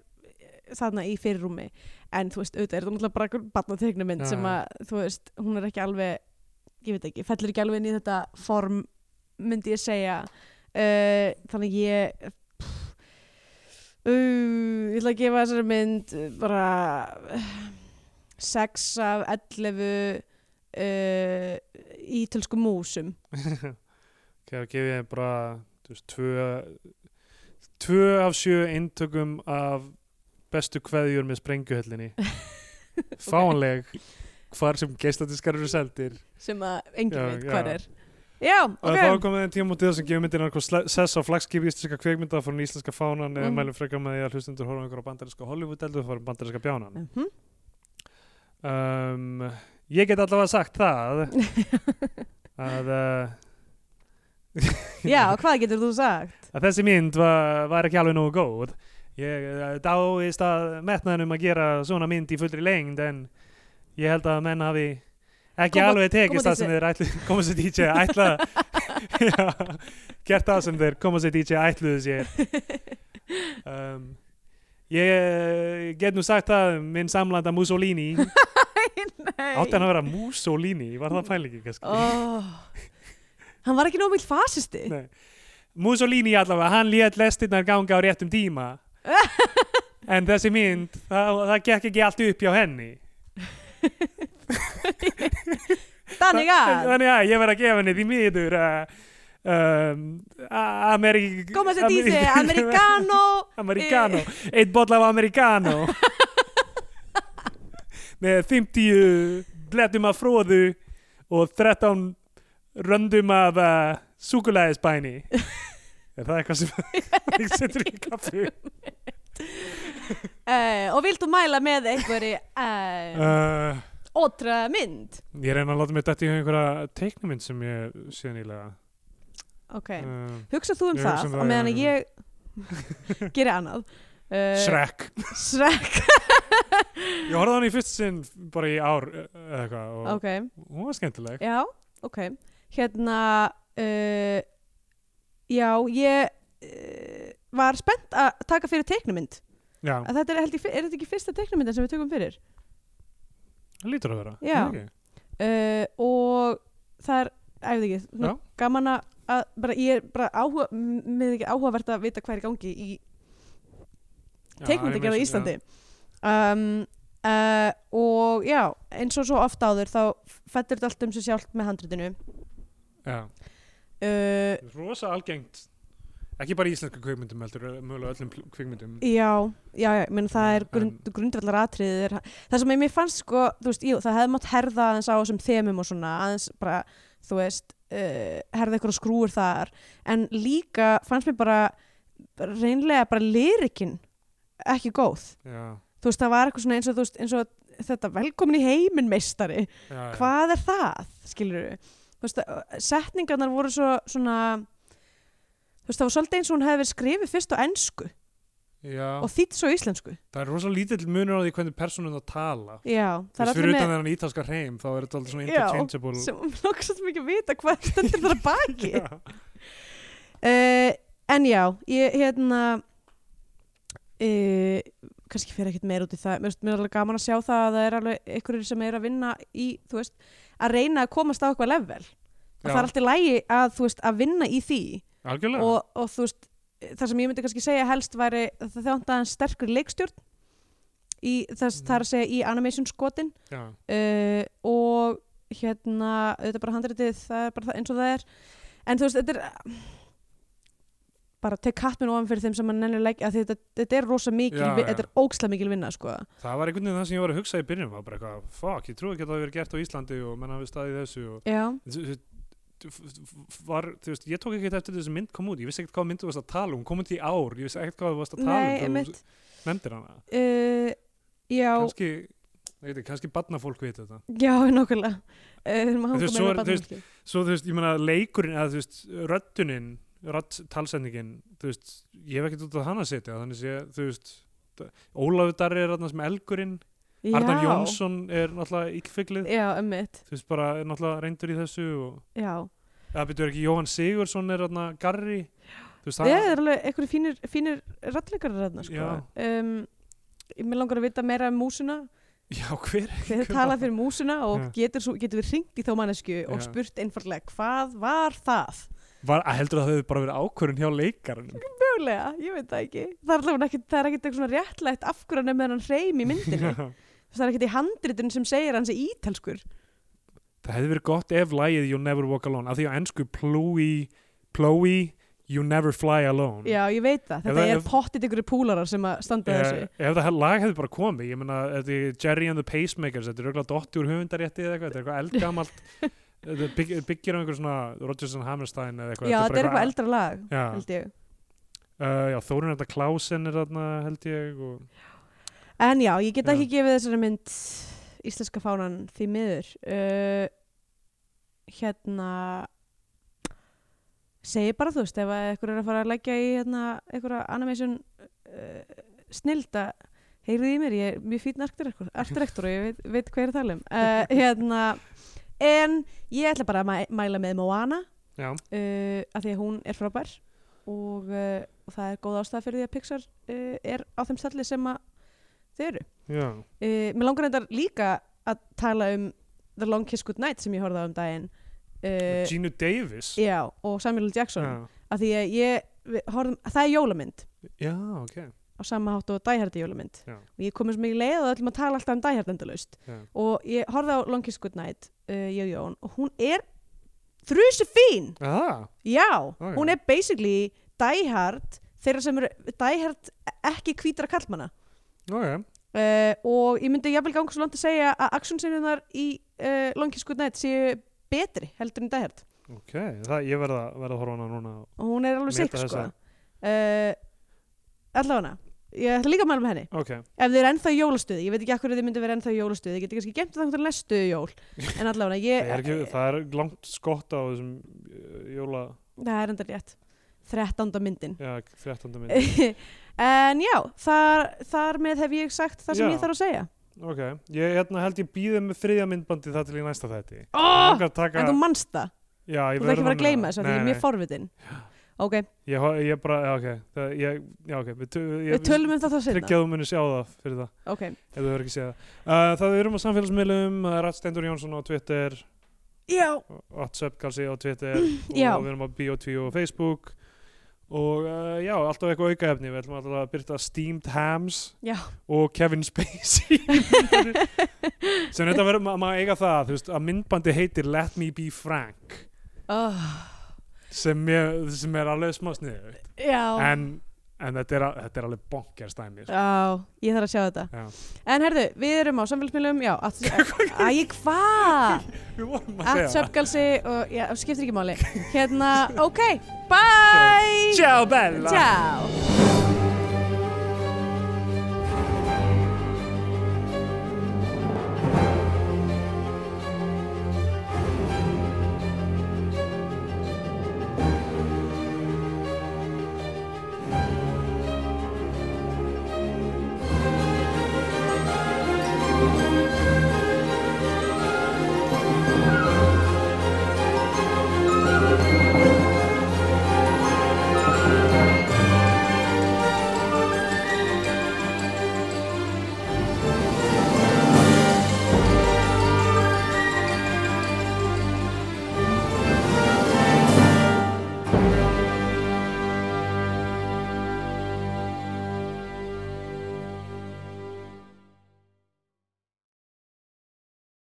S2: þarna í fyrirrúmi en þú veist, auðvitað er þetta náttúrulega bara batnatekna mynd
S3: Já,
S2: sem
S3: já.
S2: að þú veist, hún er ekki alveg ég veit ekki, fellur ekki alveg inn í þetta form myndi ég segja uh, þannig ég Uh, ég ætla að gefa þessari mynd uh, bara uh, 6 af 11 uh, ítölsku músum
S3: Ok, þá gef ég bara þú veist, tvö, tvö af sjö eintökum af bestu kveðjur með sprengjuhöllinni fáanleg hvar sem geisladiskar eru seldir
S2: sem að engin
S3: Já,
S2: veit
S3: já.
S2: hvað er Já,
S3: og þá er
S2: ok,
S3: komið þeim tíma mútið sem gefur myndin einhver sess á flagskipi íslenska kveikmynda frá den íslenska fánan eða
S2: Mhm.
S3: mælum frekar með því að hlustundur horfum einhver á bandarinska Hollywood-eldu og fórum bandarinska um bjánan
S2: mm -hmm.
S3: um, ég get allavega sagt það að uh,
S2: já, hvað getur þú sagt?
S3: að þessi mynd var, var ekki alveg nógu góð ég eh, dáist að metnaðinum að gera svona mynd í fullri lengd en ég held að menn hafi ekki
S2: Koma-
S3: alveg tekist
S2: koma
S3: það sem þeir ætlu, koma sér DJ ætla já, gert það sem þeir koma sér DJ ætluðu sér um, ég get nú sagt það um minn samlanda Mussolini
S2: Nei
S3: átti hann að vera Mussolini var það pælingi kannski
S2: oh. Hann var ekki nóg mjög fasisti
S3: Nei. Mussolini allavega, hann lét lestirnar ganga á réttum tíma en þessi mynd það, það gekk ekki allt upp hjá henni
S2: Þannig að,
S3: Þannig að ég verð að gefa henni því miður að um, a- Ameri-
S2: koma sér dísi,
S3: Ameri-
S2: americano
S3: Americano, eitt bolla af Americano með 50 blettum af fróðu og 13 röndum af uh, súkulæðisbæni er það eitthvað sem ég setur í kaffi
S2: uh, Og viltu mæla með einhverju uh,
S3: uh,
S2: otra mynd?
S3: ég reyna að láta mér dætt í hug einhverja teiknumynd sem ég sé nýlega
S2: Ok
S3: uh,
S2: Hugsa þú um
S3: Ég hugsa
S2: það
S3: um það,
S2: og meðan að
S3: já,
S2: ég gerir annað uh,
S3: Shrek
S2: Shrek
S3: ég horfði á hann í fyrst sinn bara í ár eh, eða eitthvað og
S2: Ok,
S3: hún var skemmtileg
S2: já, ok Hérna uh, Já, ég uh, var spennt að taka fyrir teiknumynd
S3: já,
S2: að þetta er, held ég, er þetta ekki fyrsta teiknumyndin sem við tökum fyrir
S3: það lítur að vera
S2: Já.
S3: Ok.
S2: uh, og það er, æfði ekki svona
S3: Já.
S2: gaman að að bara, ég er bara áhuga með ekki áhugavert að vita hvað er í gangi í
S3: Já,
S2: teikmyndagerð á
S3: animation,
S2: Íslandi um, uh, og já eins og svo oft áður þá fættir þetta allt um sig sjálft með handritinu
S3: já, já.
S2: uh,
S3: rosa algengt ekki bara í íslensku kvikmyndum heldur eh, mögulega öllum pl- kvikmyndum
S2: já, já, já menn, það er grund, grundvallar atriðið er, það sem ég mér fannst sko, þú veist, jú, það hefði mátt herða aðeins á þessum þemum og svona aðeins bara, þú veist uh, herða ykkur skrúur þar en líka fannst mér bara bara reynlega bara lyrikinn ekki góð,
S3: já,
S2: þú veist, það var eitthvað svona eins og, þú veist, eins og þetta velkomin í heiminn meistari
S3: já, já.
S2: hvað er það, skilur við þú veist, að- setningarnar voru svo svona þú veist, það var svolítið eins og hún hefði verið skrifið fyrst á ennsku
S3: já.
S2: og þýtt svo á íslensku
S3: það er rosa lítill munur á því hvernig personun það tala
S2: já, það
S3: það
S2: er
S3: fyrir
S2: allir með
S3: utan þennan ítalska hreim þá er þetta alltaf svona
S2: Já,
S3: interchangeable
S2: sem hún lókar svolítið mikið að vita hvað stendur þar að baki
S3: já,
S2: uh, en já, ég hérna uh, kannski fyrir ekkert meir út í það mér finnst mér er alveg gaman að sjá það að það er alveg einhverjir sem er að vinna í, þú veist að reyna að komast á eitthvað level og það
S3: Já.
S2: er alltaf lægi að, þú veist, að vinna í því
S3: algjörlega
S2: og, og þú veist, það sem ég myndi kannski segja helst væri að það þjónda hann sterkur leikstjórn í þess,
S3: Mhm.
S2: það er að segja í animation skotin
S3: já,
S2: uh, og hérna, auðvitað bara handritið það er bara það, eins og það er en þú veist, þetta er bara tek kattminn ofan fyrir þeim sem hann nennir leggja af því þetta, þetta er rosa mikil,
S3: Já,
S2: vi-
S3: já.
S2: þetta er ógsla mikil vinna sko.
S3: Það var einhvern veginn það sem ég var að hugsa í byrjunum var bara eitthvað, fuck, ég trúi ekki að það hafi verið gert á Íslandi og menn hafi staðið í þessu og
S2: já,
S3: þú- þú- þú- þú- var, þú veist, ég tók ekkert eftir þessu mynd kom út, ég vissi ekkert hvað mynd þú varst að tala um kom út í ár, ég vissi ekkert hvað þú varst að tala
S2: nei,
S3: um þegar
S2: einmitt
S3: þú nefndir hana
S2: uh, já,
S3: kannski, ég veit ekki, kannski barnafólk veit þetta
S2: já, nokkulega uh, þurfum að
S3: En þú
S2: hanga
S3: veist,
S2: með með
S3: svo er- þú veist,
S2: barnafólki.
S3: svo þú veist, ég meina leikurinn eða þú veist, röddunin rödd talsendingin, þú veist ég hef ekkert út á hana að setja, þannig sé þú veist, d- Ólafur Darri er þarna sem elgurinn, Arnar
S2: sko. Já.
S3: Jónsson er náttúrulega illfiglið,
S2: já, einmitt,
S3: þú veist bara er náttúrulega reyndur í þessu og,
S2: já
S3: eða betur ekki, Jóhann Sigursson er þarna Garri, þú veist
S2: það er alveg einhverju fínir, fínir rættleikar þarna sko. um, mér langar að vita meira um músuna
S3: já, hver
S2: hver talað fyrir músuna og
S3: Já.
S2: getur, svo, getur við ringt í þá mannesku og
S3: Já. fyrir
S2: spurt einfallega hvað var það?
S3: var, að heldur að það hefur bara verið ákvörun hjá leikarinn
S2: Mjögulega, ég veit það ekki það er allavega ekkit, það er ekkit eitthvað svona réttlætt af hverju hann er með hann hreim í myndinni það er ekkit í handritun sem segir hann sé ítalskur
S3: það hefði verið gott ef lagið You Never Walk Alone, af því á ennsku Plói, Plói You Never Fly Alone
S2: já, ég veit það,
S3: Mm. Ef
S2: þetta
S3: það-
S2: er
S3: ef-
S2: pottit ykkur púlarar sem að standa að
S3: Eh,
S2: þessu
S3: ef það lag hefði bara komið ég meina, þetta er Jerry and the Pacemakers þetta er auðvitað dotti úr höfundarétti eða eitthvað þetta er eitthvað eldgamalt þetta bygg, byggir á einhver svona Rodgers and Hammerstein eða eitthvað
S2: já, þetta er
S3: bara
S2: eitthvað eldra lag
S3: eitthvað-
S2: held ég.
S3: já, uh, já Þórun þetta Klausen er þarna held ég og,
S2: En já, ég get
S3: Já.
S2: ekki gefið þessari mynd íslenska fánan því miður. Uh, hérna, segi bara þú veist, ef að ykkur er að fara að leggja í hérna, einhverja animation uh, snilda, heyrið í mér, ég er mjög fínn arktirektor, arktirektor og ég veit, veit hver er að tala um. Uh, hérna, en ég ætla bara að mæ, mæla með Moana,
S3: já,
S2: uh, að því að hún er frábær og, uh, og það er góð ástæða fyrir því að Pixar uh, er á þeim stalli sem að þau eru.
S3: já,
S2: Uh, mér langar þetta líka að tala um The Long Kiss Goodnight sem ég horfði á um daginn uh,
S3: Eh, Gino Davis
S2: já, og Samuel L. Jackson
S3: já,
S2: af því að ég, við horfðum, það er jólamynd
S3: já, ok
S2: á sama hátt og dæhærdi jólamynd
S3: Já.
S2: og ég komið sem ég leið og öllum að tala alltaf um dæhærd endalaust
S3: Já.
S2: og ég horfði á Long Kiss Goodnight uh, ég og Jón og hún er þrjusu fín
S3: ah,
S2: Já,
S3: Ok.
S2: hún er basically Die Hard þeirra sem eru Die Hard ekki hvítra kallmana
S3: ok,
S2: uh, og ég myndi jafnvel ganga svo langt að segja að actionsinnunar í uh, Long Kiss Goodnight séu betri heldur en Die Hard
S3: ok það, ég verða verð að horfa á hana núna
S2: og hún er alveg
S3: Meta
S2: sikk sko
S3: þessa.
S2: uh, Allavega Ég ætla líka að mæla með henni
S3: ok,
S2: Ef þið eru ennþá í jólastuði, ég veit ekki akkur þið myndi vera ennþá í jólastuði Ég geti kannski gemt það að lestu jól En allavega, ég
S3: það er, ekki, það er langt skott á þessum eh, jóla,
S2: það er enda rétt 13. myndin
S3: já, 13. minn
S2: Eh. en já, þar, þar með hef ég sagt það sem
S3: Já.
S2: ég þarf að segja
S3: Ok, ég hérna, held ég býði með þriðja myndbandi þar til í næsta þætti.
S2: oh,
S3: Langar að taka...
S2: en þú manst það,
S3: já,
S2: þú
S3: ég
S2: ert ekki
S3: verð
S2: að fara að gleyma þessu af því
S3: Nei,
S2: ég er mjög
S3: nei.
S2: forvitin ok,
S3: Ég, ho- ég bara, já, ok. Það, ég, já, ok. Við, tu- ég,
S2: við tölum um það það
S3: Tryggja
S2: sinna
S3: að þú munir sjá það fyrir það,
S2: ok,
S3: ef þú hefur ekki séð það. Uh, það við erum á samfélagsmiðlum, uh, Rattstendur Jónsson á Twitter,
S2: já,
S3: WhatsApp Galsi á Twitter og
S2: Já.
S3: við erum á BO2 og Facebook og uh, já, alltaf eitthvað aukaefni. Við ætlum alltaf að byrta Steamed Hams
S2: Já.
S3: og Kevin Spacey. Sem þetta verður, ma- maður eiga það, þú veist, að myndbandi heitir Let Me Be Frank.
S2: oh,
S3: sem, ég, sem er alveg smá sniðu
S2: já
S3: en, en þetta, er, al- þetta er alveg bonkjast dæmi sko.
S2: Já, ég þarf að sjá þetta
S3: Já.
S2: En herðu, við erum á samfélagsmiðlum Já, að, að ég hvað
S3: við vorum að
S2: Allt
S3: segja
S2: söpgalsi og já, skiptir ekki máli Hérna, ok, bye
S3: það Ciao Bella
S2: Ciao